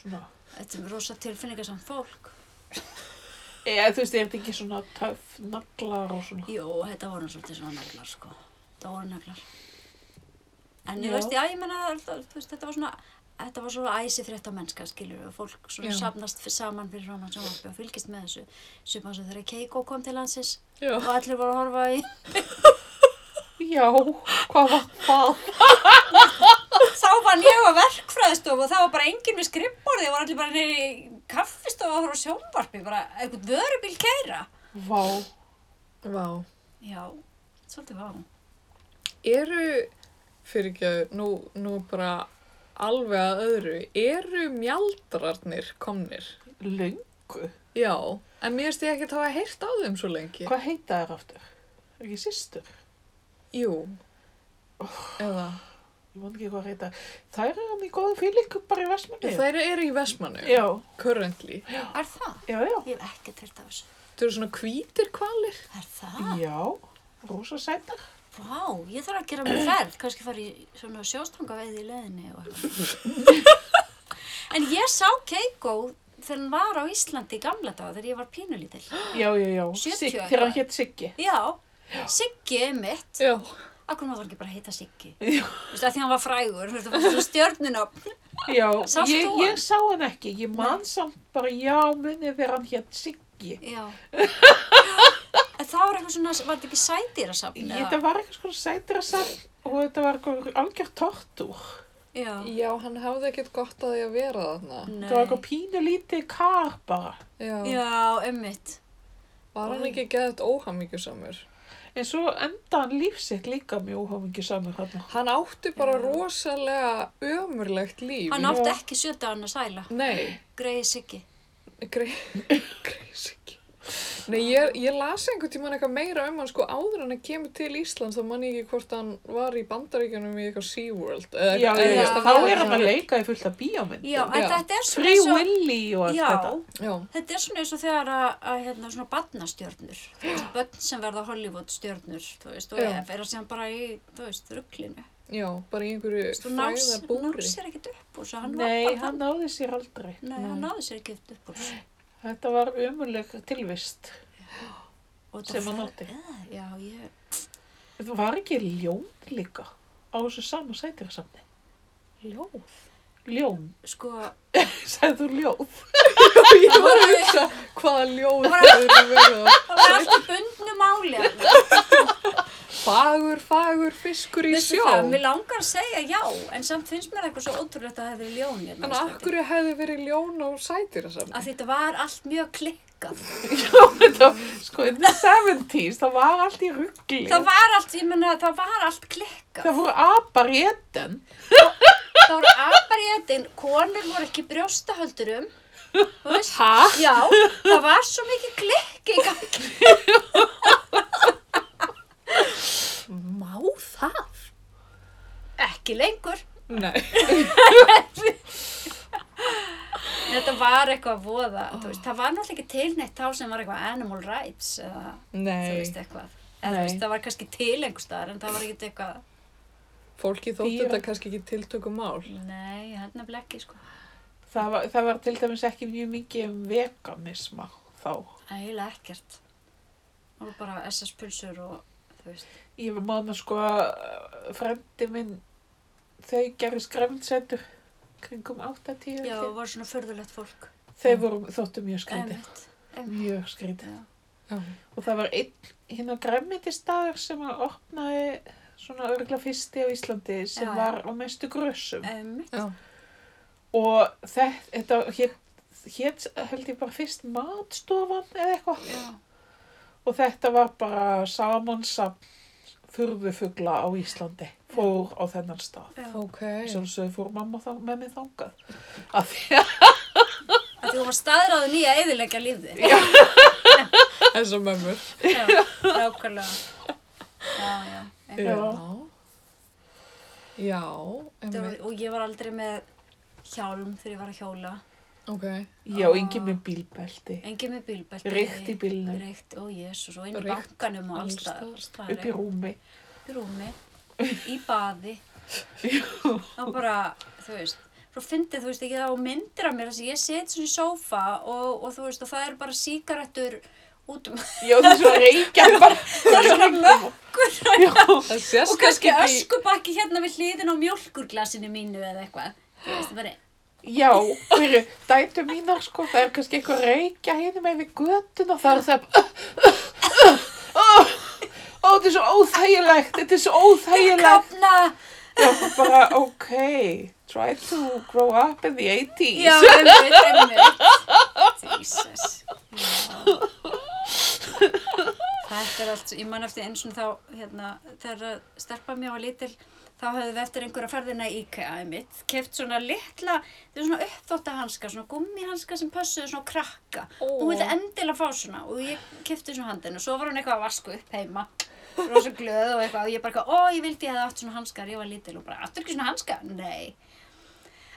[SPEAKER 2] svona...
[SPEAKER 3] þetta er rosa tilfinningarsamt fólk.
[SPEAKER 2] Eða þú veist, er þetta ekki svona töff naglar og svona?
[SPEAKER 3] Jó, þetta voru nú svolítið svona naglar, sko. Þetta voru naglar. En
[SPEAKER 2] Já.
[SPEAKER 3] ég veist, já, ég menna, þú veist, þetta var svona, þetta var svona æsi frétta mennska, skilur við, fólk svona
[SPEAKER 1] Já.
[SPEAKER 3] safnast fyr, saman fyrir framann sem var að fylgist með þessu. Suma svo þegar Keiko kom til landsins
[SPEAKER 1] Já.
[SPEAKER 3] og allir voru að horfa í
[SPEAKER 2] Já, hvað var það?
[SPEAKER 3] þá var ég á verkfræðistofu og það var bara enginn við skrippborði og var allir bara neyri í kaffistofu og horfa á sjónvarpi, bara einhvern vörubíl kæra.
[SPEAKER 2] Vá.
[SPEAKER 1] Vá.
[SPEAKER 3] Já, svolítið vá.
[SPEAKER 1] Eru, fyrir nú, nú bara alveg að öðru, eru mjaldrarnir komnir?
[SPEAKER 2] Lungu.
[SPEAKER 1] Já, en mér finnst ég ekkert hafa heyrt á þeim svo lengi.
[SPEAKER 2] Hvað heita þær aftur? Er ekki systur?
[SPEAKER 1] Jú. Eða,
[SPEAKER 2] Ég man ekki hvað heita. Þær eru hann í góðum fílingu bara í Vestmanni.
[SPEAKER 1] þeir eru í Vestmannu.
[SPEAKER 2] Já,
[SPEAKER 1] Currently.
[SPEAKER 3] Er það?
[SPEAKER 2] já, já.
[SPEAKER 3] Ég hef ekkert heyrt af þessu.
[SPEAKER 1] Þau eru svona hvítir kvalir.
[SPEAKER 3] Er það?
[SPEAKER 2] Já, rosa sætar.
[SPEAKER 3] Vá, ég þarf að gera mér ferð, kannski fara í svona sjóstangaveiði í leðinni og eitthvað. en ég sá Keiko þegar hann var á Íslandi í gamla daga þegar ég var pínulítil.
[SPEAKER 2] Já, já, já.
[SPEAKER 3] 70
[SPEAKER 2] Sigg,
[SPEAKER 3] eitthvað.
[SPEAKER 2] þegar hann hétt Siggi.
[SPEAKER 3] Já, Siggi er mitt.
[SPEAKER 1] Já.
[SPEAKER 3] Akkur maður var ekki bara að heita Siggi.
[SPEAKER 2] Já.
[SPEAKER 3] Þú veist, að því hann var frægur, þetta var svona stjörnunöfn.
[SPEAKER 2] Já,
[SPEAKER 3] Sást
[SPEAKER 2] ég,
[SPEAKER 3] þú hann?
[SPEAKER 2] ég sá hann ekki. Ég man samt bara, já, munið þegar hann hétt Siggi.
[SPEAKER 3] Já. En það var eitthvað svona, var þetta ekki sædýrasafn?
[SPEAKER 2] Ég,
[SPEAKER 3] eða?
[SPEAKER 2] þetta var eitthvað svona sætir að sæt og þetta var eitthvað algjör tortúr.
[SPEAKER 3] Já.
[SPEAKER 1] Já, hann hafði ekkert gott að því að vera þarna.
[SPEAKER 3] Nei.
[SPEAKER 2] Þetta var eitthvað pínu lítið kar bara.
[SPEAKER 1] Já.
[SPEAKER 3] Já, ummitt.
[SPEAKER 1] Var hann ekki geðið óhamingjusamur?
[SPEAKER 2] En svo enda hann lífsitt líka mjög óhafingi samur hann.
[SPEAKER 1] Hann átti bara
[SPEAKER 3] Já.
[SPEAKER 1] rosalega ömurlegt líf.
[SPEAKER 3] Hann
[SPEAKER 2] Já.
[SPEAKER 3] átti ekki sjöta hann að sæla.
[SPEAKER 1] Nei,
[SPEAKER 3] Greiði Siggi.
[SPEAKER 1] greis ekki. Nei, ég, ég las einhvern tímann eitthvað meira um hann sko áður en hann kemur til Íslands þá man ég ekki hvort hann var í Bandaríkjunum í eitthvað SeaWorld. eða-
[SPEAKER 2] Já,
[SPEAKER 1] eða-
[SPEAKER 2] já,
[SPEAKER 3] já.
[SPEAKER 2] þá er hann að leika í fullt af bíómyndum.
[SPEAKER 3] Já, en
[SPEAKER 1] Já.
[SPEAKER 3] þetta er svona
[SPEAKER 2] Free
[SPEAKER 3] eins og...
[SPEAKER 2] Willy og allt
[SPEAKER 3] Já,
[SPEAKER 2] þetta.
[SPEAKER 1] Já,
[SPEAKER 3] þetta er svona eins og þegar að, að hérna, svona badnastjörnur. Þú veist, Börn sem verða Hollywoodstjörnur, þú veist, og
[SPEAKER 1] Já.
[SPEAKER 3] ég vera sem bara í, þú veist, rugglinu.
[SPEAKER 1] já, bara í einhverju
[SPEAKER 3] Þú
[SPEAKER 1] fræða
[SPEAKER 3] náðs, náðs
[SPEAKER 1] búri.
[SPEAKER 3] sér ekkert upp úr, svo hann
[SPEAKER 2] Nei,
[SPEAKER 3] var bara
[SPEAKER 2] hann náði sér aldrei.
[SPEAKER 3] Nei, hann náði sér ekki upp úr. þessu.
[SPEAKER 2] Þetta var umuleg tilvist.
[SPEAKER 3] Og þetta
[SPEAKER 2] Sem hann
[SPEAKER 3] fer- Eh,
[SPEAKER 2] átti.
[SPEAKER 3] Já, ég...
[SPEAKER 2] Þetta var ekki ljón líka á þessu sama sætirsamni.
[SPEAKER 1] Ljóð.
[SPEAKER 2] Ljón.
[SPEAKER 3] Sko,
[SPEAKER 2] Sæður þú ljóð?
[SPEAKER 1] Ég var að hugsa hvaða ljóð þau eru verið að
[SPEAKER 3] Það var alltaf bundnu máli.
[SPEAKER 1] fagur, fagur fiskur í
[SPEAKER 3] Vissu
[SPEAKER 1] sjó.
[SPEAKER 3] það, mér langar að segja já, en samt finnst mér eitthvað svo ótrúlegt að það hefði ljón hérna. á
[SPEAKER 1] En af
[SPEAKER 3] Íslandi.
[SPEAKER 1] hverju hefði verið ljón á sætir að saman?
[SPEAKER 3] Að þetta var allt mjög klikkað.
[SPEAKER 2] Já, þetta, sko, in the 70s, það var allt í ruggli.
[SPEAKER 3] Það var allt, ég menna, það var allt klikkað.
[SPEAKER 2] Það voru apar í etten.
[SPEAKER 3] Það voru aðbæriðin, konur voru ekki í brjóstahöldurum. Hæ? Já, það var svo mikið klikki í gangi.
[SPEAKER 1] Má það?
[SPEAKER 3] ekki lengur.
[SPEAKER 1] Nei.
[SPEAKER 3] Þetta var eitthvað voða, þú veist, það var náttúrulega ekki tilneitt þá sem var eitthvað animal rights eða þú
[SPEAKER 1] Nei.
[SPEAKER 3] veist eitthvað. Eða þú
[SPEAKER 2] Nei.
[SPEAKER 3] veist, það var kannski til einhver staðar en það var ekkert eitthvað,
[SPEAKER 1] Fólki þótti
[SPEAKER 2] Dýra-
[SPEAKER 1] þetta kannski ekki tiltöku mál.
[SPEAKER 3] nei, ég held nefnilega ekki, sko.
[SPEAKER 2] Það var, það var til dæmis ekki mjög mikið um veganisma þá.
[SPEAKER 3] Ægilega ekkert. Það var bara SS-pulsur og þú veist,
[SPEAKER 2] Ég man að sko að frendi minn, þau gerðu skremsendur kringum 80.
[SPEAKER 3] já,
[SPEAKER 2] held ég.
[SPEAKER 3] var svona förðulegt fólk.
[SPEAKER 2] Þau voru, þóttu mjög skrítið.
[SPEAKER 3] Einmitt, einmitt.
[SPEAKER 2] Mjög skrítið.
[SPEAKER 3] Já.
[SPEAKER 1] Já.
[SPEAKER 2] Og það var einn hinn að gremmitistaður sem að opnaði svona örgla fyrsti á Íslandi sem
[SPEAKER 3] Já, já.
[SPEAKER 2] var á mestu grössum.
[SPEAKER 3] Einmitt.
[SPEAKER 1] Já.
[SPEAKER 2] Og þe- þetta hét, hét held ég bara fyrst matstofan eða eitthvað.
[SPEAKER 3] Já.
[SPEAKER 2] Og þetta var bara samansam furðufugla á Íslandi, fór á þennan stað.
[SPEAKER 3] Já.
[SPEAKER 1] Ok.
[SPEAKER 2] Svo svo fór mamma þá, með mig þangað. Af því að
[SPEAKER 3] Af Því þú var staðráðin í að eðilegja lífið.
[SPEAKER 1] Eins og mömmur.
[SPEAKER 3] Já, nákvæmlega. Já, já. einmitt.
[SPEAKER 2] Já.
[SPEAKER 1] Já,
[SPEAKER 3] Þetta
[SPEAKER 1] emmi.
[SPEAKER 3] var- Og ég var aldrei með hjálm þegar ég var að hjóla.
[SPEAKER 1] Ok.
[SPEAKER 2] ég og yngi með bílbelti,
[SPEAKER 3] Engin með bílbelti.
[SPEAKER 2] Reykt í bílnum.
[SPEAKER 3] Reykt, ó jésus, og inn í
[SPEAKER 1] Reykt
[SPEAKER 3] bankanum og alls
[SPEAKER 1] alls
[SPEAKER 3] staðar.
[SPEAKER 2] upp í
[SPEAKER 3] Upp
[SPEAKER 2] rúmi.
[SPEAKER 3] í rúmi, í baði. Það var bara, þú veist, svo fyndið, þú veist, ekki það á myndir af mér, þess að ég set svona í sófa og, og þú veist, og það er bara síkarettur út um
[SPEAKER 2] Já, þessu að reykja bara.
[SPEAKER 3] það er svona mökkur
[SPEAKER 1] Það
[SPEAKER 3] og
[SPEAKER 1] sést
[SPEAKER 3] kannski
[SPEAKER 1] ekki í-
[SPEAKER 3] öskubakki hérna við hliðin á mjólkurglasinu mínu eða eitthvað. Þú veist, bara,
[SPEAKER 2] Já, fyrir dætu mínar sko, það er kannski eitthvað að reykja hérna með við göttun og það er það bara, Ó, þetta er svo óþægilegt, þetta er svo óþægilegt.
[SPEAKER 3] kafna,
[SPEAKER 2] Já, bara, ok, try to grow up in the 80s.
[SPEAKER 3] já, einmitt, einmitt. Jesus. Já. Þetta er allt, ég man eftir eins og þá, hérna, þegar stelpa mér var lítil, þá höfðum við eftir einhverja ferðina í IKEA, einmitt, keft svona litla, þau eru svona uppþóttahanska, svona gummihanska sem pössuðu svona á krakka.
[SPEAKER 1] Ó.
[SPEAKER 3] Hún vildi endilega fá svona og ég kefti svona handin og svo var hún eitthvað að vasku upp heima rosa glöð og eitthvað og ég bara eitthvað, ó ég vildi ég hefði átt svona hanskar, ég var lítil og bara, áttu ekki svona hanska? Nei.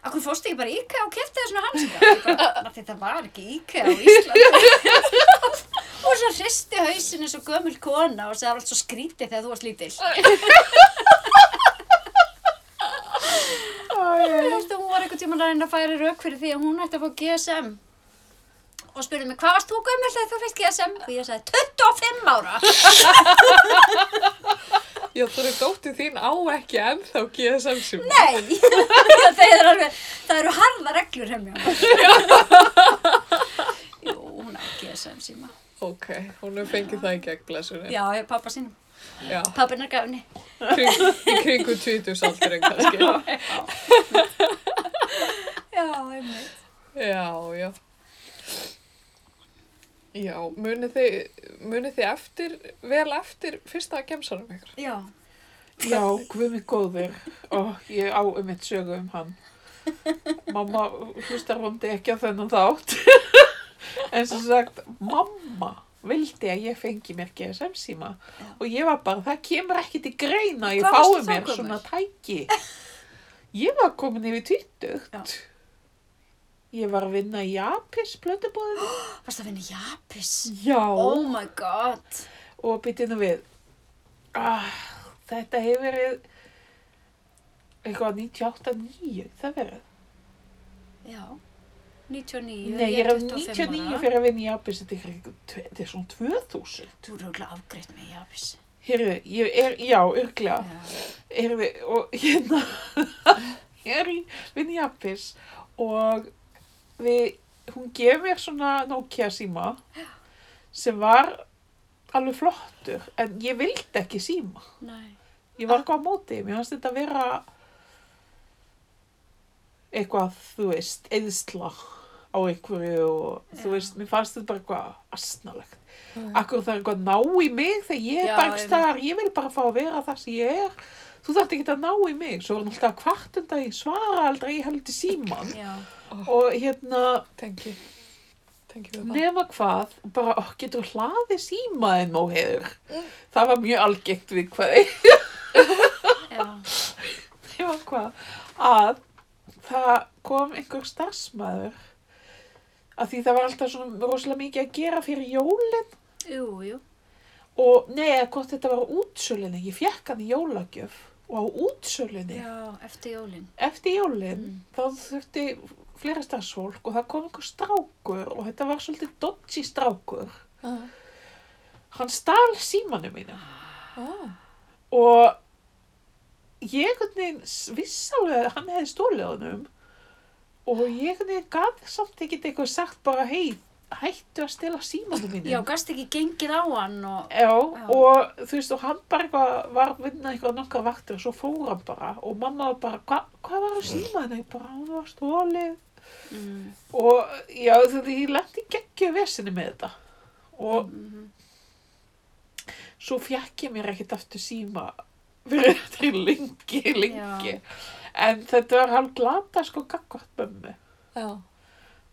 [SPEAKER 3] Akkur fórstu ekki bara í IKEA og kefti þér svona hanska? Ég bara, "Af því það var ekki IKEA á Íslandi. og svo hristi hausinn eins og gömul kona og sagði "Það var allt svo skrítið þegar þú varst lítil. Ég held að hún var einhvern tímann að reyna að færa rauk fyrir því að hún ætti að fá GSM og spurði mig, hvað varst þú gömul þegar þú fyrst GSM? Og ég sagði, 25 ára!
[SPEAKER 1] Já, þú eru dóttið þín á ekki ennþá GSM sem.
[SPEAKER 3] Nei! það, er alveg, það eru harða reglur hefnjá. Jú, hún á GSM síma.
[SPEAKER 1] Ok, hún hefur fengið það í gegn blessunni.
[SPEAKER 3] Já, ég er pappa sínum.
[SPEAKER 1] Já.
[SPEAKER 3] Pappin er gafni.
[SPEAKER 1] Kring, í kringu tvítusaldurinn kannski.
[SPEAKER 3] Já, einmitt.
[SPEAKER 1] Já, já. Já, munið þið, munið þið eftir, vel eftir fyrsta gemsanum ykkur?
[SPEAKER 3] Já,
[SPEAKER 2] Já, guðmi góður og ég á um eitt sögu um hann. Mamma hlustar hóndi ekki á þennan þátt. En sem sagt, mamma vildi að ég fengi mér GSM síma og ég var bara, það kemur ekki til greina, að ég
[SPEAKER 3] Hvað varstu
[SPEAKER 2] fái
[SPEAKER 3] þá
[SPEAKER 2] mér
[SPEAKER 3] gömul?
[SPEAKER 2] svona tæki. Ég var komin yfir tvítugt. Ég var að vinna í Apis blöndubóðinu.
[SPEAKER 3] varst að vinna í Japis?
[SPEAKER 2] Já.
[SPEAKER 3] Oh my god.
[SPEAKER 2] og býtið nú við ah, þetta hefur verið eitthvað 98-9 það verið
[SPEAKER 3] Já. 99.
[SPEAKER 2] nei, ég er af
[SPEAKER 3] 25 ára.
[SPEAKER 2] 99 fyrir að vinna í Abis þetta er, kringum tve- þetta er svona 2000
[SPEAKER 3] Þú eru auðvitað afgreitt með Japis.
[SPEAKER 2] Hérðu, ég er, já, örglega
[SPEAKER 3] Já.
[SPEAKER 2] Hérðu, og hérna ég er í vinna í Abis og við, hún gef mér svona Nokia síma sem var alveg flottur en ég vildi ekki síma
[SPEAKER 3] Nei.
[SPEAKER 2] Ég
[SPEAKER 3] Ah.
[SPEAKER 2] var eitthvað á móti, mér fannst þetta að vera eitthvað, þú veist, eðsla á einhverju og þú
[SPEAKER 3] Já. Mm.
[SPEAKER 2] veist, mér fannst þetta bara eitthvað asnalegt.
[SPEAKER 1] Já.
[SPEAKER 2] Akkur það er eitthvað að ná í mig þegar ég
[SPEAKER 3] Já,
[SPEAKER 2] er bara ekki þar, ég vil bara fá að vera þar sem ég er. Þú þarft ekki að ná í mig, svo var hann alltaf kvartenda í svara aldrei í heldi síman.
[SPEAKER 3] Já.
[SPEAKER 2] Og hérna,
[SPEAKER 1] Tengi, tengi við það.
[SPEAKER 2] nema hvað, bara, ó, getur hlaðið símaðin
[SPEAKER 3] Mm.
[SPEAKER 2] móheður. Það var mjög algengt við hvað
[SPEAKER 3] Já.
[SPEAKER 2] skrifa hvað, að það kom einhver starfsmæður að því það var alltaf svona rosalega mikið að gera fyrir jólin
[SPEAKER 3] Jú, jú.
[SPEAKER 2] og nei, eða hvort þetta var á útsölunni, ég fekk hann í jólagjöf og á útsölunni
[SPEAKER 3] Já, eftir jólinn.
[SPEAKER 2] eftir jólin þá þurfti fleira starfsfólk og það kom einhver strákur og þetta var svolítið dodgy strákur
[SPEAKER 1] Ah.
[SPEAKER 2] hann stal símanum mínum
[SPEAKER 1] Ah.
[SPEAKER 2] og ég einhvern veginn s- vissi alveg að hann hefði stólið honum og ég einhvern veginn gaf samt ekkert eitthvað sagt bara hei, hættu að stela símanum mínum
[SPEAKER 3] Já, gast ekki gengið á hann og...
[SPEAKER 2] Já, og þú veist, og hann bara eitthvað var að vinna eitthvað nokkar vaktir og svo fór hann bara og mamma var bara, Hva, hvað var að síma henni? Bara, hann var stólið
[SPEAKER 3] Mm,
[SPEAKER 2] og já, þú veist, ég lendi geggju vesinni með þetta og
[SPEAKER 3] mhm.
[SPEAKER 2] svo fjekk ég mér ekkert aftur síma fyrir þetta í lengi, lengi. En þetta var hálf glata sko gagvart mömmu
[SPEAKER 1] já,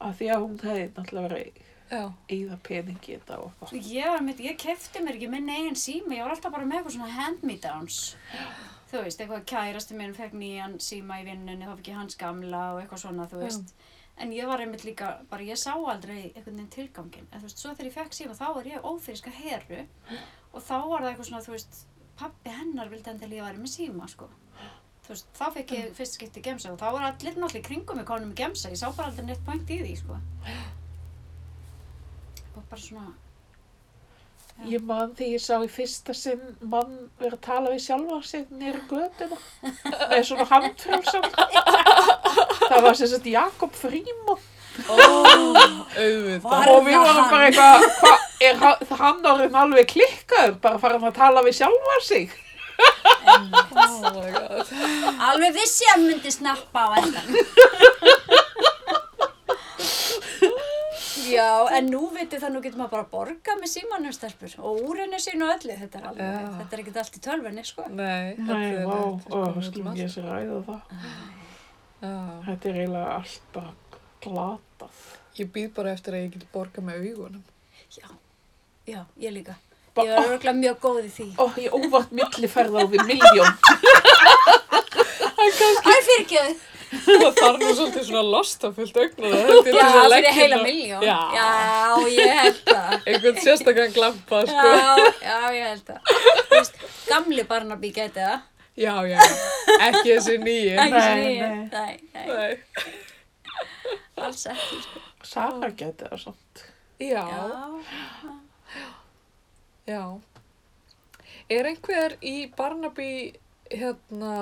[SPEAKER 2] af því að hún hefði náttúrulega verið
[SPEAKER 1] já.
[SPEAKER 2] eigða peningi í þetta og eitthvað.
[SPEAKER 3] Ég var mitt, ég kefti mér ekki minn eigin síma, ég var alltaf bara með eitthvað svona hand-me-downs. Þú veist, eitthvað kærasti minn fekk nýjan síma í vinnunni, þá fikk ég hans gamla og eitthvað svona, þú
[SPEAKER 1] Já.
[SPEAKER 3] veist. En ég var einmitt líka, bara ég sá aldrei einhvern veginn tilgangin. En þú veist, svo þegar ég fekk síma, þá var ég ófyrirska heru og þá var það eitthvað svona, þú veist, pappi hennar vildi endilega að ég væri með síma, sko. Þú veist, þá fekk ég fyrst skipti gemsa og þá var allir náttúrulega í kringum mig konum gemsa. Ég sá bara aldrei neitt point í því, sko. Og bara svona, Já.
[SPEAKER 2] Ég man því ég sá í fyrsta sinn mann vera að tala við sjálfa sig nýri göduna. Nei, svona handfrjálsam. Það var sem sagt Jakob Fríman
[SPEAKER 1] Auðvitað.
[SPEAKER 3] Var
[SPEAKER 2] og við
[SPEAKER 3] það
[SPEAKER 2] vorum
[SPEAKER 3] hann?
[SPEAKER 2] bara eitthvað, hvað, er hann- hann orðin alveg klikkaður, bara farin að tala við sjálfa sig?
[SPEAKER 1] Oh my god.
[SPEAKER 3] Alveg vissi að hann myndi snappa á endan. Já, en nú veitir það, nú getur maður bara að borga með símanum stelpur og úr henni sínu og öllu, þetta er alveg,
[SPEAKER 1] Já.
[SPEAKER 3] þetta er ekkert allt í tölvunni, sko.
[SPEAKER 1] Nei, sko
[SPEAKER 2] Nei, vá, og skulum
[SPEAKER 1] Já,
[SPEAKER 2] ég sér ræða það. Þetta er eiginlega allt bara glatað.
[SPEAKER 1] ég býð bara eftir að ég get borga með augunum.
[SPEAKER 3] Já, já, ég líka.
[SPEAKER 2] Ba-
[SPEAKER 3] Ég var örgulega mjög góð í því.
[SPEAKER 2] Ó, ég óvart millifærða á við miljón.
[SPEAKER 3] Æ, fyrirgjöðu!
[SPEAKER 1] Það þarf nú svolítið svona lostafullt augnar að þetta
[SPEAKER 3] Já, fyrir heila miljón.
[SPEAKER 1] Já.
[SPEAKER 3] já, ég held það.
[SPEAKER 1] Einhvern sérstakann glampa, sko.
[SPEAKER 3] Já, já, ég held það. Þú veist, Gamli Barnaby gæti það.
[SPEAKER 1] Já, já, ekki þessi nýju.
[SPEAKER 3] Ekki
[SPEAKER 2] Nei,
[SPEAKER 3] sem ég.
[SPEAKER 2] nei.
[SPEAKER 3] Nei, nei,
[SPEAKER 1] Nei.
[SPEAKER 3] alls ekki. sko.
[SPEAKER 2] Sara geti það samt.
[SPEAKER 1] Já,
[SPEAKER 3] Já.
[SPEAKER 1] já. Er einhver í Barnaby, hérna,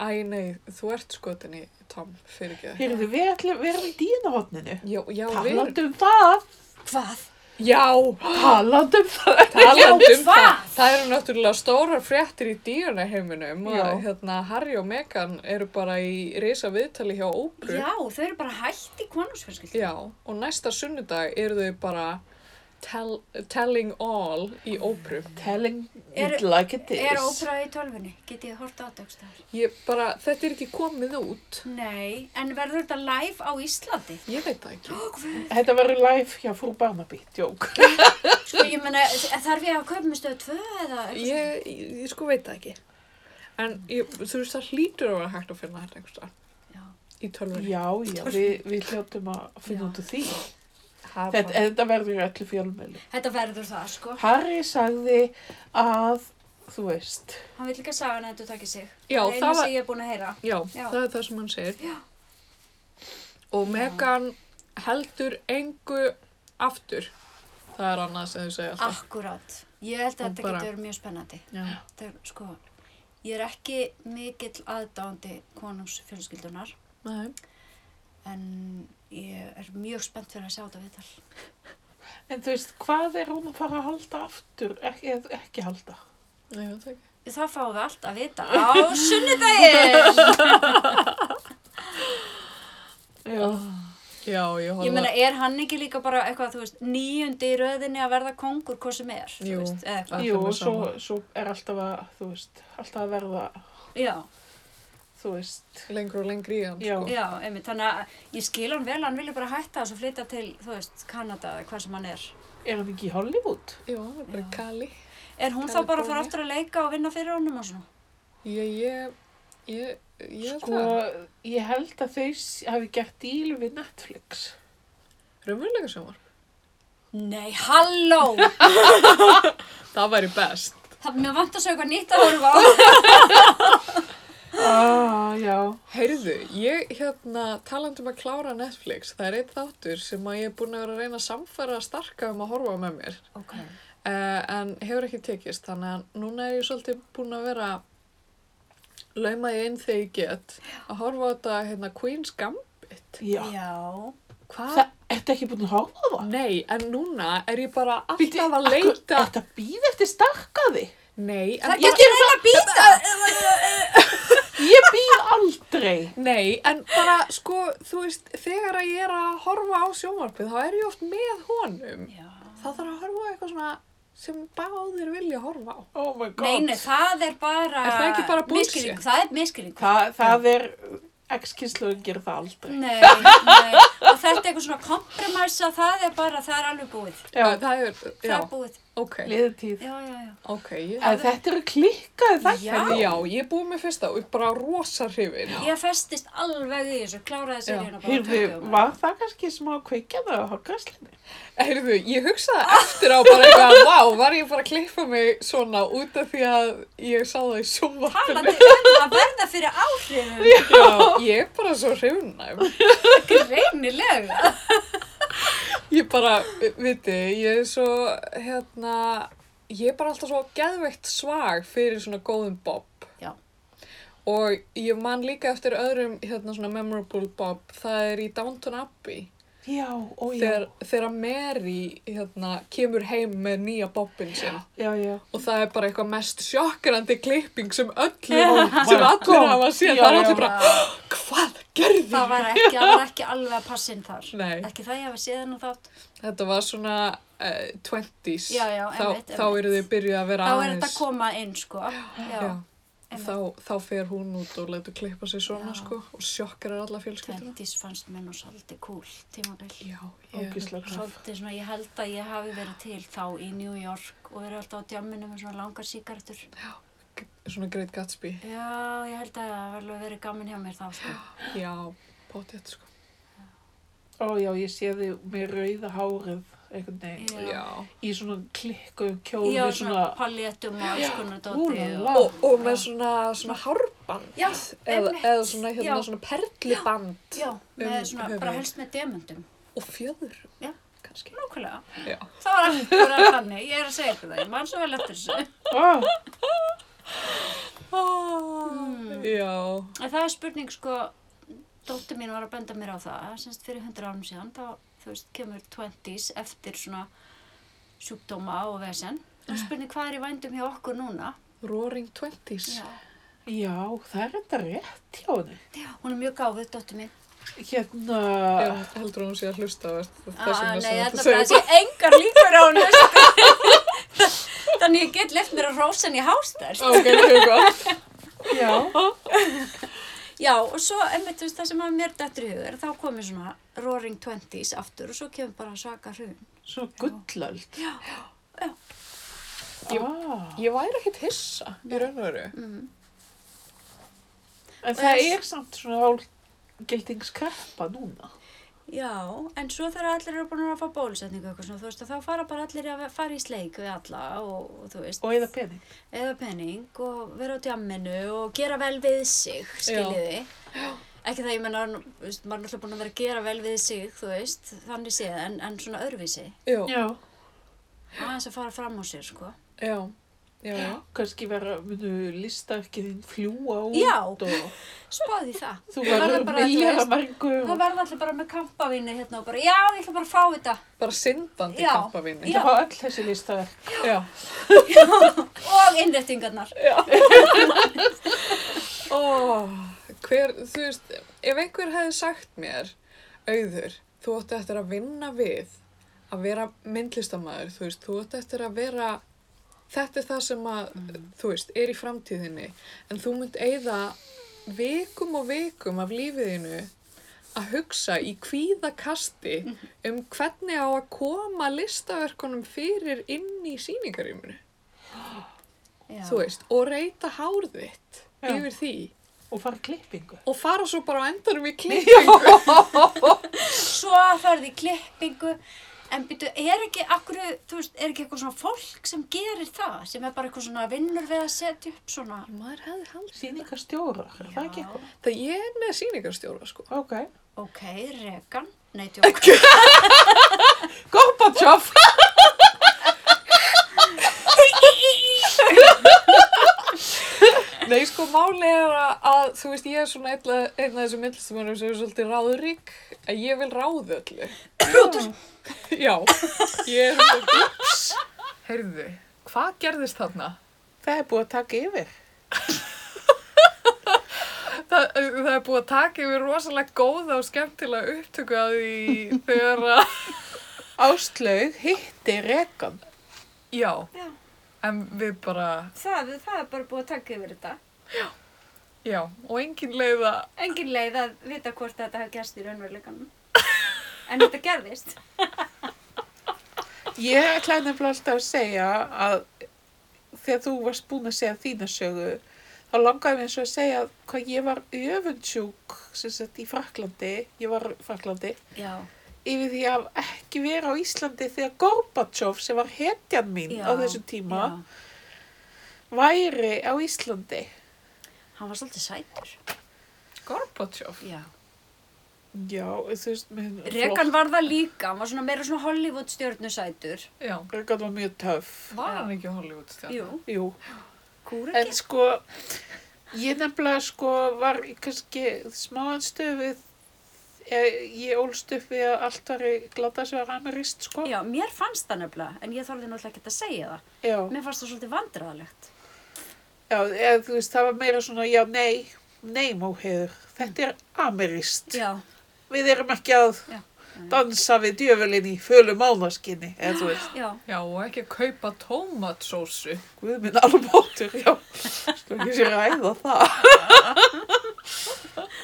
[SPEAKER 1] æ, nei, þú ert skotinni, Tom, fyrir ekki.
[SPEAKER 2] Heyrðu, við ætlum, við erum í dýnahotninu.
[SPEAKER 1] Já, já, við,
[SPEAKER 2] Talandi um það.
[SPEAKER 3] Hvað?
[SPEAKER 1] já,
[SPEAKER 2] Talandi um það.
[SPEAKER 1] talandi um
[SPEAKER 3] hvað?
[SPEAKER 1] það, það eru náttúrulega stórar fréttir í díuna heiminum
[SPEAKER 2] Já.
[SPEAKER 1] að hérna, Harry og Meghan eru bara í reysa viðtali hjá Ópru
[SPEAKER 3] Já, þau eru bara hætt í konungsfjölskyldu.
[SPEAKER 1] Já, og næsta sunnudag eru þau bara tell, telling all í Ópru
[SPEAKER 2] Telling
[SPEAKER 3] Er-
[SPEAKER 2] it like it is.
[SPEAKER 3] Er ópera í tölfunni? Get ég hort á dagstöðar?
[SPEAKER 1] Ég bara, þetta er ekki komið út
[SPEAKER 3] Nei, en verður þetta live á Íslandi?
[SPEAKER 1] Ég veit það ekki
[SPEAKER 2] Þetta verður live hjá frú Barnaby, djók.
[SPEAKER 3] Sko, ég meina, þarf ég að kaupa með stöðu tvö eða eitthvað?
[SPEAKER 1] Ég, ég, ég sko veit það ekki En ég, þú veist það hlýtur að vera hægt að finna þetta einhversta
[SPEAKER 3] Já.
[SPEAKER 1] í tölvunni
[SPEAKER 2] Já, já, við, við hljóttum að finna
[SPEAKER 3] Já.
[SPEAKER 2] út úr því.
[SPEAKER 1] Það
[SPEAKER 2] Þetta,
[SPEAKER 1] bara-
[SPEAKER 2] þetta verður í öllu fjölmölu.
[SPEAKER 3] Þetta verður það, sko.
[SPEAKER 2] Harry sagði að, þú veist,
[SPEAKER 3] Hann vil líka sagan að þetta takja sig.
[SPEAKER 1] Já,
[SPEAKER 3] það er
[SPEAKER 1] það
[SPEAKER 3] eina
[SPEAKER 1] var-
[SPEAKER 3] sem ég er búin að heyra.
[SPEAKER 1] Já,
[SPEAKER 3] Já.
[SPEAKER 1] það er það sem hann segir.
[SPEAKER 3] Já.
[SPEAKER 1] Og Megan heldur engu aftur. Það er annað sem þau segja alltaf.
[SPEAKER 3] Akkurát. Ég held að
[SPEAKER 1] Og
[SPEAKER 3] þetta
[SPEAKER 1] bara-
[SPEAKER 3] getur mjög spennandi.
[SPEAKER 1] Já.
[SPEAKER 3] Það er, sko, ég er ekki mikill aðdáandi konungsfjölskyldunar,
[SPEAKER 1] Nei.
[SPEAKER 3] en ég er mjög spennt fyrir að sjá þetta viðtal.
[SPEAKER 2] en þú veist, hvað er hún að fara að halda aftur, ekki, eða ekki halda?
[SPEAKER 1] Nei, ég veit það ekki.
[SPEAKER 3] Það fáum við allt að vita á sunnudaginn.
[SPEAKER 2] Já.
[SPEAKER 1] Já, ég horfði.
[SPEAKER 3] Ég meina, er hann ekki líka bara eitthvað, þú veist, níundi í röðinni að verða kongur hvað sem er, þú
[SPEAKER 1] Jú.
[SPEAKER 3] veist, eða eitthvað.
[SPEAKER 1] Það
[SPEAKER 2] Jú,
[SPEAKER 1] fer mér
[SPEAKER 2] og svo,
[SPEAKER 1] saman.
[SPEAKER 2] svo er alltaf að, þú veist, alltaf að verða,
[SPEAKER 3] Já,
[SPEAKER 2] þú veist,
[SPEAKER 1] Lengur og lengri í hann,
[SPEAKER 2] Já.
[SPEAKER 1] sko.
[SPEAKER 3] já, einmitt, þannig að ég skil hann vel, hann vilja bara hætta þess að flytja til, þú veist, Kanada eða hvað sem hann er.
[SPEAKER 2] er hann ekki í Hollywood?
[SPEAKER 1] Jú, það er bara
[SPEAKER 3] Já.
[SPEAKER 1] Kali.
[SPEAKER 3] Er hún þá bara að
[SPEAKER 1] Kalifornía.
[SPEAKER 3] fara aftur að leika og vinna fyrir honum og svona?
[SPEAKER 1] Ég, ég, ég Ég veit
[SPEAKER 2] Sko,
[SPEAKER 1] það.
[SPEAKER 2] ég held að þau s- hafi gert díl við Netflix.
[SPEAKER 1] Raunveruleika sjónvarp.
[SPEAKER 3] Nei, halló!
[SPEAKER 1] Það væri best.
[SPEAKER 3] Það mér vant að sjá eitthvað nýtt að horfa á.
[SPEAKER 2] Ah, já.
[SPEAKER 1] Heyrðu, ég hérna talandi um að klára Netflix, það er einn þáttur sem að ég er búin að vera að reyna að samfæra að starka um að horfa á með mér.
[SPEAKER 3] Ok.
[SPEAKER 1] Uh, en hefur ekki tekist, þannig að núna er ég svolítið búin að vera laumaði inn þegar ég get að horfa á þetta hérna Queen's Gambit.
[SPEAKER 2] Já.
[SPEAKER 3] Já.
[SPEAKER 1] Hvað?
[SPEAKER 2] Það, ertu ekki búin að horfa á það?
[SPEAKER 1] Nei, en núna er ég bara
[SPEAKER 2] Bíddu,
[SPEAKER 1] alltaf að
[SPEAKER 2] akkur-
[SPEAKER 1] leita.
[SPEAKER 2] Ertu að býða eftir stakkaði?
[SPEAKER 1] Nei, en
[SPEAKER 3] Það
[SPEAKER 1] bara-
[SPEAKER 3] getur reyna að býta.
[SPEAKER 2] Ég býð aldrei.
[SPEAKER 1] Nei, en bara, sko, þú veist, þegar að ég er að horfa á sjónvarpið, þá er ég oft með honum.
[SPEAKER 3] Já.
[SPEAKER 1] Það þarf að horfa á eitthvað svona sem báðir vilja horfa á.
[SPEAKER 2] Oh my god.
[SPEAKER 3] Nei, nei, það er bara...
[SPEAKER 1] Er það ekki bara bullshit?
[SPEAKER 3] misskilningur. Það er miskilning.
[SPEAKER 2] Þa, það er, ex-kynsluðin gerir það aldrei.
[SPEAKER 3] Nei, nei. Og þetta er eitthvað svona kompromæsa, það er bara, það er alveg búið.
[SPEAKER 2] Já,
[SPEAKER 1] Ö, Eh, Það er,
[SPEAKER 3] Það
[SPEAKER 1] já,
[SPEAKER 3] er búið.
[SPEAKER 1] ok,
[SPEAKER 2] liðið tíð.
[SPEAKER 3] Já, já, já.
[SPEAKER 1] ok, ég
[SPEAKER 2] En þetta eru klikkaði það.
[SPEAKER 3] Já.
[SPEAKER 1] Já, ég er búin með fyrsta og ég er bara rosa hrifin.
[SPEAKER 3] Ég festist alveg í þessu, kláraði seríuna bara. um á
[SPEAKER 2] Hyrðu,
[SPEAKER 3] tökum.
[SPEAKER 2] var það kannski smá kveikjað á hálfgræslinni?
[SPEAKER 1] Heyrðu, ég hugsaði eftir á bara eitthvað, vá, var ég bara að klippa mig svona út af því að ég sá það í sjónvarpinu.
[SPEAKER 3] Talandi um að verða fyrir áhrifum,
[SPEAKER 1] Já, ég er bara svo hrifnæm.
[SPEAKER 3] greinilega.
[SPEAKER 1] Ég bara, viti, ég er svo, hérna, ég er bara alltaf svo geðveikt svag fyrir svona góðum bob.
[SPEAKER 3] Já.
[SPEAKER 1] Og ég man líka eftir öðrum, hérna, svona memorable bob, það er í Downton Abbey.
[SPEAKER 2] Já, ó já.
[SPEAKER 1] Þegar, þegar Mary, hérna, kemur heim með nýja bobbin sinn.
[SPEAKER 2] Já, já.
[SPEAKER 1] Og það er bara eitthvað mest sjokkrandi klipping sem öllu,
[SPEAKER 2] Oh my
[SPEAKER 1] sem allir
[SPEAKER 2] God.
[SPEAKER 1] hafa séð.
[SPEAKER 2] Já,
[SPEAKER 1] Það er
[SPEAKER 2] já.
[SPEAKER 1] allir bara, hvað gerði
[SPEAKER 3] Það var ekki, það var ekki alveg að passa inn þar.
[SPEAKER 1] Nei.
[SPEAKER 3] Ekki það ég hefði séð hennar þátt.
[SPEAKER 1] Þetta var svona uh, 20s,
[SPEAKER 3] Já, já,
[SPEAKER 1] þá,
[SPEAKER 3] einmitt,
[SPEAKER 1] þá
[SPEAKER 3] einmitt.
[SPEAKER 1] eru þið byrjuð að vera
[SPEAKER 3] Þá er
[SPEAKER 1] aðeins.
[SPEAKER 3] þetta að koma inn, sko. Já,
[SPEAKER 1] Já, þá, þá fer hún út og letur klippa sig svona
[SPEAKER 3] Já.
[SPEAKER 1] sko og sjokkar er alla fjölskylduna.
[SPEAKER 3] 20s fannst mér nú svolítið cool tímabill.
[SPEAKER 1] Já, ég,
[SPEAKER 2] Ógislega gráð.
[SPEAKER 3] Svolítið svona, ég held að ég hafi verið til þá í New York og verið alltaf á djamminu með svona langar síkartur.
[SPEAKER 1] svona Great Gatsby.
[SPEAKER 3] Já, ég held að það var alveg verið gaman hjá mér þá, sko.
[SPEAKER 1] Já, potið sko.
[SPEAKER 2] Ó já, ég sé þig með rauða hárið einhvern veginn.
[SPEAKER 3] Já.
[SPEAKER 1] Já.
[SPEAKER 2] Í svona klikkuðum kjól
[SPEAKER 3] Já,
[SPEAKER 2] með
[SPEAKER 3] svona
[SPEAKER 2] svona...
[SPEAKER 3] paljettum og alls konar dóti.
[SPEAKER 2] Úlala.
[SPEAKER 3] og-
[SPEAKER 1] Og, og með svona, svona hárband
[SPEAKER 3] Já,
[SPEAKER 1] eða,
[SPEAKER 3] einmitt.
[SPEAKER 1] eða svona, hérna,
[SPEAKER 3] Já.
[SPEAKER 1] svona perliband
[SPEAKER 3] Já, með
[SPEAKER 1] Um
[SPEAKER 3] svona,
[SPEAKER 1] höfuðið.
[SPEAKER 3] bara helst með demundum.
[SPEAKER 1] og fjöður
[SPEAKER 3] Já.
[SPEAKER 1] kannski.
[SPEAKER 3] Nákvæmlega.
[SPEAKER 1] Já.
[SPEAKER 3] Það var akkurat þannig, ég er að segja ykkur það, ég man svo vel eftir þessu.
[SPEAKER 2] Ó,
[SPEAKER 3] Ah.
[SPEAKER 1] Já.
[SPEAKER 3] En það er spurning, sko, dóttir mín var að benda mér á það, semst fyrir 100 árum síðan, þá, þú veist, kemur 20s eftir svona sjúkdóma og vesen.
[SPEAKER 1] Ah.
[SPEAKER 3] Það er spurning hvað er í vændum hjá okkur núna.
[SPEAKER 1] Roaring Twenties.
[SPEAKER 2] já, það er enda rétt hjá henni.
[SPEAKER 3] Hún er mjög gáfuð, dóttir mín.
[SPEAKER 2] Hérna...
[SPEAKER 1] Já, heldur hún sé að hlusta á þetta þess
[SPEAKER 3] Ah,
[SPEAKER 1] vegna sem
[SPEAKER 3] Nei, þetta
[SPEAKER 1] þetta
[SPEAKER 3] bara
[SPEAKER 1] segir
[SPEAKER 3] þessi engar líkur á hún, veistu. Þannig ég get leift mér að rósa henni hástær.
[SPEAKER 1] Ok, það er gott.
[SPEAKER 2] Já.
[SPEAKER 3] Já, og svo, einmitt, þú veist, það sem að mér dættur í hugur, er þá komið svona Roaring Twenties aftur og svo kemur bara svaka hrun.
[SPEAKER 2] Svo gullöld. Já.
[SPEAKER 3] já.
[SPEAKER 2] Ah.
[SPEAKER 1] Ég væri ekkert hissa í raun og veru.
[SPEAKER 2] En
[SPEAKER 3] það
[SPEAKER 2] það
[SPEAKER 3] er-
[SPEAKER 2] er samt svona hálfgildingskappa núna.
[SPEAKER 3] Já, en svo þegar allir eru búin að fá bólusetningu og eitthvað svona, þú veist, að þá fara bara allir að fara í sleik við alla og, og þú veist,
[SPEAKER 2] Og eða pening.
[SPEAKER 3] eða penning og vera á djamminu og gera vel við sig, skiljiði. Ekki það ég menna, nú, þú veist, maður er náttúrulega búin að vera að gera vel við sig, þú veist, þannig séð, en, en svona öðruvísi.
[SPEAKER 1] Já,
[SPEAKER 2] Já.
[SPEAKER 3] Aðeins að fara fram á sér, sko.
[SPEAKER 1] já, já, já.
[SPEAKER 2] Kanski vera, munu, listarkið þín fljúa út
[SPEAKER 3] Já.
[SPEAKER 2] og
[SPEAKER 3] Spáði það.
[SPEAKER 2] þú
[SPEAKER 3] Það verður
[SPEAKER 2] verður
[SPEAKER 3] bara, þú
[SPEAKER 2] milljar
[SPEAKER 3] veist,
[SPEAKER 2] að margu.
[SPEAKER 3] Það verða allir bara með kampavínu hérna og bara, já, ég ætla bara að fá þetta.
[SPEAKER 1] Bara syndandi
[SPEAKER 3] Já.
[SPEAKER 1] kampavinni.
[SPEAKER 3] Já.
[SPEAKER 2] Það fá öll þessi listaverk.
[SPEAKER 1] Já.
[SPEAKER 3] Og innréttingarnar.
[SPEAKER 1] Ó, hver, þú veist, ef einhver hefði sagt mér, auður, þú ætti eftir að vinna við að vera myndlistamæður, þú veist, þú ætti eftir að vera, þetta er það sem að, þú veist, er í framtíðinni, en þú mynd eigða vikum og vikum af lífiðinu að hugsa í kvíðakasti um hvernig á að koma listaverkunum fyrir inn í sýningarýmunu
[SPEAKER 3] Já.
[SPEAKER 1] þú veist, og reyta hár þitt
[SPEAKER 2] Já.
[SPEAKER 1] yfir því
[SPEAKER 2] og fara í klippingu.
[SPEAKER 1] og fara svo bara á endanum í klipp
[SPEAKER 2] Já.
[SPEAKER 3] svo ferði í klippingu en byrju, er ekki, akkur, veist, er ekki eitthvað svona fólk sem gerir það sem er bara eitthvað svona vinnur við að setja upp svona
[SPEAKER 1] maður hefði haldið
[SPEAKER 2] Sýningastjórar, er það ekki eitthvað?
[SPEAKER 1] það ég er með sýningarstjóra sko
[SPEAKER 2] Ok.
[SPEAKER 3] ok, rekan nei, tjók
[SPEAKER 2] Gorbachev!
[SPEAKER 1] Nei, sko, máli er að, að, þú veist, ég er svona einn af þessum myndlistamönnum sem er svolítið ráðrík, að ég vil ráða öllu. Já, ég er svona, ups, heyrðu, hvað gerðist þarna?
[SPEAKER 2] Það er búið að taka yfir.
[SPEAKER 1] Það, það er búið að taka yfir rosalega góða og skemmtilega upptöku að því þegar að,
[SPEAKER 2] Áslaug hitti Rekan.
[SPEAKER 1] já,
[SPEAKER 4] Já.
[SPEAKER 1] en við bara,
[SPEAKER 4] Það, það er bara búið að taka yfir þetta.
[SPEAKER 1] já, og engin leið að,
[SPEAKER 4] Engin leið að vita hvort þetta hafi gerst í raunveruleikanum. En þetta gerðist.
[SPEAKER 2] Ég ætlaði nefnilega alltaf að segja að þegar þú varst búin að segja þína sögu, þá langaði mér eins og að segja hvað ég var öfundsjúk sem sagt í Fraklandi, ég var í Fraklandi,
[SPEAKER 3] já,
[SPEAKER 2] yfir því að ekki vera á Íslandi þegar Gorbachev sem var hetjan mín
[SPEAKER 3] já,
[SPEAKER 2] á þessum tíma
[SPEAKER 3] já.
[SPEAKER 2] væri á Íslandi.
[SPEAKER 3] hann var svolítið sætur
[SPEAKER 1] Gorbachev.
[SPEAKER 3] já.
[SPEAKER 2] Já, þú veist, með
[SPEAKER 3] rekan var það líka, hann var svona meira svona Hollywood stjörnu sætur
[SPEAKER 1] Já,
[SPEAKER 2] Rekan var mjög töff.
[SPEAKER 1] var hann ekki Hollywood stjárn?
[SPEAKER 3] jú,
[SPEAKER 2] Jú,
[SPEAKER 3] kúra
[SPEAKER 2] en sko, ég nefnilega sko var í kannski smáanstöfið, ég, eh, ég ólst upp við að allt var í gladasvegar amirist sko.
[SPEAKER 3] já, mér fannst það nefnilega en ég þorði náttúrulega ekki að segja það
[SPEAKER 2] Já,
[SPEAKER 3] mér fannst það svolítið vandræðalegt
[SPEAKER 2] já eða, þú veist, það var meira svona, já, nei, nei, móheður, þetta er amirist.
[SPEAKER 3] já,
[SPEAKER 2] Við erum ekki að
[SPEAKER 3] Já.
[SPEAKER 2] dansa við djöfulinn í fölu máðaskinni, eða þú veist,
[SPEAKER 3] já,
[SPEAKER 1] Já, og ekki að kaupa tómatsósu.
[SPEAKER 2] guð minn albóttur, já, sko ekki sér að æða það.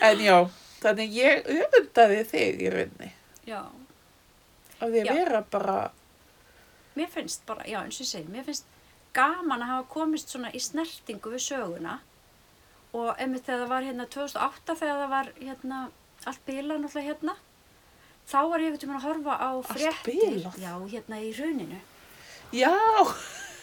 [SPEAKER 2] en já, þannig ég öfundaði þig í rauninni.
[SPEAKER 3] já
[SPEAKER 2] Af því að
[SPEAKER 3] Já.
[SPEAKER 2] vera bara,
[SPEAKER 3] mér finnst bara, já eins og ég segi, mér finnst gaman að hafa komist svona í snertingu við söguna og einmitt þegar það var hérna 2008 þegar það var hérna allt bílað náttúrulega hérna þá var ég einhvern tímann að horfa á fréttir
[SPEAKER 2] bilað?
[SPEAKER 3] já, hérna í rauninu
[SPEAKER 2] já,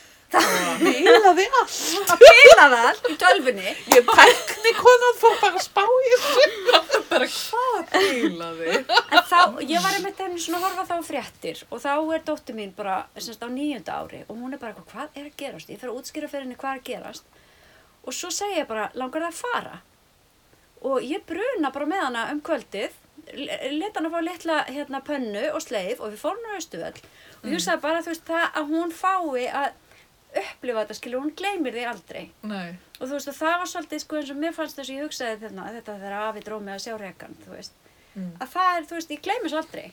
[SPEAKER 2] bilaði allt.
[SPEAKER 3] að bila það allt í tölfunni
[SPEAKER 2] Ég tækni konan fór bara að spá í þessu.
[SPEAKER 1] Bara hvað bílaði?
[SPEAKER 3] en þá, ég var einmitt einu svona að horfa þá á fréttir og þá er dóttir mín bara semst á nýjunda ári og hún er bara eitthvað, hvað er að gerast ég fer að útskýra fyrir henni hvað er að gerast og svo segi ég bara, langar það að fara og ég bruna bara með hana um kvöldið leta hana fá litla hérna pönnu og sleif og við fórum hana austu öll og ég sagði bara, þú veist, það að hún fái að upplifa þetta, skilur, hún gleymir því aldrei
[SPEAKER 1] Nei.
[SPEAKER 3] og þú veist að það var svolítið sko eins og mér fannst þess að ég hugsaði þarna að þetta þegar afi dró mig að sjá rekan þú veist
[SPEAKER 1] Mm.
[SPEAKER 3] að það er þú veist ég gleymis aldrei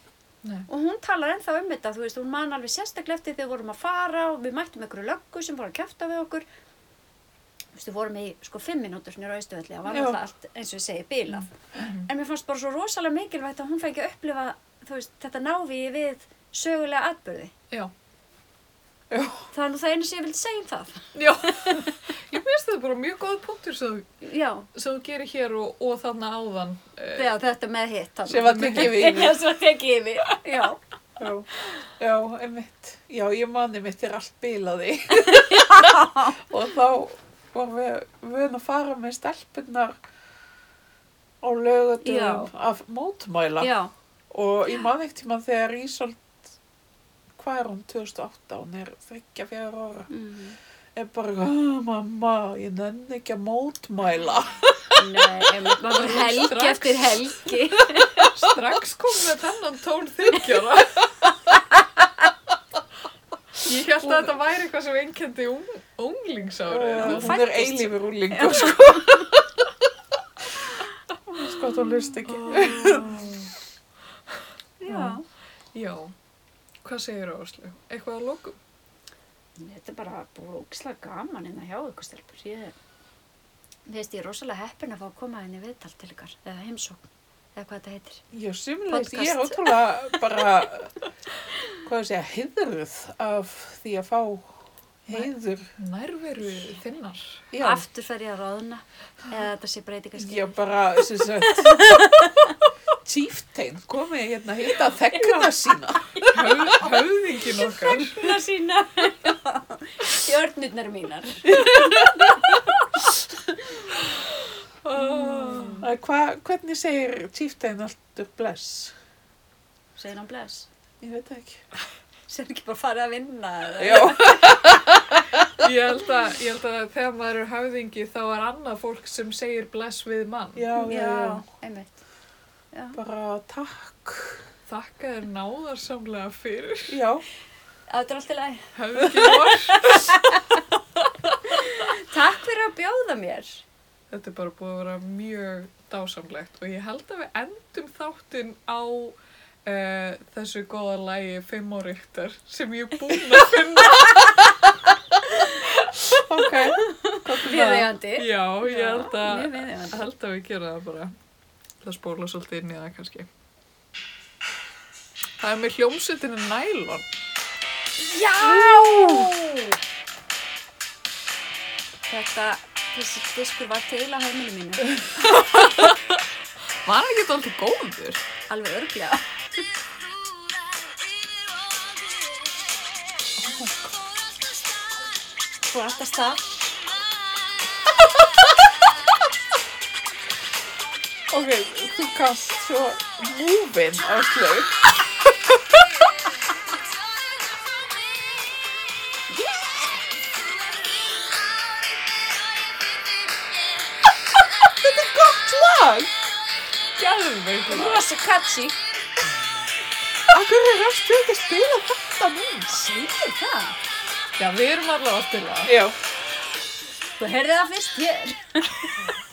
[SPEAKER 1] Nei.
[SPEAKER 3] og hún talar ennþá um þetta þú veist hún man alveg sérstaklega eftir þegar við vorum að fara og við mættum einhverju löggu sem voru að kæfta við okkur þú veist við vorum í sko fimm mínútur snur á Ístuvelli og var
[SPEAKER 2] Já.
[SPEAKER 3] alltaf allt eins og ég segi bílað
[SPEAKER 1] Mm.
[SPEAKER 3] en mér fannst bara svo rosalega mikilvægt að hún fengi að upplifa þú veist þetta návíi við sögulega atbyrði
[SPEAKER 1] Já.
[SPEAKER 3] það er nú það einu sem ég vildi segja um það
[SPEAKER 1] Já, ég finnst þetta bara mjög góð punktur sem,
[SPEAKER 3] já,
[SPEAKER 1] sem þú gerir hér og, og þarna áðan. eh,
[SPEAKER 3] já þetta með hitt þarna.
[SPEAKER 2] Sem var tekið við yfir.
[SPEAKER 3] Já, svo tekið yfir, já.
[SPEAKER 2] Já, já, einmitt. Já, ég manni mitt er allt bilaði. og þá vorum við vun að fara með stelpunnar á lögutum að mótmæla.
[SPEAKER 3] Já,
[SPEAKER 2] Og ég man ekkert tíma þegar Ísolt, hvað er hún, 2008, hún er 34 ára.
[SPEAKER 3] Mm.
[SPEAKER 2] er bara, "Ah, mamma, ég nenni ekki að mótmæla.
[SPEAKER 3] nei, einmitt, maður var helgi
[SPEAKER 1] Strax.
[SPEAKER 3] eftir helgi.
[SPEAKER 1] Strax kom með þennan tón þykjara. Ég held að þetta væri eitthvað sem einkendi ung, unglingsárið.
[SPEAKER 2] Uh,
[SPEAKER 3] hún
[SPEAKER 2] hún er
[SPEAKER 3] fæddist-
[SPEAKER 2] eilífur úrlingur, sko. sko, þú lust ekki.
[SPEAKER 3] Já.
[SPEAKER 1] Já, hvað segir Áslu? Eitthvað að lokum?
[SPEAKER 3] Þetta er bara búið ógislega gaman hérna hjá ykkur stelpur. Ég, Mér finnst ég rosalega heppin að fá að koma henni viðtal til ykkar, eða heimsókn, eða hvað þetta heitir.
[SPEAKER 2] Já, sumleis, ég er
[SPEAKER 3] Podcast.
[SPEAKER 2] ótrúlega bara, hvað ég segja, heiðruð af því að fá heiður.
[SPEAKER 1] Nærveru þinnar.
[SPEAKER 2] Já,
[SPEAKER 3] Aftur fer ég að ráðuna eða þetta sé breytingarskip.
[SPEAKER 2] já bara, sem sagt, tíftein komið hérna að hitta þekkuna sína.
[SPEAKER 1] Höf, höfðingin okkar.
[SPEAKER 4] Huna sína.
[SPEAKER 3] Stjörnurnar mínar.
[SPEAKER 1] Ah.
[SPEAKER 2] Æ, Hva, hvernig segir tíftein alltaf bless?
[SPEAKER 3] Segir hann bless.
[SPEAKER 2] Ég veit það ekki.
[SPEAKER 3] Segir ekki bara farið að vinna. eða-
[SPEAKER 2] Já,
[SPEAKER 1] Ég held, að, ég held að þegar maður er höfðingi þá er annað fólk sem segir bless við mann.
[SPEAKER 2] já, já, já.
[SPEAKER 3] Já, einmitt.
[SPEAKER 2] Bara takk.
[SPEAKER 1] Þakka þér náðarsamlega fyrir
[SPEAKER 2] Já,
[SPEAKER 3] Þetta er allt í lagi.
[SPEAKER 1] höfðingin okkar.
[SPEAKER 3] Takk fyrir að bjóða mér.
[SPEAKER 1] Þetta er bara búið að vera mjög dásamlegt og ég held að við endum þáttinn á uh, þessu góða lægi Fimm og Ríktar sem ég er búin að finna.
[SPEAKER 2] ok. Hvað er það?
[SPEAKER 3] Viðeigandi.
[SPEAKER 1] Já, ég held að,
[SPEAKER 3] mjög viðeigandi.
[SPEAKER 1] held að við gera það bara. Það spóla svolítið inn í það kannski. Það er með hljómsveitinu nælon.
[SPEAKER 3] Þetta, þessi diskur var til á heimilu mínu.
[SPEAKER 1] Var ekki alltaf góður?
[SPEAKER 3] Alveg örglega. Þú ert að stað.
[SPEAKER 2] Ok, þú kannst svo múvin á slög. Þetta er gott lag!
[SPEAKER 1] Gæðum
[SPEAKER 3] Rosa catchy.
[SPEAKER 2] Akkur er ræstu ekki að spila þetta núna?
[SPEAKER 3] Sýnir það.
[SPEAKER 1] Já, við erum allavega að spila það.
[SPEAKER 2] Já.
[SPEAKER 3] Þú heyrði það fyrst hér.